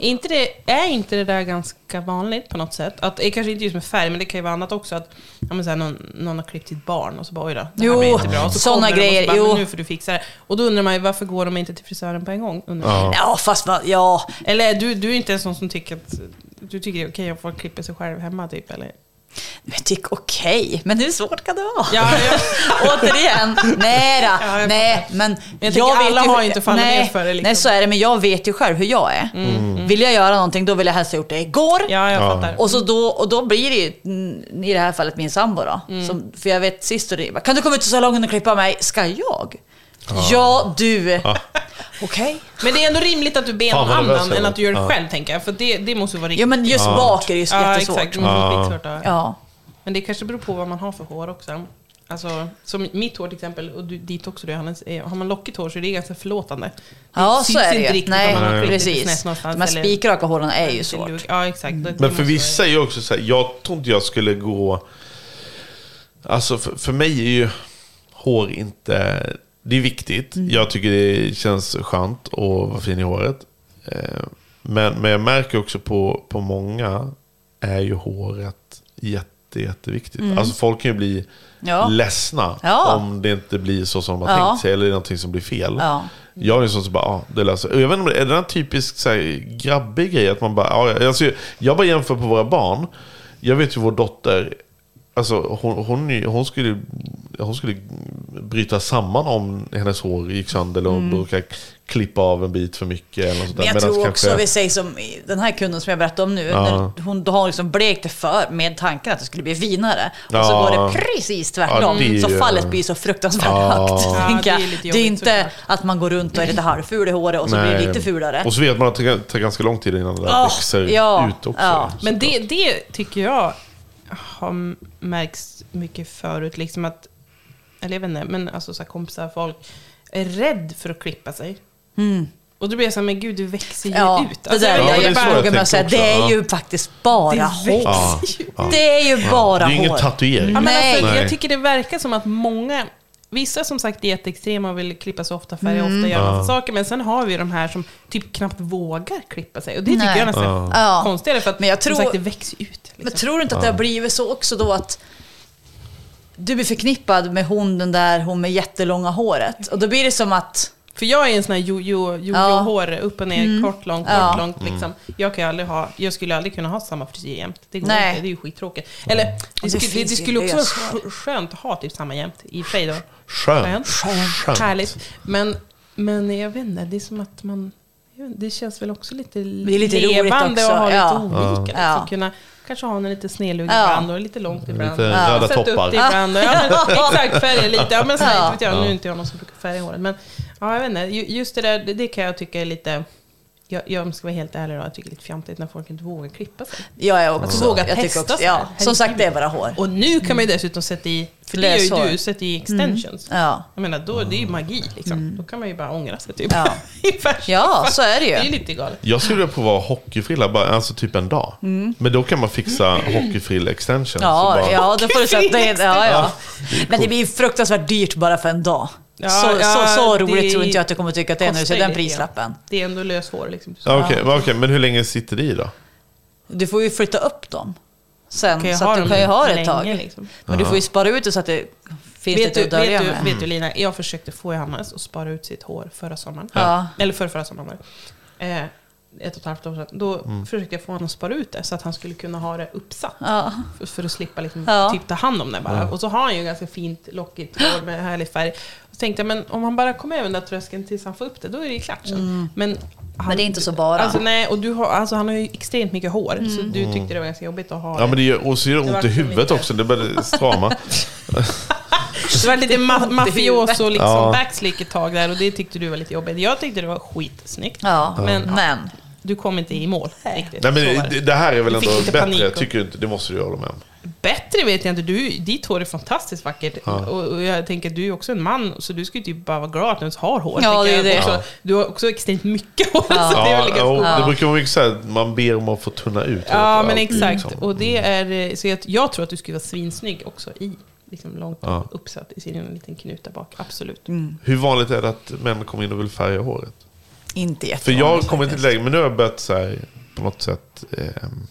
Speaker 2: Är inte, det, är inte det där ganska vanligt på något sätt? Att, det är kanske inte just med färg, men det kan ju vara annat också. Att ja, men så här, någon, någon har klippt sitt barn och så bara oj då, det här
Speaker 5: Jo,
Speaker 2: blir inte bra. Och så
Speaker 5: såna
Speaker 2: kommer de
Speaker 5: grejer,
Speaker 2: Och så bara,
Speaker 5: jo.
Speaker 2: men nu får du fixa det. Och då undrar man ju varför går de inte till frisören på en gång? Undrar jag.
Speaker 5: ja. fast va, ja.
Speaker 2: Eller är du, du är inte en sån som tycker att du tycker det är okej om folk klipper sig själv hemma typ? Eller?
Speaker 5: Men tyck okej, men hur svårt kan det vara?
Speaker 2: Ja, ja.
Speaker 5: Återigen, nej då,
Speaker 2: Ja, jag
Speaker 5: nej. Men
Speaker 2: jag tänker, alla
Speaker 5: ju-
Speaker 2: har ju inte fallit
Speaker 5: nej,
Speaker 2: ner för det, liksom. Mm.
Speaker 5: Nej, så är det, men jag vet ju själv hur jag är. Vill jag göra någonting, då vill jag helst ha gjort det igår.
Speaker 2: ja, jag
Speaker 1: Ja.
Speaker 2: fattar.
Speaker 5: Och, så då, och då blir det ju, mm, i det här fallet min sambo då.
Speaker 2: Mm.
Speaker 5: Som, för jag vet sist och det bara, kan du komma ut till salongen och klippa mig? Ska jag? Ja, du. Okej.
Speaker 2: Men det är ändå rimligt att du ber
Speaker 1: Fan,
Speaker 2: någon
Speaker 1: vad nervös
Speaker 2: annan
Speaker 1: jag
Speaker 2: än
Speaker 1: var.
Speaker 2: att du gör det
Speaker 1: Ja.
Speaker 2: själv, tänker jag. För det, det måste ju vara riktigt.
Speaker 5: Ja men just bak är det ju
Speaker 2: ja,
Speaker 5: jättesvårt.
Speaker 2: exakt. Det måste vara skitsvårt att-
Speaker 5: Ja.
Speaker 2: Men det kanske beror på vad man har för hår också. Alltså, som mitt hår till exempel, och du, ditt också du Johannes, är- har man lockigt hår så är det ganska förlåtande.
Speaker 5: Ja,
Speaker 2: det
Speaker 5: så är det ju. Nej,
Speaker 2: om man har klippt lite
Speaker 5: precis.
Speaker 2: snett någonstans
Speaker 5: De här
Speaker 2: eller-
Speaker 5: spikraka håren är ju
Speaker 2: lite
Speaker 5: svårt.
Speaker 2: lugg. Ja, exakt. Det- det
Speaker 1: Men för
Speaker 2: måste
Speaker 1: vissa
Speaker 2: vara-
Speaker 1: är ju också så här, jag tror inte jag skulle gå... Alltså för, för mig är ju hår inte... Det är viktigt.
Speaker 5: Mm.
Speaker 1: Jag tycker det känns skönt att vara fin i håret. Eh, Men, men jag märker också på, på många är ju håret jätte, jätteviktigt. Alltså folk kan ju bli
Speaker 5: Mm. Ja.
Speaker 1: ledsna
Speaker 5: Ja.
Speaker 1: om det inte blir så som de har
Speaker 5: Ja.
Speaker 1: tänkt sig eller det är någonting som blir fel.
Speaker 5: Ja.
Speaker 1: Jag är en sån som bara, ja, det löser och Jag vet inte, om det- är det en typisk så här, grabbig grej? Att man bara, ja, ja, alltså, jag bara jämför på våra barn. Jag vet ju vår dotter, alltså, hon, hon, är- hon, skulle, hon skulle bryta samman om hennes hår gick sönder eller hon råkade klippa av en bit för mycket. Eller något sånt där.
Speaker 5: Mm. Men jag
Speaker 1: Medans
Speaker 5: tror också,
Speaker 1: kanske-
Speaker 5: vi säger som den här kunden som jag berättade om nu, när hon då har liksom blekt det för med tanken att det skulle bli vinare. Och så
Speaker 1: Ja.
Speaker 5: går det precis tvärtom.
Speaker 1: Ja, det är ju-
Speaker 5: Så fallet blir så fruktansvärt högt. tänker
Speaker 2: Ja, det är
Speaker 5: jag.
Speaker 2: lite
Speaker 5: det, är
Speaker 2: jobbigt
Speaker 5: inte
Speaker 2: såklart.
Speaker 5: att man går runt och är lite halvful i håret och så blir
Speaker 1: Nej.
Speaker 5: det lite fulare.
Speaker 1: Och så vet man att det tar ganska lång tid innan det där
Speaker 5: Ah,
Speaker 1: växer
Speaker 5: ja,
Speaker 1: ut också.
Speaker 5: ja.
Speaker 2: Men det, det tycker jag har märkts mycket förut, liksom att, eller jag vet inte, men alltså så här, kompisar, folk är rädd för att klippa sig. Och då blir jag så här, men gud, du växer ju
Speaker 5: Mm. Ja,
Speaker 2: ut.
Speaker 5: det där
Speaker 1: Ja,
Speaker 5: jag,
Speaker 1: det är
Speaker 5: jag
Speaker 1: så
Speaker 5: bara
Speaker 1: jag
Speaker 5: noga med att säga,
Speaker 1: tänker
Speaker 5: det
Speaker 1: också, ja.
Speaker 5: är ju faktiskt bara
Speaker 2: Alltså, Det
Speaker 5: hår.
Speaker 1: Ja,
Speaker 5: Det är ju
Speaker 1: det
Speaker 5: bara
Speaker 1: är ju ingen
Speaker 5: hår.
Speaker 1: tatuering.
Speaker 2: Ja, men alltså,
Speaker 5: Nej.
Speaker 2: jag tycker det verkar som att många, vissa som sagt är jätteextrema och vill klippa sig ofta, färga
Speaker 5: Mm.
Speaker 2: ofta, göra massa saker. Men sen har vi ju de här som typ knappt vågar klippa sig. Och det tycker
Speaker 5: Nej.
Speaker 2: jag nästan är
Speaker 5: Ja.
Speaker 2: konstigare, för att
Speaker 5: Men jag tror-
Speaker 2: som sagt det växer ju ut.
Speaker 5: Men
Speaker 2: Liksom.
Speaker 5: tror du inte att det har blivit så också då att du blir förknippad med hon den där, hon med jättelånga håret. Och då blir det som att
Speaker 2: För jag är en sån här jojo-
Speaker 5: Ja. Mm.
Speaker 2: jojo-hår, upp och ner, kort, långt, kort,
Speaker 5: Ja.
Speaker 2: långt. Liksom. Jag, kan ju aldrig ha, jag skulle aldrig kunna ha samma frisyr jämt. Det går
Speaker 5: Nej.
Speaker 2: inte, det är ju skittråkigt. Eller det, skulle- det,
Speaker 5: finns
Speaker 2: det
Speaker 5: ju
Speaker 2: skulle också vara
Speaker 5: löshår.
Speaker 2: sk- skönt att ha typ samma jämt, i och för sig då.
Speaker 1: Skönt. Skönt.
Speaker 2: Härligt. Men, men jag vet inte, det är som att man... jag vet inte, Det känns väl också lite
Speaker 5: Det är lite roligt
Speaker 2: levande
Speaker 5: också,
Speaker 2: att ha
Speaker 5: ja.
Speaker 2: lite olika.
Speaker 5: Ja.
Speaker 2: Liksom, kunna, kanske ha en lite snedlugg
Speaker 5: Ja.
Speaker 2: ibland och lite långt ibland.
Speaker 1: Lite röda
Speaker 2: Sätta
Speaker 1: toppar.
Speaker 2: upp det ibland. Och, ja, men, exakt, färga lite. Ja, men så här,
Speaker 5: Ja.
Speaker 2: inte vet jag, Nu är inte jag någon som brukar färga håret. Men ja, jag vet inte, ju- just det där, det, det kan jag tycka är lite... Jag, jag ska vara helt ärlig då, jag tycker det är lite fjantigt när folk inte vågar klippa sig.
Speaker 5: jag är också...
Speaker 2: Att våga
Speaker 5: jag tycker
Speaker 2: testa
Speaker 5: också,
Speaker 2: så här.
Speaker 5: ja, Som sagt, det är bara hår.
Speaker 2: Och nu kan man ju dessutom sätta i, för det gör
Speaker 5: Löshår.
Speaker 2: ju Mm. du, sätta i extensions.
Speaker 5: Ja.
Speaker 2: Jag menar, då, det är ju magi liksom. Då kan man ju bara ångra sig typ.
Speaker 5: Mm. Ja.
Speaker 2: I värsta
Speaker 5: Ja,
Speaker 2: fall.
Speaker 5: så är det ju.
Speaker 2: Det är ju lite galet.
Speaker 1: Jag skulle vilja prova hockeyfrilla, bara, alltså typ en dag.
Speaker 2: Mm.
Speaker 1: Men då kan man fixa hockeyfrill extension. så
Speaker 5: Ja,
Speaker 1: bara,
Speaker 5: ja, då får du sätta in... Ja, ja.
Speaker 1: Ja,
Speaker 5: Men det blir fruktansvärt dyrt bara för en dag.
Speaker 2: Ja,
Speaker 5: så, så,
Speaker 2: ja,
Speaker 5: så
Speaker 2: det
Speaker 5: roligt tror inte jag att du kommer tycka att det är när du
Speaker 2: kostar
Speaker 5: ser
Speaker 2: ju
Speaker 5: den
Speaker 2: lite grann.
Speaker 5: prislappen.
Speaker 2: Det är ändå löshår liksom. Du sa.
Speaker 1: Ja, okej, men okej, men hur länge sitter det i då?
Speaker 5: Du får ju flytta upp dem sen,
Speaker 2: Du kan ju
Speaker 5: så
Speaker 2: ha
Speaker 5: att du
Speaker 2: dem
Speaker 5: kan ju ha det
Speaker 2: länge,
Speaker 5: ett tag.
Speaker 2: liksom.
Speaker 5: Men du får ju spara ut det så att det finns
Speaker 2: Vet
Speaker 5: lite
Speaker 2: du,
Speaker 5: att dölja
Speaker 2: vet,
Speaker 5: med.
Speaker 2: du, vet du Lina, jag försökte få Johannes att spara ut sitt hår förra sommaren.
Speaker 5: Ja.
Speaker 2: Eller förra, förra sommaren var det. Eh, ett och ett halvt år sedan, då
Speaker 1: Mm.
Speaker 2: försökte jag få honom att spara ut det så att han skulle kunna ha det uppsatt.
Speaker 5: Ja.
Speaker 2: För, för att slippa liksom,
Speaker 5: Ja.
Speaker 2: typ ta hand om det bara. Och så har han ju ganska fint lockigt hår med härlig färg. Och så tänkte jag, men om han bara kommer över den där tröskeln tills han får upp det, då är det ju klart sen. Men, han,
Speaker 5: Mm. Men det är inte så bara. Mm.
Speaker 2: Alltså, nej, och du har, alltså, han har ju extremt mycket hår, så du tyckte det var ganska jobbigt att ha
Speaker 1: Mm. Ja,
Speaker 2: det.
Speaker 1: men det gör, och så gör det ont i
Speaker 2: vart
Speaker 1: huvudet
Speaker 2: lite-
Speaker 1: också. Det börjar strama.
Speaker 2: Det var lite ma- mafioso liksom,
Speaker 1: Ja.
Speaker 2: backslick ett tag där och det tyckte du var lite jobbigt. Jag tyckte det var skitsnyggt.
Speaker 5: Ja,
Speaker 2: Men
Speaker 5: men, men
Speaker 2: du kom inte i mål riktigt.
Speaker 1: Nej, men
Speaker 2: Så var det.
Speaker 1: det, det här är väl
Speaker 2: Du fick
Speaker 1: ändå
Speaker 2: lite panik
Speaker 1: bättre,
Speaker 2: och-
Speaker 1: tycker du inte? Det måste du hålla med om.
Speaker 2: Bättre vet jag inte. Du, ditt hår är fantastiskt vackert. Och, och jag tänker att du är också en man, så du skulle ju typ bara vara glad att du ens har hår.
Speaker 5: Ja,
Speaker 2: tänker
Speaker 5: det är
Speaker 2: jag
Speaker 5: det.
Speaker 2: Också,
Speaker 5: Ja.
Speaker 2: Du har också extremt mycket hår. Så det är väl
Speaker 1: Ja,
Speaker 2: ganska
Speaker 1: jo,
Speaker 2: ja.
Speaker 1: det brukar vara mycket så här, man ber om att få tunna ut.
Speaker 2: ja, men
Speaker 1: allt,
Speaker 2: exakt.
Speaker 1: liksom.
Speaker 2: Och det är, eh, så jag, jag tror att du skulle vara svinsnygg också i, liksom långt
Speaker 1: Ja.
Speaker 2: uppsatt i sin liten knut där bak. Absolut.
Speaker 5: Mm.
Speaker 1: Hur vanligt är det att män kommer in och vill färga håret?
Speaker 5: inte
Speaker 1: För
Speaker 5: jättevanligt.
Speaker 1: jag har kommit till ett
Speaker 5: faktiskt.
Speaker 1: läge, men nu har jag börjat så här, på något sätt ehm,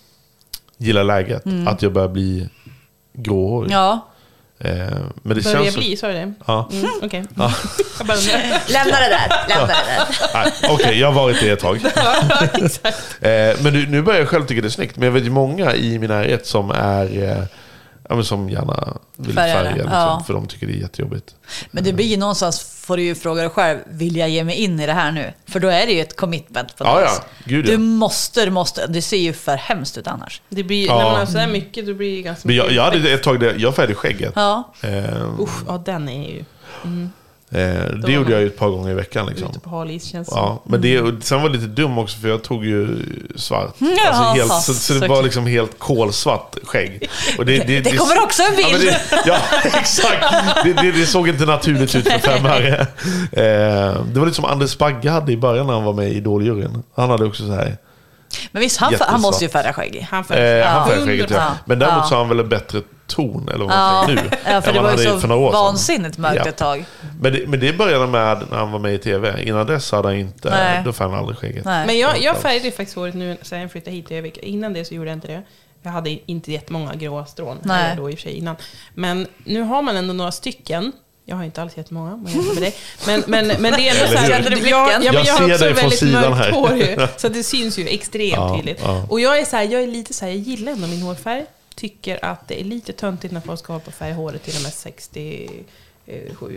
Speaker 1: gilla läget.
Speaker 2: Mm.
Speaker 1: Att jag börjar bli gråhårig.
Speaker 5: Ja,
Speaker 1: Eh, men det
Speaker 2: Börjar
Speaker 1: känns så-
Speaker 2: bli, sa du det?
Speaker 1: Ja.
Speaker 2: Mm, Okej. jag bara undrar.
Speaker 5: lämna det där. Lämna det där.
Speaker 1: Nej, Okej, jag har varit det ett tag.
Speaker 2: Ja, exakt.
Speaker 1: Eh, men nu, nu börjar jag själv tycka det är snyggt. Men jag vet ju många i min närhet som är... Eh, ja, men som gärna vill
Speaker 5: Färga
Speaker 1: färga.
Speaker 5: det,
Speaker 1: Liksom,
Speaker 5: ja.
Speaker 1: För de tycker det är jättejobbigt.
Speaker 5: Men det blir ju någonstans, får du ju fråga dig själv, vill jag ge mig in i det här nu? För då är det ju ett commitment på något
Speaker 1: Ja, ja.
Speaker 5: vis.
Speaker 1: Gud, ja.
Speaker 5: Du måste, du måste. Det ser ju för hemskt ut annars.
Speaker 2: Det blir,
Speaker 1: Ja.
Speaker 2: När man har sådär mycket, då blir det ganska
Speaker 1: Men
Speaker 2: mycket.
Speaker 1: jag, jag hade ett tag där jag färgade skägget.
Speaker 5: Ja,
Speaker 1: Eh,
Speaker 2: Usch, ja, den är ju
Speaker 1: eh, det
Speaker 2: var
Speaker 1: gjorde
Speaker 2: man
Speaker 1: jag ju ett par gånger i veckan. Liksom.
Speaker 2: ute på hal is, känns det som.
Speaker 1: Ja, men det, och sen var det lite dum också för jag tog ju svart.
Speaker 5: Jaha.
Speaker 1: Alltså helt, så, så det
Speaker 2: Så
Speaker 1: var
Speaker 2: kul.
Speaker 1: liksom helt kolsvart skägg. Och det,
Speaker 5: det kommer också en
Speaker 1: Ja, men
Speaker 5: bild.
Speaker 1: det, ja exakt. Det, det, det såg inte naturligt ut för fem öre. Eh, det var lite som Anders Bagge hade i början när han var med i Idoljuryn. Han hade också så här.
Speaker 5: men visst, han,
Speaker 1: Jättesvart.
Speaker 5: han måste ju färga skägg.
Speaker 2: Han
Speaker 1: Eh,
Speaker 2: färgar.
Speaker 1: Han
Speaker 5: Ja.
Speaker 1: färgade skägget, ja.
Speaker 5: Underbart.
Speaker 1: Men däremot
Speaker 5: Ja.
Speaker 1: så har han väl en bättre ton eller vad
Speaker 5: Ja.
Speaker 1: man säger nu.
Speaker 5: Ja,
Speaker 1: än
Speaker 5: för
Speaker 1: vad
Speaker 5: det var
Speaker 1: han hade
Speaker 5: ju så
Speaker 1: för några år sedan.
Speaker 5: vansinnigt mörkt
Speaker 1: Ja.
Speaker 5: ett tag.
Speaker 1: Men det, men det började med när han var med i TV. Innan dess hade han inte,
Speaker 5: Nej.
Speaker 1: då färgade han aldrig skägget.
Speaker 5: Nej.
Speaker 2: Men jag, jag färgade ju faktiskt håret nu sen jag flyttade hit till Övik. Innan det så gjorde jag inte det. Jag hade inte jättemånga gråa strån
Speaker 5: Nej.
Speaker 2: här då i och för sig innan. Men nu har man ändå några stycken. Jag har inte alls jättemånga om jag jämför med dig. Men, men, men det är ändå så här.
Speaker 5: Kände du blicken?
Speaker 2: jag, ja, men
Speaker 1: Jag
Speaker 2: jag har
Speaker 1: ser
Speaker 2: också
Speaker 1: dig från
Speaker 2: väldigt
Speaker 1: sidan
Speaker 2: mörkt
Speaker 1: här.
Speaker 2: hår ju. Så det syns ju extremt
Speaker 1: Ja,
Speaker 2: tydligt.
Speaker 1: ja.
Speaker 2: Och jag är så här, jag är lite så här, jag gillar ändå min hårfärg. Tycker att det är lite töntigt när folk ska hålla på och färga håret till och med 67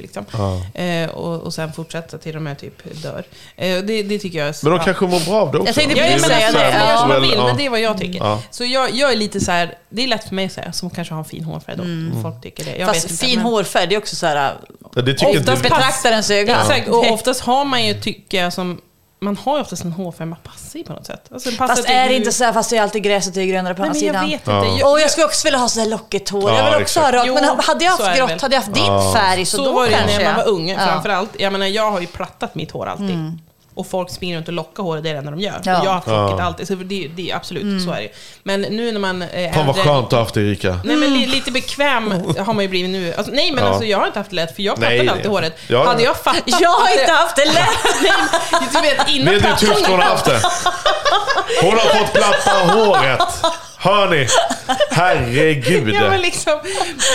Speaker 2: liksom. Eh, och, och sen fortsätta till de här typ dör. Eh, det, det tycker jag är
Speaker 1: Men de
Speaker 2: bra.
Speaker 1: kanske mår bra av det också.
Speaker 5: Jag tänkte
Speaker 2: Ja,
Speaker 5: precis
Speaker 2: jag menar,
Speaker 5: säga
Speaker 2: jag
Speaker 5: det.
Speaker 2: säger
Speaker 5: Ja.
Speaker 2: gör som man vill,
Speaker 1: Ja.
Speaker 2: men det är vad jag tycker.
Speaker 1: Ja.
Speaker 2: Så jag, jag är lite så här, det är lätt för mig så här, som kanske har en fin hårfärg då. Folk tycker det. Jag vet
Speaker 5: Mm. Fast
Speaker 2: inte,
Speaker 5: fin
Speaker 2: men-
Speaker 5: hårfärg, det är också så här...
Speaker 1: Ja, det tycker
Speaker 5: Oftast
Speaker 1: inte
Speaker 2: pass-
Speaker 5: betraktarens öga.
Speaker 2: Exakt, och oftast har man ju, tycker jag, som, man har ju oftast en hårfärg man passar i på något sätt. Alltså, den passar
Speaker 5: Fast
Speaker 2: till
Speaker 5: är det
Speaker 2: hur-
Speaker 5: inte så här, fast det är alltid gräset är grönare på
Speaker 2: Nej,
Speaker 5: andra
Speaker 2: men jag
Speaker 5: sidan.
Speaker 2: vet inte.
Speaker 1: Ja.
Speaker 2: Jag-
Speaker 5: Och jag skulle också vilja ha så här lockigt hår.
Speaker 1: Ja,
Speaker 5: jag vill också
Speaker 1: exakt.
Speaker 5: ha rakt. Men
Speaker 2: Jo,
Speaker 5: hade jag
Speaker 2: så är
Speaker 5: haft
Speaker 2: det
Speaker 5: grått,
Speaker 2: väl.
Speaker 5: hade jag haft din färg så,
Speaker 2: Så
Speaker 5: då
Speaker 2: var det ju
Speaker 5: kanske
Speaker 2: när man
Speaker 5: jag-
Speaker 2: var ung,
Speaker 5: Ja. Mm.
Speaker 2: framförallt. Jag menar, jag har ju plattat mitt hår alltid. Och folk springer runt och lockar håret, det är det enda de gör.
Speaker 5: Ja. Mm.
Speaker 2: Och jag har haft locket alltid, så det, det är absolut, så är det ju. Men nu när man är
Speaker 1: Fan vad
Speaker 2: äldre-
Speaker 1: skönt att ha haft dig Erika.
Speaker 2: Nej men li- lite bekväm har man ju blivit nu. Alltså, nej men
Speaker 1: Mm. Ja.
Speaker 2: alltså jag har inte haft det lätt för jag
Speaker 1: Nej,
Speaker 2: plattade
Speaker 1: nej.
Speaker 2: alltid håret.
Speaker 1: Ja,
Speaker 2: hade
Speaker 1: ja.
Speaker 2: jag fattat
Speaker 5: Jag
Speaker 2: att
Speaker 5: har
Speaker 2: det-
Speaker 5: inte haft det lätt!
Speaker 2: Nej, du vet innan
Speaker 1: Vet du hur
Speaker 2: plattan-
Speaker 1: tufft hon har haft det? Hon har fått platta håret. Hör ni? Herregud.
Speaker 2: Ja, men liksom, ja,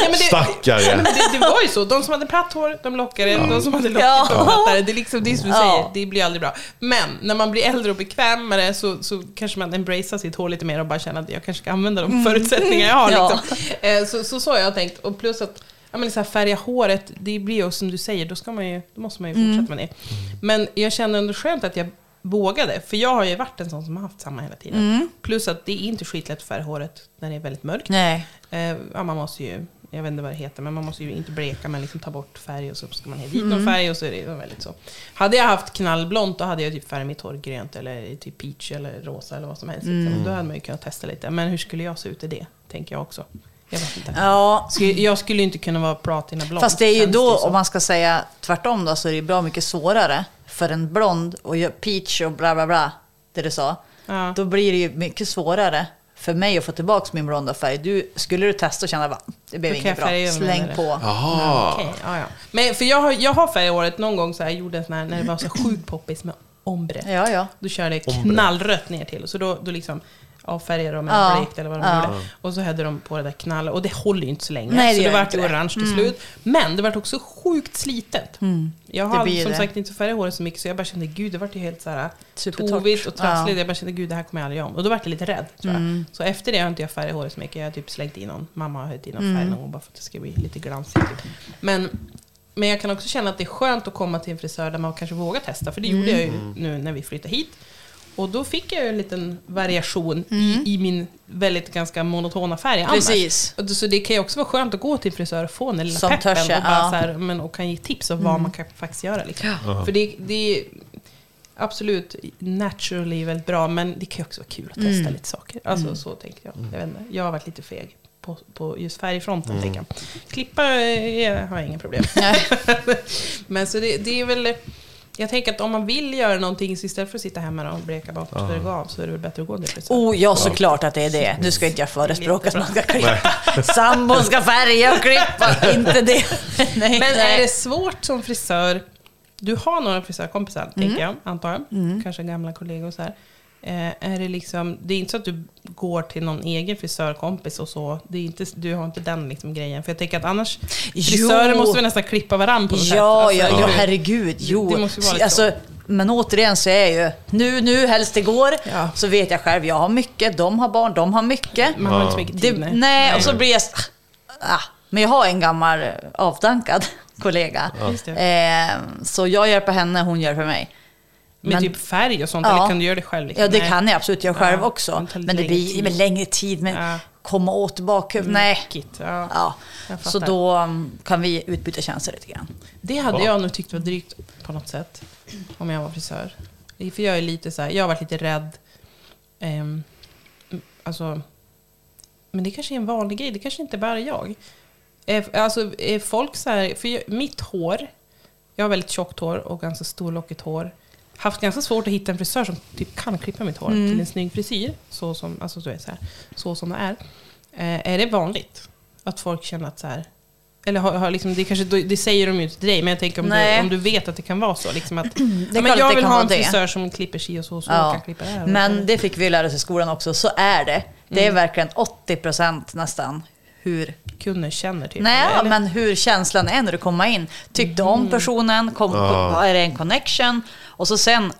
Speaker 2: men det,
Speaker 1: Stackare.
Speaker 2: Ja, men det, det var ju så. De som hade platt hår, de lockade. De som hade lockigt,
Speaker 5: Ja.
Speaker 2: de plattade. Det är liksom det är som du
Speaker 5: Ja.
Speaker 2: säger, det blir aldrig bra. Men när man blir äldre och bekvämare så, så kanske man embracear sitt hår lite mer och bara känner att jag kanske ska använda de förutsättningar jag har.
Speaker 5: Mm. Ja.
Speaker 2: Liksom. Eh, Så, så så har jag tänkt. Och plus att ja, men så här, färga håret, det blir ju som du säger, då, ska man ju, då måste man ju
Speaker 5: Mm.
Speaker 2: fortsätta med det. Men jag känner ändå skönt att jag vågade, för jag har ju varit en sån som har haft samma hela tiden.
Speaker 5: Mm.
Speaker 2: Plus att det är inte skitlätt att färga håret när det är väldigt mörkt.
Speaker 5: Nej.
Speaker 2: Eh, ja, man måste ju, jag vet inte vad det heter, men man måste ju inte bleka men liksom ta bort färg och så ska man ha dit någon
Speaker 5: Mm.
Speaker 2: färg och så är det väldigt så. Hade jag haft knallblont då hade jag typ färgat mitt hår grönt eller typ peach eller rosa eller vad som helst. liksom.
Speaker 5: Mm.
Speaker 2: Då hade man ju kunnat testa lite. Men hur skulle jag se ut i det? Tänker jag också. Jag vet inte.
Speaker 5: Ja.
Speaker 2: Skulle- Jag skulle ju inte kunna vara platinablond.
Speaker 5: Fast det är ju
Speaker 2: känns
Speaker 5: då,
Speaker 2: som.
Speaker 5: om man ska säga tvärtom då, så är det ju bra mycket svårare för en blond och gör peach och bla bla bla, det du sa.
Speaker 2: Ja.
Speaker 5: Då blir det ju mycket svårare för mig att få tillbaka min blonda färg. Du, skulle du testa och känna att det blev
Speaker 2: Då kan
Speaker 5: inget
Speaker 2: jag färga
Speaker 5: bra,
Speaker 2: över mig med
Speaker 5: släng
Speaker 2: det.
Speaker 5: på.
Speaker 2: Okej, ja, ja. Men för jag har, jag har färgat håret någon gång så här, jag gjorde en sån här, när det var så sjukt poppis med ombre.
Speaker 5: Ja, ja.
Speaker 2: Då körde jag knallrött ner till. Så då, då liksom, avfärga dem
Speaker 5: Ja.
Speaker 2: med blekt eller vad de
Speaker 5: Ja.
Speaker 2: gjorde. Och så hade de på det där knall och det håller ju inte så länge.
Speaker 5: Nej, det
Speaker 2: så det
Speaker 5: gör
Speaker 2: vart
Speaker 5: inte
Speaker 2: ju
Speaker 5: det. Mm.
Speaker 2: orange till slut. Men det vart också sjukt slitet. Jag
Speaker 5: Det
Speaker 2: har
Speaker 5: blir
Speaker 2: som
Speaker 5: det.
Speaker 2: sagt inte färgat håret så mycket så jag bara kände gud det vart ju helt så här
Speaker 5: Supertorrt.
Speaker 2: tovigt och trassligt.
Speaker 5: Ja.
Speaker 2: Jag bara kände gud det här kommer jag aldrig göra om. Och då vart jag lite rädd tror jag. Så efter det har inte jag färgat håret så mycket. Jag har typ slängt i någon, mamma har höjt i någon färg någon gång bara för att det ska bli lite glansigt. Typ. Men men jag kan också känna att det är skönt att komma till en frisör där man kanske vågar testa. För det gjorde jag ju nu när vi flyttade hit. Och då fick jag ju en liten variation i, i min väldigt ganska monotona färg annars.
Speaker 5: Precis.
Speaker 2: Och det- Så det kan ju också vara skönt att gå till en frisör och få den där lilla
Speaker 5: Som
Speaker 2: peppen
Speaker 5: törs, ja.
Speaker 2: och, bara
Speaker 5: Ja. Mm.
Speaker 2: så här, men, och kan ge tips om vad man kan faktiskt göra. Liksom. För det, det är absolut naturally väldigt bra, men det kan ju också vara kul att testa
Speaker 5: Mm.
Speaker 2: lite saker. Alltså så tänker jag. Jag, vet inte, jag har varit lite feg på, på just färgfronten. Tänker jag. Klippa eh, har jag inga problem. men så det, det är väl... Jag tänker att om man vill göra någonting, så istället för att sitta hemma och bleka bort så det går av, så är det väl bättre att gå till frisören.
Speaker 5: Oh ja, såklart att det är det. Nu ska inte jag förespråka att
Speaker 2: Jättebra.
Speaker 5: man ska klippa. Sambon ska färga och klippa, inte det. Nej,
Speaker 2: Men
Speaker 5: nej.
Speaker 2: är det svårt som frisör? Du har några frisörkompisar,
Speaker 5: Mm.
Speaker 2: tänker jag, antar jag. Kanske gamla kollegor och så här. Eh, är det, liksom, det är inte så att du går till någon egen frisörkompis och så. Det är inte, du har inte den liksom grejen. För jag tänker att annars, frisörer
Speaker 5: Jo.
Speaker 2: måste väl nästan klippa varandra på något sätt.
Speaker 5: Ja,
Speaker 2: Alltså,
Speaker 5: ja,
Speaker 2: eller
Speaker 5: ja,
Speaker 2: hur?
Speaker 5: herregud. Jo.
Speaker 2: det måste ju vara lite
Speaker 5: alltså, men återigen så är jag ju, nu, nu, helst igår,
Speaker 2: Ja.
Speaker 5: så vet jag själv, jag har mycket, de har barn, de har mycket.
Speaker 2: Man har inte så mycket
Speaker 5: Det,
Speaker 2: tid.
Speaker 5: nej,
Speaker 2: nej.
Speaker 5: och så blir jag... s- Ah, men jag har en gammal eh, avdankad kollega.
Speaker 2: Just
Speaker 5: Eh, så jag gör på henne, hon gör för mig.
Speaker 2: Med
Speaker 5: men-
Speaker 2: typ färg och sånt,
Speaker 5: Ja.
Speaker 2: eller kan du göra det själv? liksom?
Speaker 5: Ja, det
Speaker 2: Nej.
Speaker 5: kan jag absolut göra själv
Speaker 2: Ja, det
Speaker 5: också.
Speaker 2: tar lite
Speaker 5: Men det
Speaker 2: längre
Speaker 5: blir
Speaker 2: tid.
Speaker 5: med längre tid. Men
Speaker 2: Ja.
Speaker 5: komma åt bakhuvudet, nej.
Speaker 2: Tråkigt, Ja.
Speaker 5: Ja.
Speaker 2: Jag fattar.
Speaker 5: Så då mm, kan vi utbyta tjänster lite grann.
Speaker 2: Det hade jag nog tyckt var drygt på något sätt. Om jag var frisör. För jag är lite så här, jag har varit lite rädd. ehm, alltså, men det kanske är en vanlig grej, det kanske inte bara är jag. Eh, alltså är folk så här, för jag, mitt hår, jag har väldigt tjockt hår och ganska storlockigt hår. Haft ganska svårt att hitta en frisör som typ kan klippa mitt hår
Speaker 5: Mm.
Speaker 2: till en snygg frisyr. Så som, alltså, så är det så här, så som det är. Eh, är det vanligt att folk känner att så här, eller har, har liksom, det, kanske, det säger de ju inte till dig, men jag tänker om, du,
Speaker 5: Nej.
Speaker 2: om du vet att det kan vara så. Liksom att, ja,
Speaker 5: klart att
Speaker 2: men jag
Speaker 5: det kan
Speaker 2: vill ha
Speaker 5: vara
Speaker 2: en
Speaker 5: det.
Speaker 2: frisör som klipper si och så, och så och Mm.
Speaker 5: Ja.
Speaker 2: kan klippa det här.
Speaker 5: Men det fick vi lära oss i skolan också, så är det. Det är verkligen 80 procent nästan hur
Speaker 2: Kunder känner typ.
Speaker 5: Nej,
Speaker 2: eller?
Speaker 5: men hur känslan är när du kommer in. Tyckte
Speaker 2: Mm.
Speaker 5: om personen, kom, är det en connection? Och så sen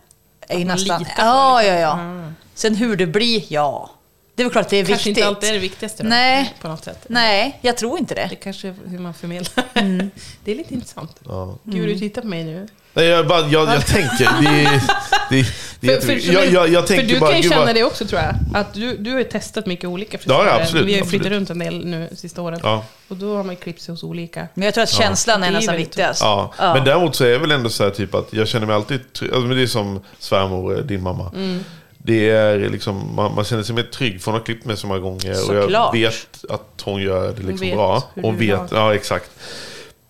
Speaker 5: är ju
Speaker 2: man
Speaker 5: nästan...
Speaker 2: litar på
Speaker 5: Ja,
Speaker 2: det,
Speaker 5: ja,
Speaker 2: liksom.
Speaker 5: ja. Sen hur det blir, ja. Det är väl klart det är
Speaker 2: kanske
Speaker 5: viktigt.
Speaker 2: inte alltid är det viktigaste Mm. då,
Speaker 5: Nej.
Speaker 2: på något sätt.
Speaker 5: Nej, Mm. jag tror inte det.
Speaker 2: Det kanske är hur man förmedlar. Det är lite intressant.
Speaker 5: Mm.
Speaker 2: Gud, du tittar på mig nu.
Speaker 1: Nej, jag, bara, jag, jag tänker. Det, är- det, är- det är jätteviktigt. Jag, jag, jag
Speaker 2: för
Speaker 1: tänker
Speaker 2: du
Speaker 1: bara,
Speaker 2: kan ju
Speaker 1: gud,
Speaker 2: känna
Speaker 1: vad-
Speaker 2: det också tror jag. Att du, du har ju testat mycket olika
Speaker 1: Ja, ja,
Speaker 2: frisörer.
Speaker 1: absolut,
Speaker 2: Vi har ju flyttat
Speaker 1: absolut.
Speaker 2: runt en del nu sista åren.
Speaker 1: Ja.
Speaker 2: Och då har man ju klippt sig hos olika.
Speaker 5: Men jag tror att känslan
Speaker 2: Det är
Speaker 5: är
Speaker 2: ju
Speaker 5: nästan
Speaker 2: väldigt-
Speaker 5: viktigast.
Speaker 1: Ja.
Speaker 5: Ja.
Speaker 1: Men däremot så är jag väl ändå så här typ att jag känner mig alltid trygg. Alltså, men det är som svärmor, eh, din mamma.
Speaker 2: Mm.
Speaker 1: Det är liksom, man, man känner sig mer trygg för hon har klippt mig så många gånger. Och jag
Speaker 5: Såklart.
Speaker 1: vet att hon gör det liksom
Speaker 2: vet
Speaker 1: bra.
Speaker 2: hur
Speaker 1: Hon
Speaker 2: du vill
Speaker 1: vet, ja exakt.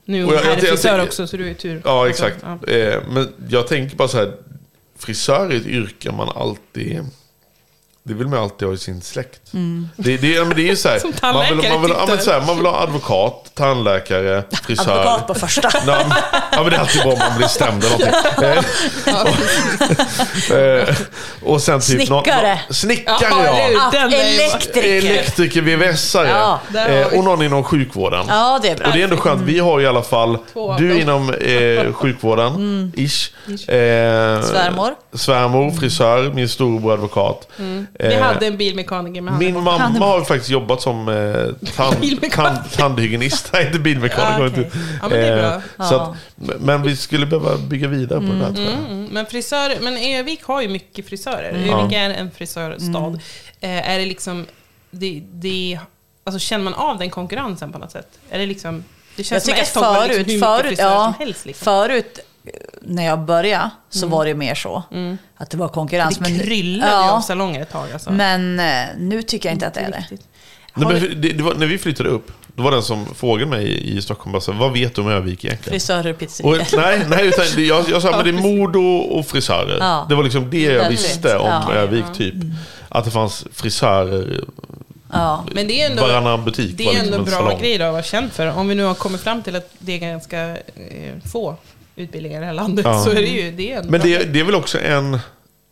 Speaker 2: Nu är
Speaker 1: Och
Speaker 2: hon
Speaker 1: jag- jag- jag
Speaker 2: herrfrisör
Speaker 1: tänker-
Speaker 2: också, så du är tur.
Speaker 1: Ja,
Speaker 2: Alltså,
Speaker 1: exakt.
Speaker 2: ja.
Speaker 1: Eh, men jag tänker bara så här. Frisör är ett yrke man alltid... Det vill man alltid ha i sin släkt. Det, det, ja, men det är ju så här.
Speaker 2: Mm. Som
Speaker 1: man, vill, man, vill, ja, men
Speaker 2: tandläkare typ
Speaker 1: så här, man vill ha advokat, tandläkare, frisör.
Speaker 5: Advokat på första.
Speaker 1: Ja, men- ja, men det är alltid bra om man blir stämd eller någonting. Eh, eh, och sen typ nå- nå-
Speaker 5: Snickare.
Speaker 1: Snickare,
Speaker 2: Ja, eller hur?
Speaker 1: ja.
Speaker 5: Att
Speaker 2: Den är ju-
Speaker 5: elektriker.
Speaker 1: Elektriker, VVSare.
Speaker 5: Ja,
Speaker 2: där har vi-
Speaker 1: eh, och någon inom sjukvården.
Speaker 5: Ja, det är bra.
Speaker 1: Och det är ändå skönt, vi har i alla fall,
Speaker 2: Två av dem.
Speaker 1: du inom eh, sjukvården, ish. Eh,
Speaker 5: Mm. Svärmor.
Speaker 1: Svärmor, frisör, min storebror advokat.
Speaker 2: Mm. Vi
Speaker 1: Eh,
Speaker 2: hade en bilmekaniker, men han
Speaker 1: min mamma har ju faktiskt jobbat som eh, tand,
Speaker 2: Bilmekaniker.
Speaker 1: tand, tandhygienist, nej inte bilmekaniker.
Speaker 2: Ah, okej.
Speaker 1: inte. Eh,
Speaker 2: Ja, men det är bra.
Speaker 1: så att, men vi skulle behöva bygga vidare på det där tror jag.
Speaker 2: Mm, men frisörer, men Övik har ju mycket frisörer.
Speaker 5: Mm.
Speaker 2: Övik är en frisörstad. Eh, är det liksom, det, det, alltså känner man av den konkurrensen på något sätt? Är det liksom, det
Speaker 5: Jag
Speaker 2: känns
Speaker 5: tycker att
Speaker 2: som ett tag var det
Speaker 5: förut,
Speaker 2: liksom hur
Speaker 5: förut,
Speaker 2: mycket frisörer
Speaker 5: ja,
Speaker 2: som helst. Liksom. Mm.
Speaker 5: förut eh, när jag började så var det mer så. Att det var konkurrens.
Speaker 2: det kryllade ju av
Speaker 5: alltså, ja,
Speaker 2: salonger ett tag alltså.
Speaker 5: men eh, nu tycker jag inte att det är det.
Speaker 2: Riktigt.
Speaker 1: Nej,
Speaker 2: Har
Speaker 1: men
Speaker 2: du-
Speaker 1: för- det, det var, när vi flyttade upp, då var den som frågade mig i, i Stockholm, bara så, här, vad vet du om Övik egentligen?
Speaker 5: Frisörer och
Speaker 1: Och,
Speaker 5: pizzerior.
Speaker 1: nej, nej utan det- jag, jag sa men det är Modo och frisörer.
Speaker 5: Ja.
Speaker 1: Det var liksom det jag
Speaker 5: Väldigt.
Speaker 1: visste om
Speaker 5: Ja.
Speaker 1: Övik, typ.
Speaker 2: Mm.
Speaker 1: Att det fanns frisörer,
Speaker 5: Ja.
Speaker 2: Men det är ändå,
Speaker 1: varannan butik
Speaker 2: det
Speaker 1: var
Speaker 2: är
Speaker 1: liksom
Speaker 2: ändå
Speaker 1: en
Speaker 2: bra
Speaker 1: salong.
Speaker 2: grej då att vara känd för. Om vi nu har kommit fram till att det är ganska eh, få utbildningar i det här landet
Speaker 1: Ja.
Speaker 2: så är det ju det är en
Speaker 1: Men
Speaker 2: bra
Speaker 1: det, det är väl också en,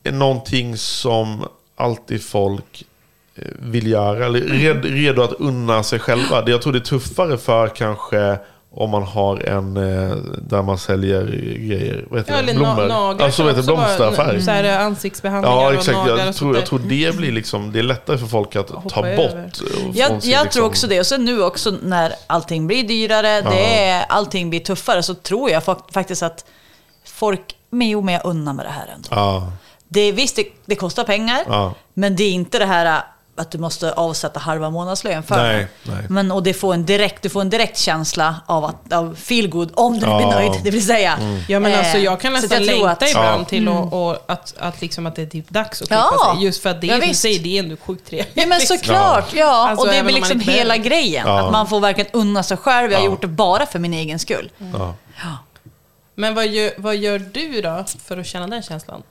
Speaker 1: en, någonting som alltid folk eh, vill göra. Eller
Speaker 2: Mm.
Speaker 1: red, redo att unna sig själva. Det- Jag tror det är tuffare för kanske om man har en eh, där man säljer grejer. Vad heter
Speaker 2: Ja,
Speaker 1: det?
Speaker 2: eller
Speaker 1: Blommor.
Speaker 2: na- naglar.
Speaker 1: alltså
Speaker 2: kan
Speaker 1: vad heter det?
Speaker 2: också vara
Speaker 1: Blomsteraffär.
Speaker 2: n- Så här, eh, ansiktsbehandlingar
Speaker 1: Ja,
Speaker 2: och
Speaker 1: exakt.
Speaker 2: naglar
Speaker 1: Jag
Speaker 2: och
Speaker 1: tror, jag
Speaker 2: sånt där. Mm.
Speaker 1: tror det blir liksom, det är lättare för folk att ta
Speaker 2: över.
Speaker 1: bort. eh, från
Speaker 5: Jag,
Speaker 1: sin
Speaker 5: jag
Speaker 1: liksom-
Speaker 5: tror också det. Och sen nu också när allting blir dyrare, det är, allting blir tuffare, så tror jag fak- faktiskt att folk, men jo men jag unnar mig det här ändå.
Speaker 1: Ja,
Speaker 5: Det är, visst, det, det kostar pengar,
Speaker 1: Ja.
Speaker 5: men det är inte det här äh, att du måste avsätta halva månadslön för
Speaker 1: Nej,
Speaker 5: det.
Speaker 1: nej.
Speaker 5: Men, och det får en direkt, du får en direkt känsla av, att, av feel good om du
Speaker 1: Ja. Mm.
Speaker 5: blir nöjd, det vill säga.
Speaker 2: Ja men
Speaker 5: Eh,
Speaker 2: alltså jag kan
Speaker 5: så
Speaker 2: nästan
Speaker 5: jag tror
Speaker 2: längta
Speaker 5: att-
Speaker 2: ibland till och, och att, att, liksom att det är typ dags att
Speaker 5: Ja.
Speaker 2: klippa sig. Just för att det
Speaker 5: Ja,
Speaker 2: är som
Speaker 5: visst.
Speaker 2: säger, det är ändå sjukt trevligt.
Speaker 5: Ja men såklart, ja.
Speaker 2: Alltså,
Speaker 5: och det
Speaker 2: även
Speaker 5: blir
Speaker 2: om man
Speaker 5: liksom
Speaker 2: inte
Speaker 5: hela
Speaker 2: behöver.
Speaker 5: grejen.
Speaker 1: Ja.
Speaker 5: Att man får verkligen unna sig själv. Jag har
Speaker 1: Ja. Mm.
Speaker 5: gjort det bara för min egen skull.
Speaker 1: ja.
Speaker 2: Men vad gör, vad gör du då för att känna den känslan?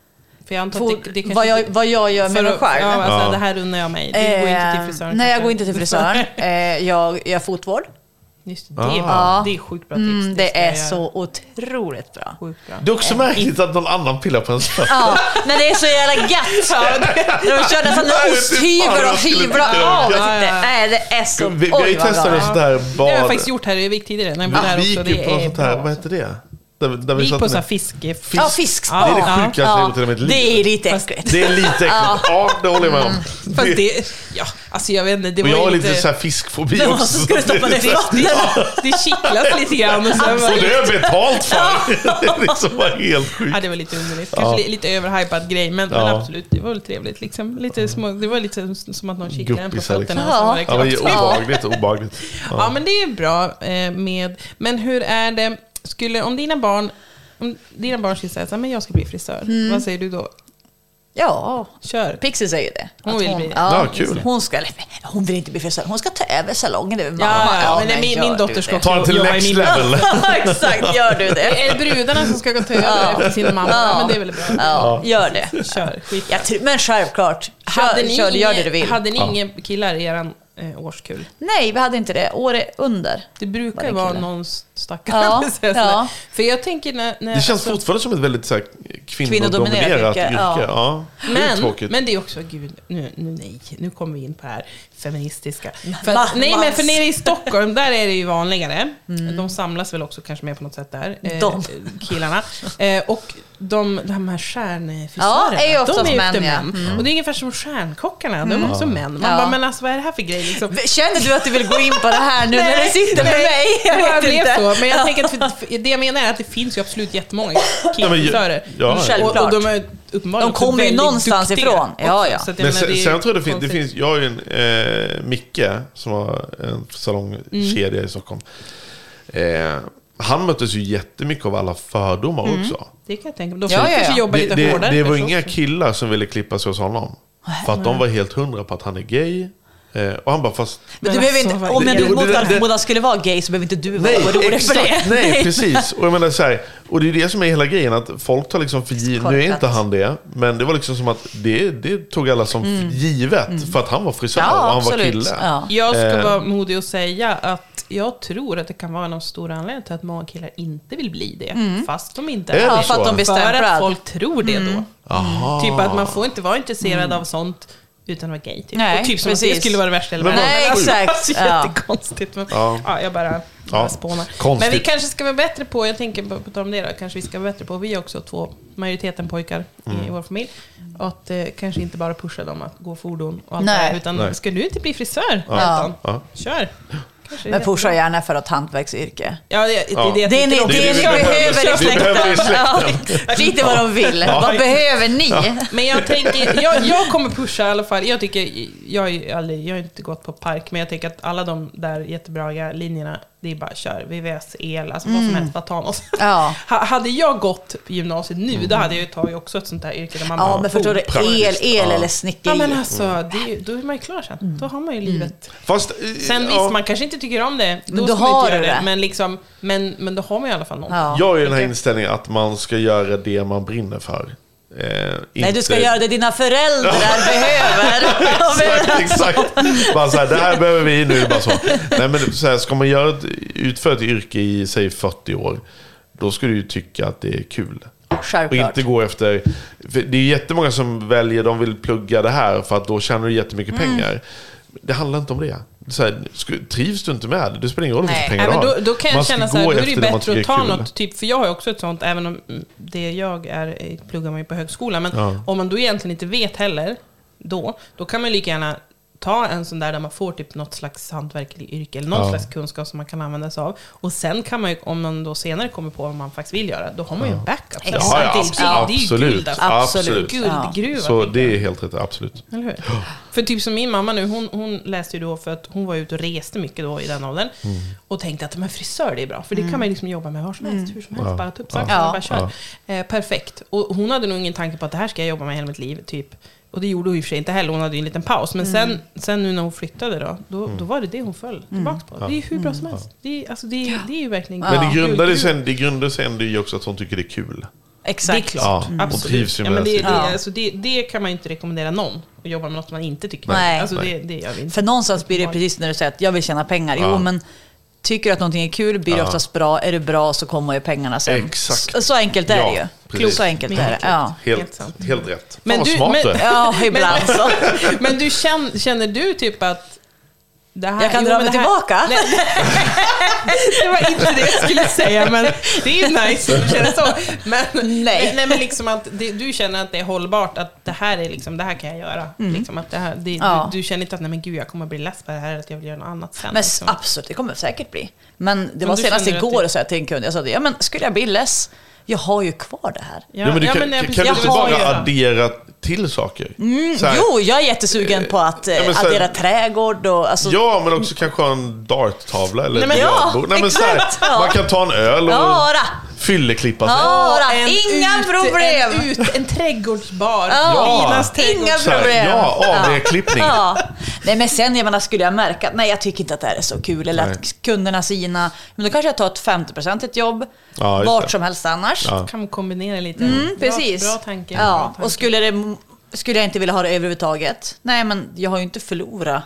Speaker 2: För jag antar
Speaker 5: Får-
Speaker 2: att det, det kanske
Speaker 5: vad, jag,
Speaker 2: inte-
Speaker 5: vad jag gör med
Speaker 2: för
Speaker 5: mig
Speaker 2: att-
Speaker 5: själv.
Speaker 2: Ja, alltså,
Speaker 1: Ja.
Speaker 2: Det här unnar jag mig. Du går inte till frisören.
Speaker 5: Eh, Nej, jag
Speaker 2: kanske?
Speaker 5: går inte till frisören. Eh, jag gör fotvård.
Speaker 2: Just det, det,
Speaker 1: Ah.
Speaker 2: är bra. det är sjukt bra tips.
Speaker 5: Mm, det
Speaker 2: ska
Speaker 5: är
Speaker 2: jag göra.
Speaker 5: så otroligt bra.
Speaker 2: Sjukt bra.
Speaker 1: Det är också märkligt att någon annan pillar på ens fötter.
Speaker 5: Ja, men det är så jävla gött. När de kör nästan
Speaker 1: Nej, fy fan,
Speaker 5: osthyvel
Speaker 1: jag
Speaker 5: och
Speaker 1: typ skulle
Speaker 5: hyvlar
Speaker 1: tycka det var
Speaker 5: av.
Speaker 1: gött.
Speaker 5: Nej, det är
Speaker 2: Alltså,
Speaker 5: så...
Speaker 1: Vi, vi har ju
Speaker 5: oj, vad
Speaker 1: testat
Speaker 5: bra.
Speaker 1: en sån där
Speaker 2: Det har
Speaker 1: bar.
Speaker 2: jag faktiskt gjort här i Vik tidigare. när vi var där
Speaker 1: Ah, Vi
Speaker 2: också.
Speaker 1: gick ju
Speaker 2: Det
Speaker 1: på något
Speaker 2: är
Speaker 1: sånt här,
Speaker 2: bra.
Speaker 1: vad heter det? Där, där
Speaker 2: Vi gick på
Speaker 1: satt
Speaker 2: så här
Speaker 1: med-
Speaker 2: fiske...
Speaker 5: Ja, fiskspa.
Speaker 1: Det är det sjukaste jag
Speaker 5: Ja,
Speaker 1: gjort i hela mitt liv.
Speaker 5: Det är lite äckligt.
Speaker 1: Det är lite äckligt. Ja, det håller jag med om.
Speaker 2: Fast
Speaker 1: Det-
Speaker 2: Mm. det, ja, alltså jag vet inte, det
Speaker 1: och
Speaker 2: var
Speaker 1: jag har
Speaker 2: ju
Speaker 1: lite
Speaker 2: inte...
Speaker 1: så här fiskfobi
Speaker 5: Det var
Speaker 1: också.
Speaker 5: så skulle
Speaker 1: så
Speaker 5: stoppa
Speaker 1: det är så
Speaker 5: ner i
Speaker 1: här-
Speaker 5: vattnet.
Speaker 2: Det kittlas lite grann och sen
Speaker 1: Och
Speaker 2: var
Speaker 1: det
Speaker 2: det...
Speaker 1: har jag betalt för. Det är liksom bara helt sjukt.
Speaker 2: Ja, det var lite underligt. Kanske li- lite överhypad grej, men, men
Speaker 1: Ja.
Speaker 2: absolut, det var väl trevligt. Liksom. Lite små, det var lite som- som att någon kittlade en på
Speaker 1: Guppisar
Speaker 2: fötterna.
Speaker 1: liksom.
Speaker 2: och
Speaker 1: Ja,
Speaker 2: sen var det
Speaker 1: men det är obehagligt.
Speaker 2: klart.
Speaker 1: obehagligt.
Speaker 2: Ja, men det är bra eh, med... Men hur är det, skulle, om dina barn... Om dina barn skulle säga så här, men jag ska bli frisör,
Speaker 5: Mm.
Speaker 2: vad säger du då?
Speaker 5: Ja,
Speaker 2: Kör!
Speaker 5: Pixie säger ju det.
Speaker 2: Hon
Speaker 5: Att
Speaker 2: vill bli det.
Speaker 1: Ja, kul.
Speaker 5: Hon, ska, hon vill inte bli frisör, hon ska ta över salongen. Det är väl
Speaker 2: Ja,
Speaker 5: mamma.
Speaker 2: ja, men det är min,
Speaker 5: gör
Speaker 2: min
Speaker 5: du
Speaker 2: dotter
Speaker 5: det.
Speaker 2: ska
Speaker 1: Ta det till
Speaker 2: jobba i
Speaker 1: next
Speaker 2: min-
Speaker 1: level.
Speaker 5: Exakt, gör du
Speaker 2: Är
Speaker 5: det.
Speaker 2: det brudarna som ska gå ta över
Speaker 5: Ja.
Speaker 2: efter sin mamma? Ja. Men det är väl bra.
Speaker 5: Ja, gör det.
Speaker 2: Kör, skit
Speaker 5: Jag tror- men självklart, kör, kör du, gör det du vill.
Speaker 2: Hade ni inga killar i er eh, årskull?
Speaker 5: Nej, vi hade inte det. Året under.
Speaker 2: Det
Speaker 5: Var
Speaker 2: brukar
Speaker 5: det
Speaker 2: ju vara
Speaker 5: killar?
Speaker 2: någon stackare.
Speaker 5: Ja,
Speaker 2: som säger sådär.
Speaker 5: ja.
Speaker 2: För jag tänker när... när
Speaker 1: Det känns
Speaker 2: alltså,
Speaker 1: fortfarande som ett väldigt så här, kvinnodominerat
Speaker 5: Kvinnodominerat
Speaker 1: yrke.
Speaker 5: yrke, ja.
Speaker 1: Ja. Det är
Speaker 2: men,
Speaker 1: tråkigt.
Speaker 2: men det är också, gud, nu, nu, nej, nu kommer vi in på det här feministiska. För
Speaker 5: Va?
Speaker 2: att, nej, men
Speaker 5: Mans.
Speaker 2: för nere i Stockholm, där är det ju vanligare. De samlas väl också kanske mer på något sätt där, eh,
Speaker 5: Mm. De.
Speaker 2: killarna. Eh, och de, de här stjärnfrisörerna,
Speaker 5: Ja, är ju oftast
Speaker 2: de är ju inte
Speaker 5: män, ja. Mm.
Speaker 2: män. Och det är ungefär som stjärnkockarna, de är
Speaker 1: Mm.
Speaker 2: också män. Man
Speaker 5: Ja.
Speaker 2: bara, men alltså vad är det här för grej liksom?
Speaker 5: Känner du att du vill gå in på det här nu när du sitter med mig?
Speaker 2: Jag bara
Speaker 5: vet
Speaker 2: blev
Speaker 5: inte.
Speaker 2: så. Men jag
Speaker 5: Ja.
Speaker 2: tänker att för, för, det jag menar är att det finns ju absolut jättemånga
Speaker 1: Ja, men ju-
Speaker 2: killfrisörer.
Speaker 1: ja, ja.
Speaker 2: och, och
Speaker 5: Självklart.
Speaker 2: de är uppenbarligen
Speaker 5: De kommer ju
Speaker 2: också väldigt
Speaker 5: någonstans
Speaker 2: duktiga
Speaker 5: ifrån. Ja, ja.
Speaker 2: också. Så att jag
Speaker 1: Men
Speaker 2: menar,
Speaker 1: sen,
Speaker 2: är
Speaker 1: sen tror jag det finns, det
Speaker 2: konstigt.
Speaker 1: finns jag har ju en eh, Micke som har en salongkedja i Stockholm. Eh, han möttes ju jättemycket av alla fördomar också.
Speaker 2: Det kan jag tänka mig. De
Speaker 5: Ja, ja, ja.
Speaker 2: kanske jobbar
Speaker 1: Det,
Speaker 2: lite
Speaker 1: det,
Speaker 2: hårdare.
Speaker 1: det var
Speaker 2: kanske
Speaker 1: inga
Speaker 2: också.
Speaker 1: killar som ville klippa sig hos honom. För att de var helt hundra på att han är gay. Eh, och han bara, fast...
Speaker 5: Men du
Speaker 2: Men
Speaker 5: behöver
Speaker 2: alltså,
Speaker 5: inte,
Speaker 2: vad-
Speaker 5: om en
Speaker 1: Det- det-
Speaker 5: mot
Speaker 1: det-
Speaker 5: båda skulle vara gay så behöver inte du vara
Speaker 1: Nej,
Speaker 5: orolig för det.
Speaker 1: exakt. Nej, precis. Och, jag menar så här, och det är det som är hela grejen, att folk tar liksom för givet, nu är
Speaker 5: Korkat.
Speaker 1: inte han det, men det var liksom som att det, det tog alla som för givet, för att han var frisör och
Speaker 5: Ja,
Speaker 1: han var
Speaker 5: absolut.
Speaker 1: kille.
Speaker 5: Ja.
Speaker 2: Jag ska
Speaker 1: Eh.
Speaker 2: vara modig och säga att jag tror att det kan vara en av de stora anledningarna till att många killar inte vill bli det. Fast de inte
Speaker 1: Är det
Speaker 5: Mm. Ja,
Speaker 1: så?
Speaker 5: för att de blir Mm.
Speaker 2: För att
Speaker 5: stämplade.
Speaker 2: folk tror det då.
Speaker 1: Aha.
Speaker 2: Typ att man får inte vara intresserad av sånt utan att vara gay. Typ.
Speaker 5: Mm. Nej,
Speaker 2: och typ som att det
Speaker 5: precis.
Speaker 2: skulle vara det värsta eller
Speaker 1: Men
Speaker 2: värsta.
Speaker 1: vad
Speaker 5: Nej,
Speaker 1: sjukt.
Speaker 5: exakt.
Speaker 2: Det är
Speaker 5: Ja.
Speaker 2: Alltså, jättekonstigt. Men,
Speaker 1: Ja.
Speaker 2: ja. jag bara, bara
Speaker 1: Ja,
Speaker 2: spånar.
Speaker 1: konstigt.
Speaker 2: Men vi kanske ska vara bättre på, jag tänker på, på tal om det då, kanske vi ska vara bättre på, vi är också två, majoriteten pojkar i
Speaker 1: Mm.
Speaker 2: vår familj, att eh, kanske inte bara pusha dem att gå fordon och allt
Speaker 5: Nej.
Speaker 2: det här, utan
Speaker 1: Nej.
Speaker 2: ska du inte bli frisör? Anton?
Speaker 1: Ja.
Speaker 2: Kör! Kanske
Speaker 5: Men
Speaker 2: är-
Speaker 5: pusha gärna för ett hantverksyrke.
Speaker 2: Ja, det, det,
Speaker 1: Ja.
Speaker 2: det,
Speaker 5: Det är ni,
Speaker 2: tänker
Speaker 5: det
Speaker 2: också.
Speaker 1: Det är
Speaker 5: ni
Speaker 1: det vi behöver.
Speaker 5: behöver i
Speaker 1: Vi behöver i
Speaker 5: släkten. Ja, Skit i vad de vill. Vad behöver ni?
Speaker 2: Men jag tänker, jag, jag kommer pusha i alla fall. Jag tycker, jag har ju aldrig, jag har inte gått på park, men jag tänker att alla de där jättebra linjerna, det är bara kör. VVS, el, alltså vad som helst, bara ta något.
Speaker 5: Mm. Ja.
Speaker 2: Ha- Hade jag gått på gymnasiet nu, då hade jag ju tagit också ett sånt där yrke där man
Speaker 5: Ja, men förstår du? El,
Speaker 1: Praktiskt,
Speaker 5: el
Speaker 1: ja.
Speaker 5: eller
Speaker 2: Ja men
Speaker 5: snickeri.
Speaker 2: alltså, det är, ju- då är man ju klar sen.
Speaker 5: Mm.
Speaker 2: Då har man ju livet.
Speaker 1: Fast, eh,
Speaker 2: Sen
Speaker 1: ja.
Speaker 2: visst, man kanske inte tycker om det. Då,
Speaker 5: Men
Speaker 2: ska
Speaker 5: då
Speaker 2: man
Speaker 5: har
Speaker 2: inte
Speaker 5: du
Speaker 2: göra det.
Speaker 5: det.
Speaker 2: Men, liksom, men, men då har man i alla fall något.
Speaker 5: Ja.
Speaker 1: Jag har ju den här inställningen att man ska göra det man brinner för. Eh,
Speaker 5: Nej, du ska göra det dina föräldrar behöver.
Speaker 1: Exakt, exakt. Bara så här, det här behöver vi nu. Bara så. Nej, men så här, ska man göra ett, utföra ett yrke i, säg 40 år, då ska du ju tycka att det är kul.
Speaker 5: självklart.
Speaker 1: och inte gå efter... för Det är jättemånga som väljer, de vill plugga det här för att då tjänar du jättemycket
Speaker 2: Mm.
Speaker 1: pengar. Det handlar inte om det. det är så här, sku- trivs du inte med det, det spelar ingen roll
Speaker 5: Nej.
Speaker 1: vilka pengar
Speaker 2: Nej,
Speaker 1: du
Speaker 2: men
Speaker 1: har.
Speaker 2: då, då kan
Speaker 1: Man
Speaker 2: jag
Speaker 1: ska
Speaker 2: känna så
Speaker 1: gå
Speaker 2: här, då är det
Speaker 1: efter
Speaker 2: ju
Speaker 1: man
Speaker 2: bättre
Speaker 1: tycker
Speaker 2: att ta
Speaker 1: är kul.
Speaker 2: något, typ, för jag har ju också ett sånt, även om mm, det jag är, eh, pluggar man ju på högskola, men
Speaker 1: Ja.
Speaker 2: om man då egentligen inte vet heller, då, då kan man ju lika gärna ta en sån där där man får typ något slags hantverklig yrke eller någon
Speaker 1: Ja.
Speaker 2: slags kunskap som man kan använda sig av. Och sen kan man ju, om man då senare kommer på vad man faktiskt vill göra, då har man ju en backup.
Speaker 5: Ja,
Speaker 1: Ja,
Speaker 2: Så
Speaker 1: ja,
Speaker 2: det-
Speaker 1: abs-
Speaker 2: det, det är
Speaker 1: absolut.
Speaker 2: ju guld alltså.
Speaker 1: absolut.
Speaker 5: Guld. Ja.
Speaker 2: Guldgruva.
Speaker 1: Så
Speaker 2: tänker jag.
Speaker 1: det är helt rätt, absolut.
Speaker 2: Eller hur? För typ som min mamma nu, hon, hon läste ju då för att hon var ute och reste mycket då i den åldern. Och tänkte att men frisör det är bra, för
Speaker 1: Mm.
Speaker 2: det kan man ju liksom jobba med var som helst, hur som helst. Bara tuppsaxar
Speaker 5: Ja.
Speaker 2: och bara kör. Eh, perfekt. Och hon hade nog ingen tanke på att det här ska jag jobba med hela mitt liv, typ. Och det gjorde hon i och för sig inte heller, hon hade ju en liten paus. Men
Speaker 1: Mm.
Speaker 2: sen, sen nu när hon flyttade då, då, då var det det hon föll tillbaka på. Det är ju hur bra som helst. Det är, alltså, det är, det är ju verkligen...
Speaker 1: Men det grundade
Speaker 2: Guldgruva.
Speaker 1: sig det grundade sig ändå i också att hon tycker det är kul.
Speaker 5: Exakt.
Speaker 2: Det är klart.
Speaker 1: Ja, och
Speaker 2: Absolut.
Speaker 1: trivs ju
Speaker 2: ja,
Speaker 1: med
Speaker 2: men det,
Speaker 1: sin-
Speaker 2: det,
Speaker 5: Ja.
Speaker 2: alltså, det, det kan man ju inte rekommendera någon att jobba med något man inte tycker om.
Speaker 5: Nej.
Speaker 2: Alltså,
Speaker 1: Nej.
Speaker 2: det, det gör vi inte.
Speaker 5: För någonstans blir det precis när du säger att jag vill tjäna pengar. Jo,
Speaker 1: Ja.
Speaker 5: men tycker du att någonting är kul blir det oftast bra. Är det bra så kommer ju pengarna sen.
Speaker 1: Exakt.
Speaker 5: Så, så enkelt är
Speaker 1: Ja,
Speaker 5: det ju.
Speaker 1: precis.
Speaker 5: Så enkelt är det. Ja,
Speaker 2: Helt
Speaker 1: Helt,
Speaker 2: sant.
Speaker 1: helt, rätt.
Speaker 2: Men
Speaker 1: Fan vad
Speaker 2: du-
Speaker 1: smart
Speaker 2: men-
Speaker 1: du är.
Speaker 5: ja ibland så.
Speaker 2: Men du känner, känner du typ att det här,
Speaker 5: Jag kan
Speaker 2: jo,
Speaker 5: dra
Speaker 2: men
Speaker 5: mig
Speaker 2: det här-
Speaker 5: tillbaka.
Speaker 2: Nej, det var inte det jag skulle säga, men det är nice att känna så. Men,
Speaker 5: Nej.
Speaker 2: nej, men liksom att det, du känner att det är hållbart, att det här, är liksom, det här kan jag göra. Liksom att det här, det,
Speaker 5: Mm. Ja.
Speaker 2: du, du känner inte att nej, men gud, jag kommer bli less på det här, eller att jag vill göra något annat sen.
Speaker 5: Men s-
Speaker 2: liksom.
Speaker 5: absolut, det kommer säkert bli. Men det var
Speaker 2: du
Speaker 5: senast
Speaker 2: känner att
Speaker 5: igår
Speaker 2: det-
Speaker 5: så jag till en kund, jag sa det, ja men skulle jag bli less, jag har ju kvar det här.
Speaker 2: Ja,
Speaker 1: men du
Speaker 2: ja,
Speaker 1: kan,
Speaker 2: men jag-
Speaker 1: kan du
Speaker 2: jag
Speaker 1: inte
Speaker 2: har
Speaker 1: bara
Speaker 2: ju Mm, det.
Speaker 1: addera till saker? Så här,
Speaker 5: Mm, Jo, jag är jättesugen på att eh,
Speaker 1: ja, men så här-
Speaker 5: addera trädgård och alltså,
Speaker 1: Ja, men också kanske ha en darttavla eller
Speaker 2: Mm. Nej, men-
Speaker 1: ett
Speaker 5: Ja,
Speaker 1: brödbord. Nej, men så här,
Speaker 5: exakt, ja.
Speaker 1: Man kan ta en öl och
Speaker 5: Ja,
Speaker 1: fylleklippa sig.
Speaker 5: Ja, då,
Speaker 2: En
Speaker 5: inga
Speaker 2: ut-
Speaker 5: problem!
Speaker 2: En, ut, en trädgårdsbar.
Speaker 5: Ja,
Speaker 2: Linas trädgård.
Speaker 5: inga
Speaker 1: Så här,
Speaker 5: problem.
Speaker 1: ja, AV-klippning.
Speaker 5: Ja. Nej, men sen jag menar, skulle jag märka att nej, jag tycker inte att det här är så kul eller
Speaker 1: Nej.
Speaker 5: att kunderna sina, men då kanske jag tar ett 50-procentigt jobb
Speaker 1: Ja, just
Speaker 5: vart
Speaker 1: det.
Speaker 5: som helst annars.
Speaker 1: Ja.
Speaker 2: Kan kombinera lite.
Speaker 5: Mm, precis.
Speaker 2: Bra, bra tanke.
Speaker 5: Ja,
Speaker 2: bra tanke.
Speaker 5: Och skulle, det, skulle jag inte vilja ha det överhuvudtaget, nej men jag har ju inte förlorat.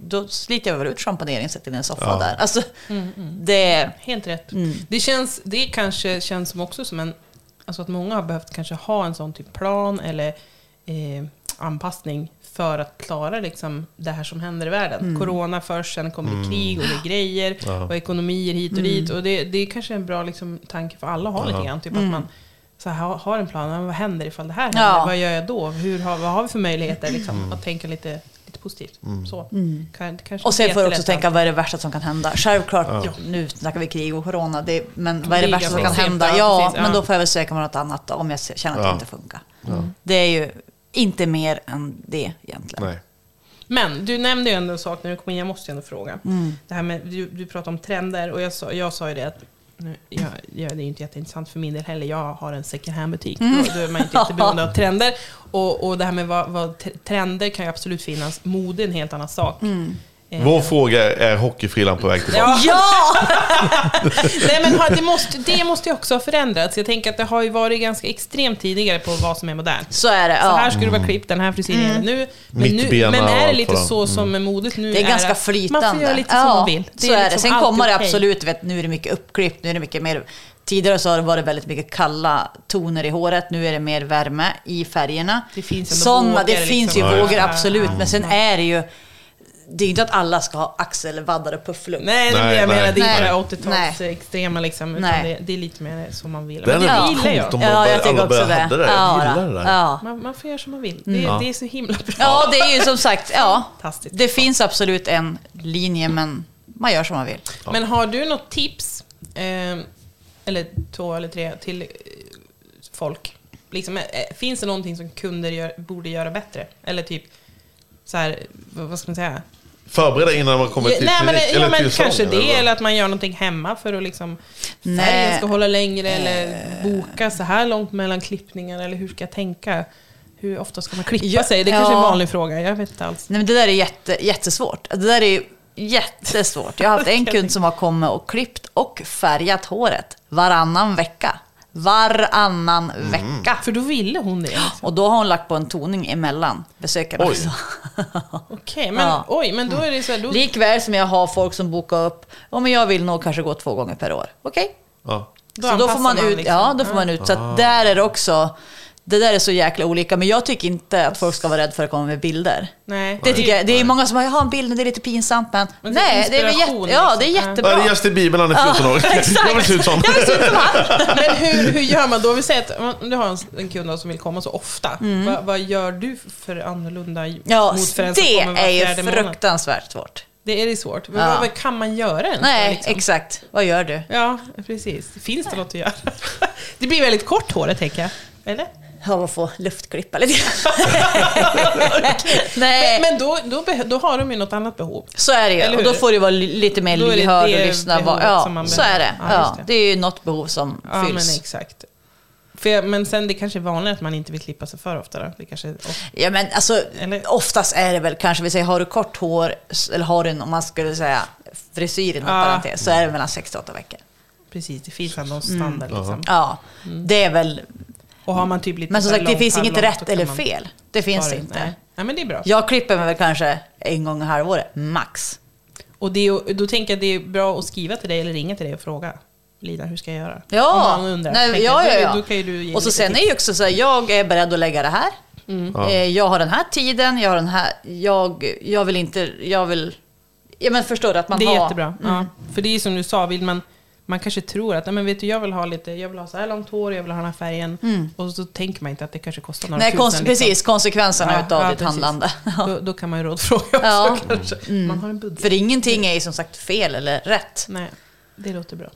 Speaker 5: Då sliter jag väl ut schamponeringen, sätter in en soffa där. Alltså,
Speaker 2: Mm,
Speaker 5: det...
Speaker 2: Helt rätt.
Speaker 5: Mm.
Speaker 2: Det, känns, det kanske känns som också som en... Alltså att många har behövt kanske ha en sån typ plan eller eh, anpassning för att klara liksom det här som händer i världen.
Speaker 5: Mm.
Speaker 2: Corona först, sen kommer det krig och det är grejer och ekonomier hit
Speaker 5: Mm.
Speaker 2: och dit. Och det, det är kanske en bra liksom, tanke för alla att ha lite grann. Typ att man så här, har- har en plan, men vad händer ifall det här händer?
Speaker 5: Mm. Ja.
Speaker 2: Vad gör jag då? Hur har, vad har vi för möjligheter liksom, att tänka lite, lite positivt? Så. Kan, kanske
Speaker 5: Mm. Och sen
Speaker 2: inte
Speaker 5: får du också
Speaker 2: jättelätt
Speaker 5: tänka, vad är det värsta som kan hända? Självklart,
Speaker 2: Ja.
Speaker 5: nu snackar vi krig och corona, det, men vad är det
Speaker 2: Ligga
Speaker 5: värsta som
Speaker 2: på
Speaker 5: kan
Speaker 2: sent,
Speaker 5: hända?
Speaker 2: ja,
Speaker 5: Ja,
Speaker 2: precis, ja.
Speaker 5: men då får jag väl söka mig något annat då, om jag ser- känner att det
Speaker 1: Ja.
Speaker 5: inte funkar. Det är ju inte mer än det egentligen.
Speaker 1: Nej.
Speaker 2: Men du nämnde ju ändå en sak när du kom in, jag måste ju ändå fråga. Det här med, du, du pratade om trender och jag sa, jag sa ju det att nu, jag, jag, det är ju inte jätteintressant för min del heller. Jag har en second hand-butik. Då, då är man ju inte jätteberoende av trender. Och, och det här med vad, vad t- trender kan ju absolut finnas. Mode är en helt annan sak. Eh,
Speaker 1: Vår fråga är hockeyfrillan på väg tillbaka?
Speaker 2: Ja,
Speaker 5: Ja!
Speaker 2: nej men har- det måste, det måste ju också ha förändrats. Jag tänker att det har ju varit ganska extremt tidigare på vad som är modernt.
Speaker 5: Så är det.
Speaker 2: Så här
Speaker 5: Ja. Mm.
Speaker 2: ska du vara klippt, den här frisyren gäller nu. Men, nu,
Speaker 1: Mittbena
Speaker 2: men är
Speaker 1: Mm. och
Speaker 2: det
Speaker 1: allt
Speaker 2: lite
Speaker 1: vad mm. det-
Speaker 2: så som med modet nu
Speaker 5: Det är ganska
Speaker 2: att
Speaker 5: flytande.
Speaker 2: Mm. Man får göra lite
Speaker 5: ja,
Speaker 2: som man vill.
Speaker 5: så är det.
Speaker 2: liksom
Speaker 5: Sen kommer
Speaker 2: alltid
Speaker 5: det
Speaker 2: okej.
Speaker 5: absolut, vet, nu är det mycket uppklippt, nu är det mycket mer... Tidigare så har det varit väldigt mycket kalla toner i håret, nu är det mer värme i färgerna.
Speaker 2: Det finns ändå
Speaker 5: Sådana,
Speaker 2: vågor,
Speaker 5: det finns ju
Speaker 2: liksom. Mm.
Speaker 5: vågor
Speaker 2: Ja, ja.
Speaker 5: absolut, men sen är det ju... Det är ju inte att alla ska ha axelvaddar och puffluck.
Speaker 2: Nej, det är det
Speaker 1: Nej,
Speaker 2: jag
Speaker 1: nej.
Speaker 2: menar. Det är
Speaker 5: Nej.
Speaker 2: bara 80-tals
Speaker 5: Nej.
Speaker 2: extrema liksom. Utan
Speaker 5: Nej.
Speaker 2: det, det är lite mer som man vill.
Speaker 1: Det
Speaker 2: Men
Speaker 1: hade
Speaker 2: det
Speaker 1: varit
Speaker 2: gillar
Speaker 1: coolt om
Speaker 2: jag.
Speaker 1: bara,
Speaker 5: Ja, jag tycker
Speaker 1: alla
Speaker 5: också
Speaker 1: började
Speaker 5: det.
Speaker 1: hade det där.
Speaker 5: Ja,
Speaker 1: Jag gillar det där.
Speaker 5: ja.
Speaker 2: Man, man får göra som man vill. Det,
Speaker 5: Mm.
Speaker 2: det är så himla bra.
Speaker 5: ja, det är ju som sagt, ja.
Speaker 2: Fantastiskt.
Speaker 5: Det finns absolut en linje, men man gör som man vill.
Speaker 2: Men har du något tips, eh, eller två eller tre, till eh, folk? Liksom, eh, finns det någonting som kunder gör, borde göra bättre? Eller typ, så här, vad vad ska man säga?
Speaker 1: Förbereda innan man kommer
Speaker 2: Ja,
Speaker 1: till
Speaker 2: nej, men,
Speaker 1: klinik,
Speaker 2: ja, men
Speaker 1: till
Speaker 2: kanske
Speaker 1: salongen,
Speaker 2: det,
Speaker 1: vad?
Speaker 2: eller att man gör någonting hemma för att liksom
Speaker 5: Nej. Eh.
Speaker 2: färgen ska hålla längre, eller boka så här långt mellan klippningar, eller hur ska jag tänka? Hur ofta ska man klippa
Speaker 5: Ja,
Speaker 2: sig? Det kanske är en
Speaker 5: ja.
Speaker 2: vanlig fråga, jag vet inte alls.
Speaker 5: Nej, men det där är jätte, jättesvårt. Det där är ju jättesvårt. Jag har haft en kund som har kommit och klippt och färgat håret varannan vecka. Varannan vecka.
Speaker 2: För då ville hon det.
Speaker 5: Och då har hon lagt på en toning emellan besökarna
Speaker 1: Oj.
Speaker 5: också.
Speaker 2: Okej, men
Speaker 5: Ja.
Speaker 2: oj, men då är det så här, då,
Speaker 5: Likväl som jag har folk som bokar upp, om jag vill nog kanske gå två gånger per år. Okej,
Speaker 1: Ja.
Speaker 2: Då
Speaker 5: Så då får
Speaker 2: anpassar
Speaker 5: man ut,
Speaker 2: liksom.
Speaker 5: ja, då får man ut. Så att där är det också, det där är så jäkla olika. Men jag tycker inte att folk ska vara rädda för att komma med bilder.
Speaker 2: Nej.
Speaker 5: Det, tycker jag, det är många som har, jag har en bild men det är lite pinsamt men...
Speaker 2: Men det är
Speaker 5: nej, det är, väl
Speaker 2: inspiration,
Speaker 5: jätte, ja, det är
Speaker 2: liksom.
Speaker 5: jättebra.
Speaker 1: Ja, det är Justin Bieber, han är 14 år. Jag vill se ut som.
Speaker 2: Men hur, hur gör man då? Vi säger att om du har en, en kund då som vill komma så ofta. Vad, vad gör du för annorlunda i-
Speaker 5: Mm. Ja,
Speaker 2: mot för en som
Speaker 5: det
Speaker 2: kommer var
Speaker 5: är ju
Speaker 2: fjärde månad?
Speaker 5: fruktansvärt svårt.
Speaker 2: Det är ju svårt. Men
Speaker 5: Ja.
Speaker 2: vad, vad kan man göra ens?
Speaker 5: Nej,
Speaker 2: liksom?
Speaker 5: exakt. Vad gör du?
Speaker 2: Ja, precis. Finns det något att göra? Det blir väldigt kort håret tänker jag. Eller?
Speaker 5: Ja, man får luftklippa lite grann. Nej,
Speaker 2: Men, men då, då, beh- då har de ju något annat behov.
Speaker 5: så är det ju.
Speaker 2: eller
Speaker 5: Och då
Speaker 2: hur?
Speaker 5: får du vara li- lite mer
Speaker 2: Då är det
Speaker 5: lyhörd och
Speaker 2: det
Speaker 5: lyssna. vad-
Speaker 2: behovet som
Speaker 5: Ja,
Speaker 2: man
Speaker 5: så är
Speaker 2: behöver.
Speaker 5: det.
Speaker 2: Ja, just
Speaker 5: Ja,
Speaker 2: det.
Speaker 5: det är ju något behov som
Speaker 2: Ja, men
Speaker 5: fylls.
Speaker 2: exakt. För, jag- men sen det kanske är vanligt att man inte vill klippa sig för ofta. Då. Det kanske, och,
Speaker 5: Ja, men alltså,
Speaker 2: Eller-
Speaker 5: oftast är det väl kanske, vi säger har du kort hår, s- eller har du, en- om man skulle säga frisyr inom
Speaker 2: Ja.
Speaker 5: parentes, så är det mellan 6 till 8 veckor.
Speaker 2: precis, det finns ändå en
Speaker 5: Mm.
Speaker 2: standard. Liksom.
Speaker 5: Ja, det är väl...
Speaker 2: Och har man typ lite
Speaker 5: Men som
Speaker 2: så här
Speaker 5: sagt, det
Speaker 2: långt
Speaker 5: finns
Speaker 2: hallon
Speaker 5: inget
Speaker 2: så
Speaker 5: rätt
Speaker 2: kan
Speaker 5: eller
Speaker 2: man
Speaker 5: fel. Det finns
Speaker 2: bara-
Speaker 5: det inte.
Speaker 2: Nej. Nej, men det är bra.
Speaker 5: Jag klipper mig väl kanske en gång i halvåret, max.
Speaker 2: Och det är, ju- då tänker jag att det är bra att skriva till dig eller ringa till dig och fråga. Lina, hur ska jag göra?
Speaker 5: Ja,
Speaker 2: Om man undrar.
Speaker 5: Nej,
Speaker 2: tänker
Speaker 5: ja,
Speaker 2: jag,
Speaker 5: ja,
Speaker 2: då-
Speaker 5: ja.
Speaker 2: Då kan ju du ge
Speaker 5: och så
Speaker 2: lite
Speaker 5: sen är
Speaker 2: tips. Mm.
Speaker 5: ju också så här, jag är beredd att lägga det här. Eh, Jag har den här tiden, jag har den här, jag, jag vill inte, jag vill... Ja men förstår du att man
Speaker 2: det är
Speaker 5: har... Mm.
Speaker 2: jättebra. Ja. För det är som du sa, vill man, man kanske tror att nej, men vet du, jag vill ha lite, jag vill ha så här långt hår, jag vill ha den här färgen. Och så tänker man inte att det kanske kostar några
Speaker 5: Mm. Nej,
Speaker 2: tusen.
Speaker 5: kons-
Speaker 2: liksom.
Speaker 5: precis, konsekvenserna
Speaker 2: Ja,
Speaker 5: utav
Speaker 2: ja,
Speaker 5: ditt
Speaker 2: precis.
Speaker 5: handlande.
Speaker 2: Då, då kan man ju rådfråga också
Speaker 5: Ja. Mm.
Speaker 2: kanske. Man har en budget.
Speaker 5: För ingenting är ju som sagt fel eller rätt.
Speaker 2: Nej, det låter bra.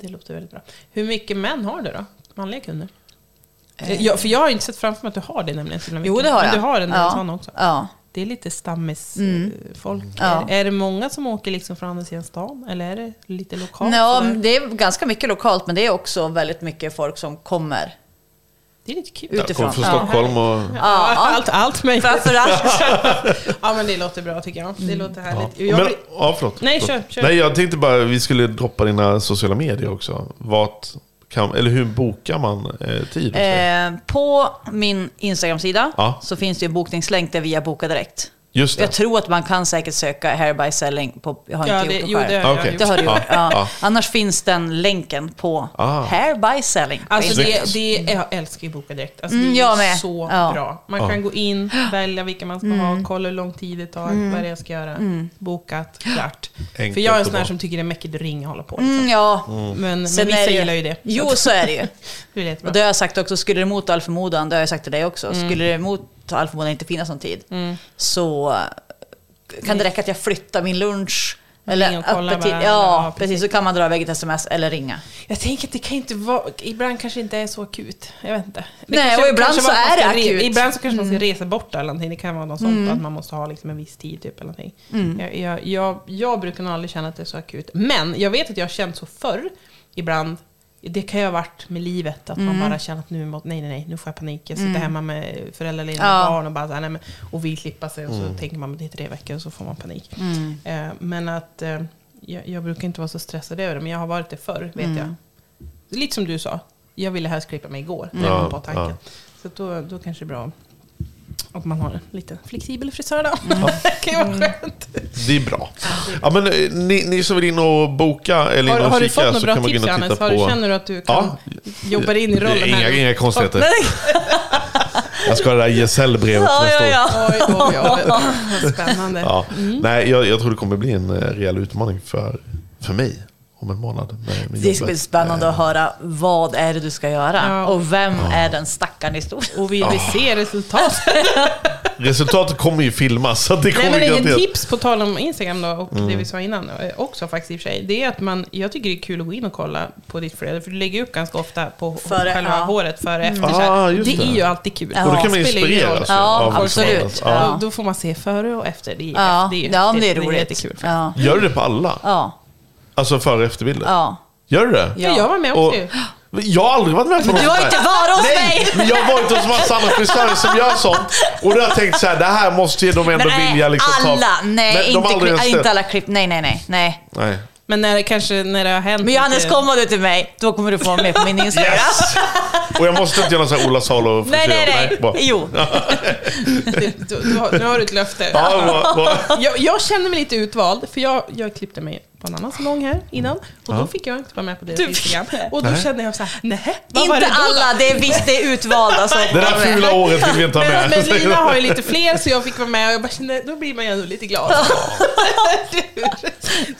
Speaker 2: Det låter väldigt bra. Hur mycket män har du då? Manliga kunder? Ja, för jag har inte sett framför mig att du har det nämligen. så himla
Speaker 5: Eh. Jo
Speaker 2: mycket.
Speaker 5: det har
Speaker 2: Men
Speaker 5: jag.
Speaker 2: Du har en del
Speaker 5: ja.
Speaker 2: sån också.
Speaker 5: Ja.
Speaker 2: Det är lite stammisfolk.
Speaker 5: Mm. Ja.
Speaker 2: Är, är det många som åker liksom från andra sidan stan? Eller är det lite lokalt?
Speaker 5: Ja,
Speaker 2: sådär?
Speaker 5: det är ganska mycket lokalt men det är också väldigt mycket folk som kommer
Speaker 2: det är lite kul.
Speaker 5: utifrån.
Speaker 1: Kom från Stockholm och...
Speaker 2: Ja,
Speaker 5: allt.
Speaker 2: allt, allt möjligt.
Speaker 5: Framförallt.
Speaker 2: ja, men det låter bra tycker jag.
Speaker 5: Mm.
Speaker 2: Det låter härligt.
Speaker 1: Ja.
Speaker 2: Jag
Speaker 1: Men,
Speaker 2: blir-
Speaker 1: ja, förlåt.
Speaker 2: Nej,
Speaker 1: Förlåt.
Speaker 2: kör, kör.
Speaker 1: Nej, jag tänkte bara vi skulle droppa dina sociala medier också. Vart kan, eller hur bokar man eh, tid?
Speaker 5: Eh, på min Instagram-sida
Speaker 1: Ja.
Speaker 5: så finns det ju en bokningslänk där via Boka Direkt.
Speaker 1: Just det.
Speaker 5: Jag tror att man kan säkert söka hair by selling på... Jag har
Speaker 2: Ja,
Speaker 5: inte
Speaker 2: det,
Speaker 5: gjort det,
Speaker 2: jo, det
Speaker 5: själv.
Speaker 2: har
Speaker 1: Okej.
Speaker 2: jag
Speaker 5: Det
Speaker 2: gjort.
Speaker 5: har du gjort. Ja.
Speaker 1: Ja.
Speaker 5: Annars finns den länken på
Speaker 1: Ah.
Speaker 5: hair by selling. på
Speaker 2: Alltså
Speaker 5: Instagram.
Speaker 2: det,
Speaker 1: Snyggt.
Speaker 2: det, jag älskar ju Boka Direkt. Alltså
Speaker 5: Mm,
Speaker 2: det
Speaker 5: jag
Speaker 2: är ju
Speaker 5: med.
Speaker 2: så
Speaker 5: Ja. Mm.
Speaker 2: bra. Man kan gå in, välja vilka man ska ha, kolla hur lång tid det tar, vad det är jag ska göra. Bokat, klart.
Speaker 1: Enkelt
Speaker 2: För jag är en
Speaker 1: och
Speaker 2: sån här
Speaker 1: bra.
Speaker 2: som tycker det är mäckigt att ringa och hålla på. Liksom.
Speaker 5: Mm, ja.
Speaker 2: Men, men
Speaker 5: Sen
Speaker 2: vissa
Speaker 5: är det
Speaker 2: gillar ju det.
Speaker 5: Jo, så är det ju.
Speaker 2: Det är jättebra.
Speaker 5: Och det har jag sagt också, skulle det mot all förmodan, det har jag sagt till dig också,
Speaker 2: Mm.
Speaker 5: skulle det mot all förmodan inte finnas någon tid, så kan det räcka att jag flyttar min lunch, eller
Speaker 2: Ring och kolla
Speaker 5: öppettid.
Speaker 2: varandra,
Speaker 5: Ja,
Speaker 2: ja,
Speaker 5: precis. Så kan man dra iväg ett sms eller ringa.
Speaker 2: Jag tänker att det kan inte vara, ibland kanske inte är så akut. Jag vet inte. Det
Speaker 5: Nej,
Speaker 2: kanske,
Speaker 5: och ibland
Speaker 2: kanske
Speaker 5: så
Speaker 2: var att man
Speaker 5: är det
Speaker 2: ska re-
Speaker 5: akut.
Speaker 2: Ibland så kanske man ska resa bort eller någonting. Det kan vara något sånt att man måste ha liksom en viss tid typ eller någonting. Jag, jag, jag, jag brukar nog aldrig känna att det är så akut. Men jag vet att jag har känt så förr ibland. Det kan ju ha varit med livet, att man bara känner att nu, må- nej, nej, nej, nu får jag panik. Jag sitter hemma med föräldraledigt
Speaker 5: Ja.
Speaker 2: och barn och, bara så här, nej, men, och vill klippa sig. Och så tänker man att det är tre veckor och så får man panik. Eh, men att eh, jag, jag brukar inte vara så stressad över det, men jag har varit det förr, vet jag. Lite som du sa, jag ville helst klippa mig igår. när Jag kom
Speaker 1: Ja,
Speaker 2: på tanken. Så att då, då kanske det är bra att man har en lite flexibel frisör då.
Speaker 1: Mm.
Speaker 2: det kan ju vara skönt.
Speaker 1: Det är bra. Ja, men, eh, ni, ni som vill in och boka eller in
Speaker 2: Har,
Speaker 1: och
Speaker 2: har du
Speaker 1: kika
Speaker 2: fått några
Speaker 1: så kan
Speaker 2: bra
Speaker 1: man gå in och
Speaker 2: tips Johannes?
Speaker 1: titta
Speaker 2: Har du,
Speaker 1: på...
Speaker 2: känner du att du kan jobba dig in i rollen
Speaker 1: Det är inga,
Speaker 2: här? nu?
Speaker 1: Inga konstigheter.
Speaker 5: Nej.
Speaker 1: Jag ska ha det där gesällbrevet
Speaker 5: Ja,
Speaker 1: nästa
Speaker 5: ja,
Speaker 1: år.
Speaker 5: ja.
Speaker 2: Oj, oj, oj. Vad Spännande.
Speaker 1: Ja. Nej, jag, jag tror det kommer bli en eh, rejäl utmaning för, för mig om en månad. Med, med
Speaker 5: Det ska bli
Speaker 1: jobbet.
Speaker 5: spännande
Speaker 1: Eh,
Speaker 5: att höra vad är det du ska göra
Speaker 2: Ja.
Speaker 5: och vem är den stackaren i stort?
Speaker 2: Och vi vill se resultatet.
Speaker 1: Resultatet kommer ju filmas. Så det
Speaker 2: Nej,
Speaker 1: kommer
Speaker 2: men en
Speaker 1: garanterat- Mm.
Speaker 2: tips på tal om Instagram då, och det vi sa innan eh, också faktiskt i och för sig. Det är att man, jag tycker det är kul att gå in och kolla på ditt flöde, för du lägger upp ganska ofta på
Speaker 5: Före,
Speaker 2: själva
Speaker 5: ja. Mm.
Speaker 2: håret före och efter.
Speaker 1: Ah,
Speaker 2: så här.
Speaker 1: just
Speaker 2: det.
Speaker 1: det.
Speaker 2: är ju alltid kul.
Speaker 5: Och då
Speaker 1: kan man alltså.
Speaker 2: Det spelar ingen roll.
Speaker 1: inspireras.
Speaker 5: Ja,
Speaker 1: av
Speaker 5: absolut.
Speaker 1: resultatet. Ja.
Speaker 2: Då, då får man se före och efter. Det är,
Speaker 5: Ja,
Speaker 2: det är,
Speaker 5: ja men
Speaker 2: det,
Speaker 5: det är roligt.
Speaker 2: Det är kul.
Speaker 5: ja.
Speaker 1: Gör du det på alla?
Speaker 5: Ja.
Speaker 1: Alltså före och efterbilder?
Speaker 5: Ja.
Speaker 1: Gör du det?
Speaker 2: Ja. Jag var med
Speaker 1: Och,
Speaker 2: också ju.
Speaker 1: jag har aldrig varit med på något
Speaker 5: Du har
Speaker 1: sånt
Speaker 5: inte
Speaker 1: här.
Speaker 5: varit hos
Speaker 1: Nej,
Speaker 5: mig!
Speaker 1: men jag har varit hos massa andra frisörer som gör sånt. Och då har jag tänkt så här, det här måste ju de ändå
Speaker 5: Nej,
Speaker 1: vilja liksom
Speaker 5: alla,
Speaker 1: ta.
Speaker 5: nej,
Speaker 1: Men de har
Speaker 5: inte,
Speaker 1: aldrig
Speaker 5: klipp,
Speaker 1: ens
Speaker 5: inte
Speaker 1: sett.
Speaker 5: alla klipp, nej, nej, nej, nej.
Speaker 1: Nej.
Speaker 2: Men när det kanske när det har hänt...
Speaker 5: Men Johannes,
Speaker 2: lite-
Speaker 5: kommer du till mig, då kommer du få vara med på min Instagram.
Speaker 1: Yes! Och jag måste inte göra någon sån här Ola Salo
Speaker 5: Nej, nej, nej.
Speaker 1: bra.
Speaker 5: Jo.
Speaker 2: Du, du, du har, nu har du ett löfte.
Speaker 1: Ja, bra, bra.
Speaker 2: Jag, jag känner mig lite utvald, för jag, jag klippte mig på en annan salong här innan. Och då
Speaker 1: Ja.
Speaker 2: fick jag inte vara med på deras
Speaker 5: Du-
Speaker 2: Instagram. Och då
Speaker 1: Nej.
Speaker 2: kände jag så här, nej, vad var
Speaker 5: Inte
Speaker 2: det då då?
Speaker 5: alla, det är visst det är alltså. utvalda som
Speaker 1: Det där fula året vill vi inte ha
Speaker 2: Men,
Speaker 1: med.
Speaker 2: men Lina har ju lite fler så jag fick vara med och jag bara kände, då blir man ju ändå lite glad.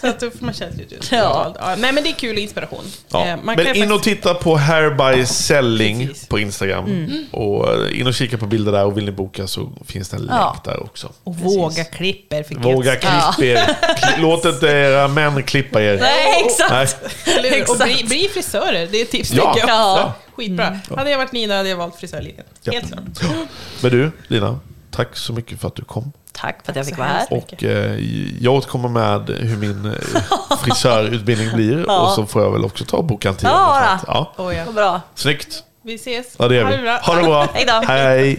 Speaker 2: så att då får man känna sig lite
Speaker 5: Ja.
Speaker 2: ja. Nej men det är kul inspiration. Eh,
Speaker 1: Ja.
Speaker 2: man kan
Speaker 1: Men
Speaker 2: ju
Speaker 1: in och
Speaker 2: faktiskt-
Speaker 1: titta på Hair by Selling
Speaker 2: Precis.
Speaker 1: på Instagram.
Speaker 5: Mm.
Speaker 1: Och eh, in och kika på bilder där och vill ni boka så finns det en länk
Speaker 5: Ja. Oh,
Speaker 1: där också.
Speaker 2: och våga klipper fick
Speaker 1: Våga klippa er. Kli- Låt inte era män klippa er.
Speaker 5: Nej, exakt.
Speaker 1: Nej.
Speaker 2: Eller hur? Och
Speaker 5: Exakt.
Speaker 2: bli, bli frisörer, det är ett tips
Speaker 1: Ja. Mm.
Speaker 2: tycker jag.
Speaker 5: Ja.
Speaker 2: Ja. Skitbra. Hade jag varit Nina hade jag valt frisörlinjen.
Speaker 1: Ja.
Speaker 2: Helt klart.
Speaker 1: Men du, Lina. Tack så mycket för att du kom.
Speaker 5: Tack för att jag fick vara här.
Speaker 1: Och eh, jag återkommer med hur min eh, frisörutbildning blir.
Speaker 5: Ja.
Speaker 1: Och så får jag väl också ta och boka en tid.
Speaker 5: Ja,
Speaker 1: eller något
Speaker 5: då.
Speaker 1: sånt. Ja.
Speaker 2: Oh, ja.
Speaker 5: Vad bra.
Speaker 1: Snyggt.
Speaker 2: Vi ses.
Speaker 1: Ja, det gör vi. Ha det bra.
Speaker 5: Hej då.
Speaker 1: Hej.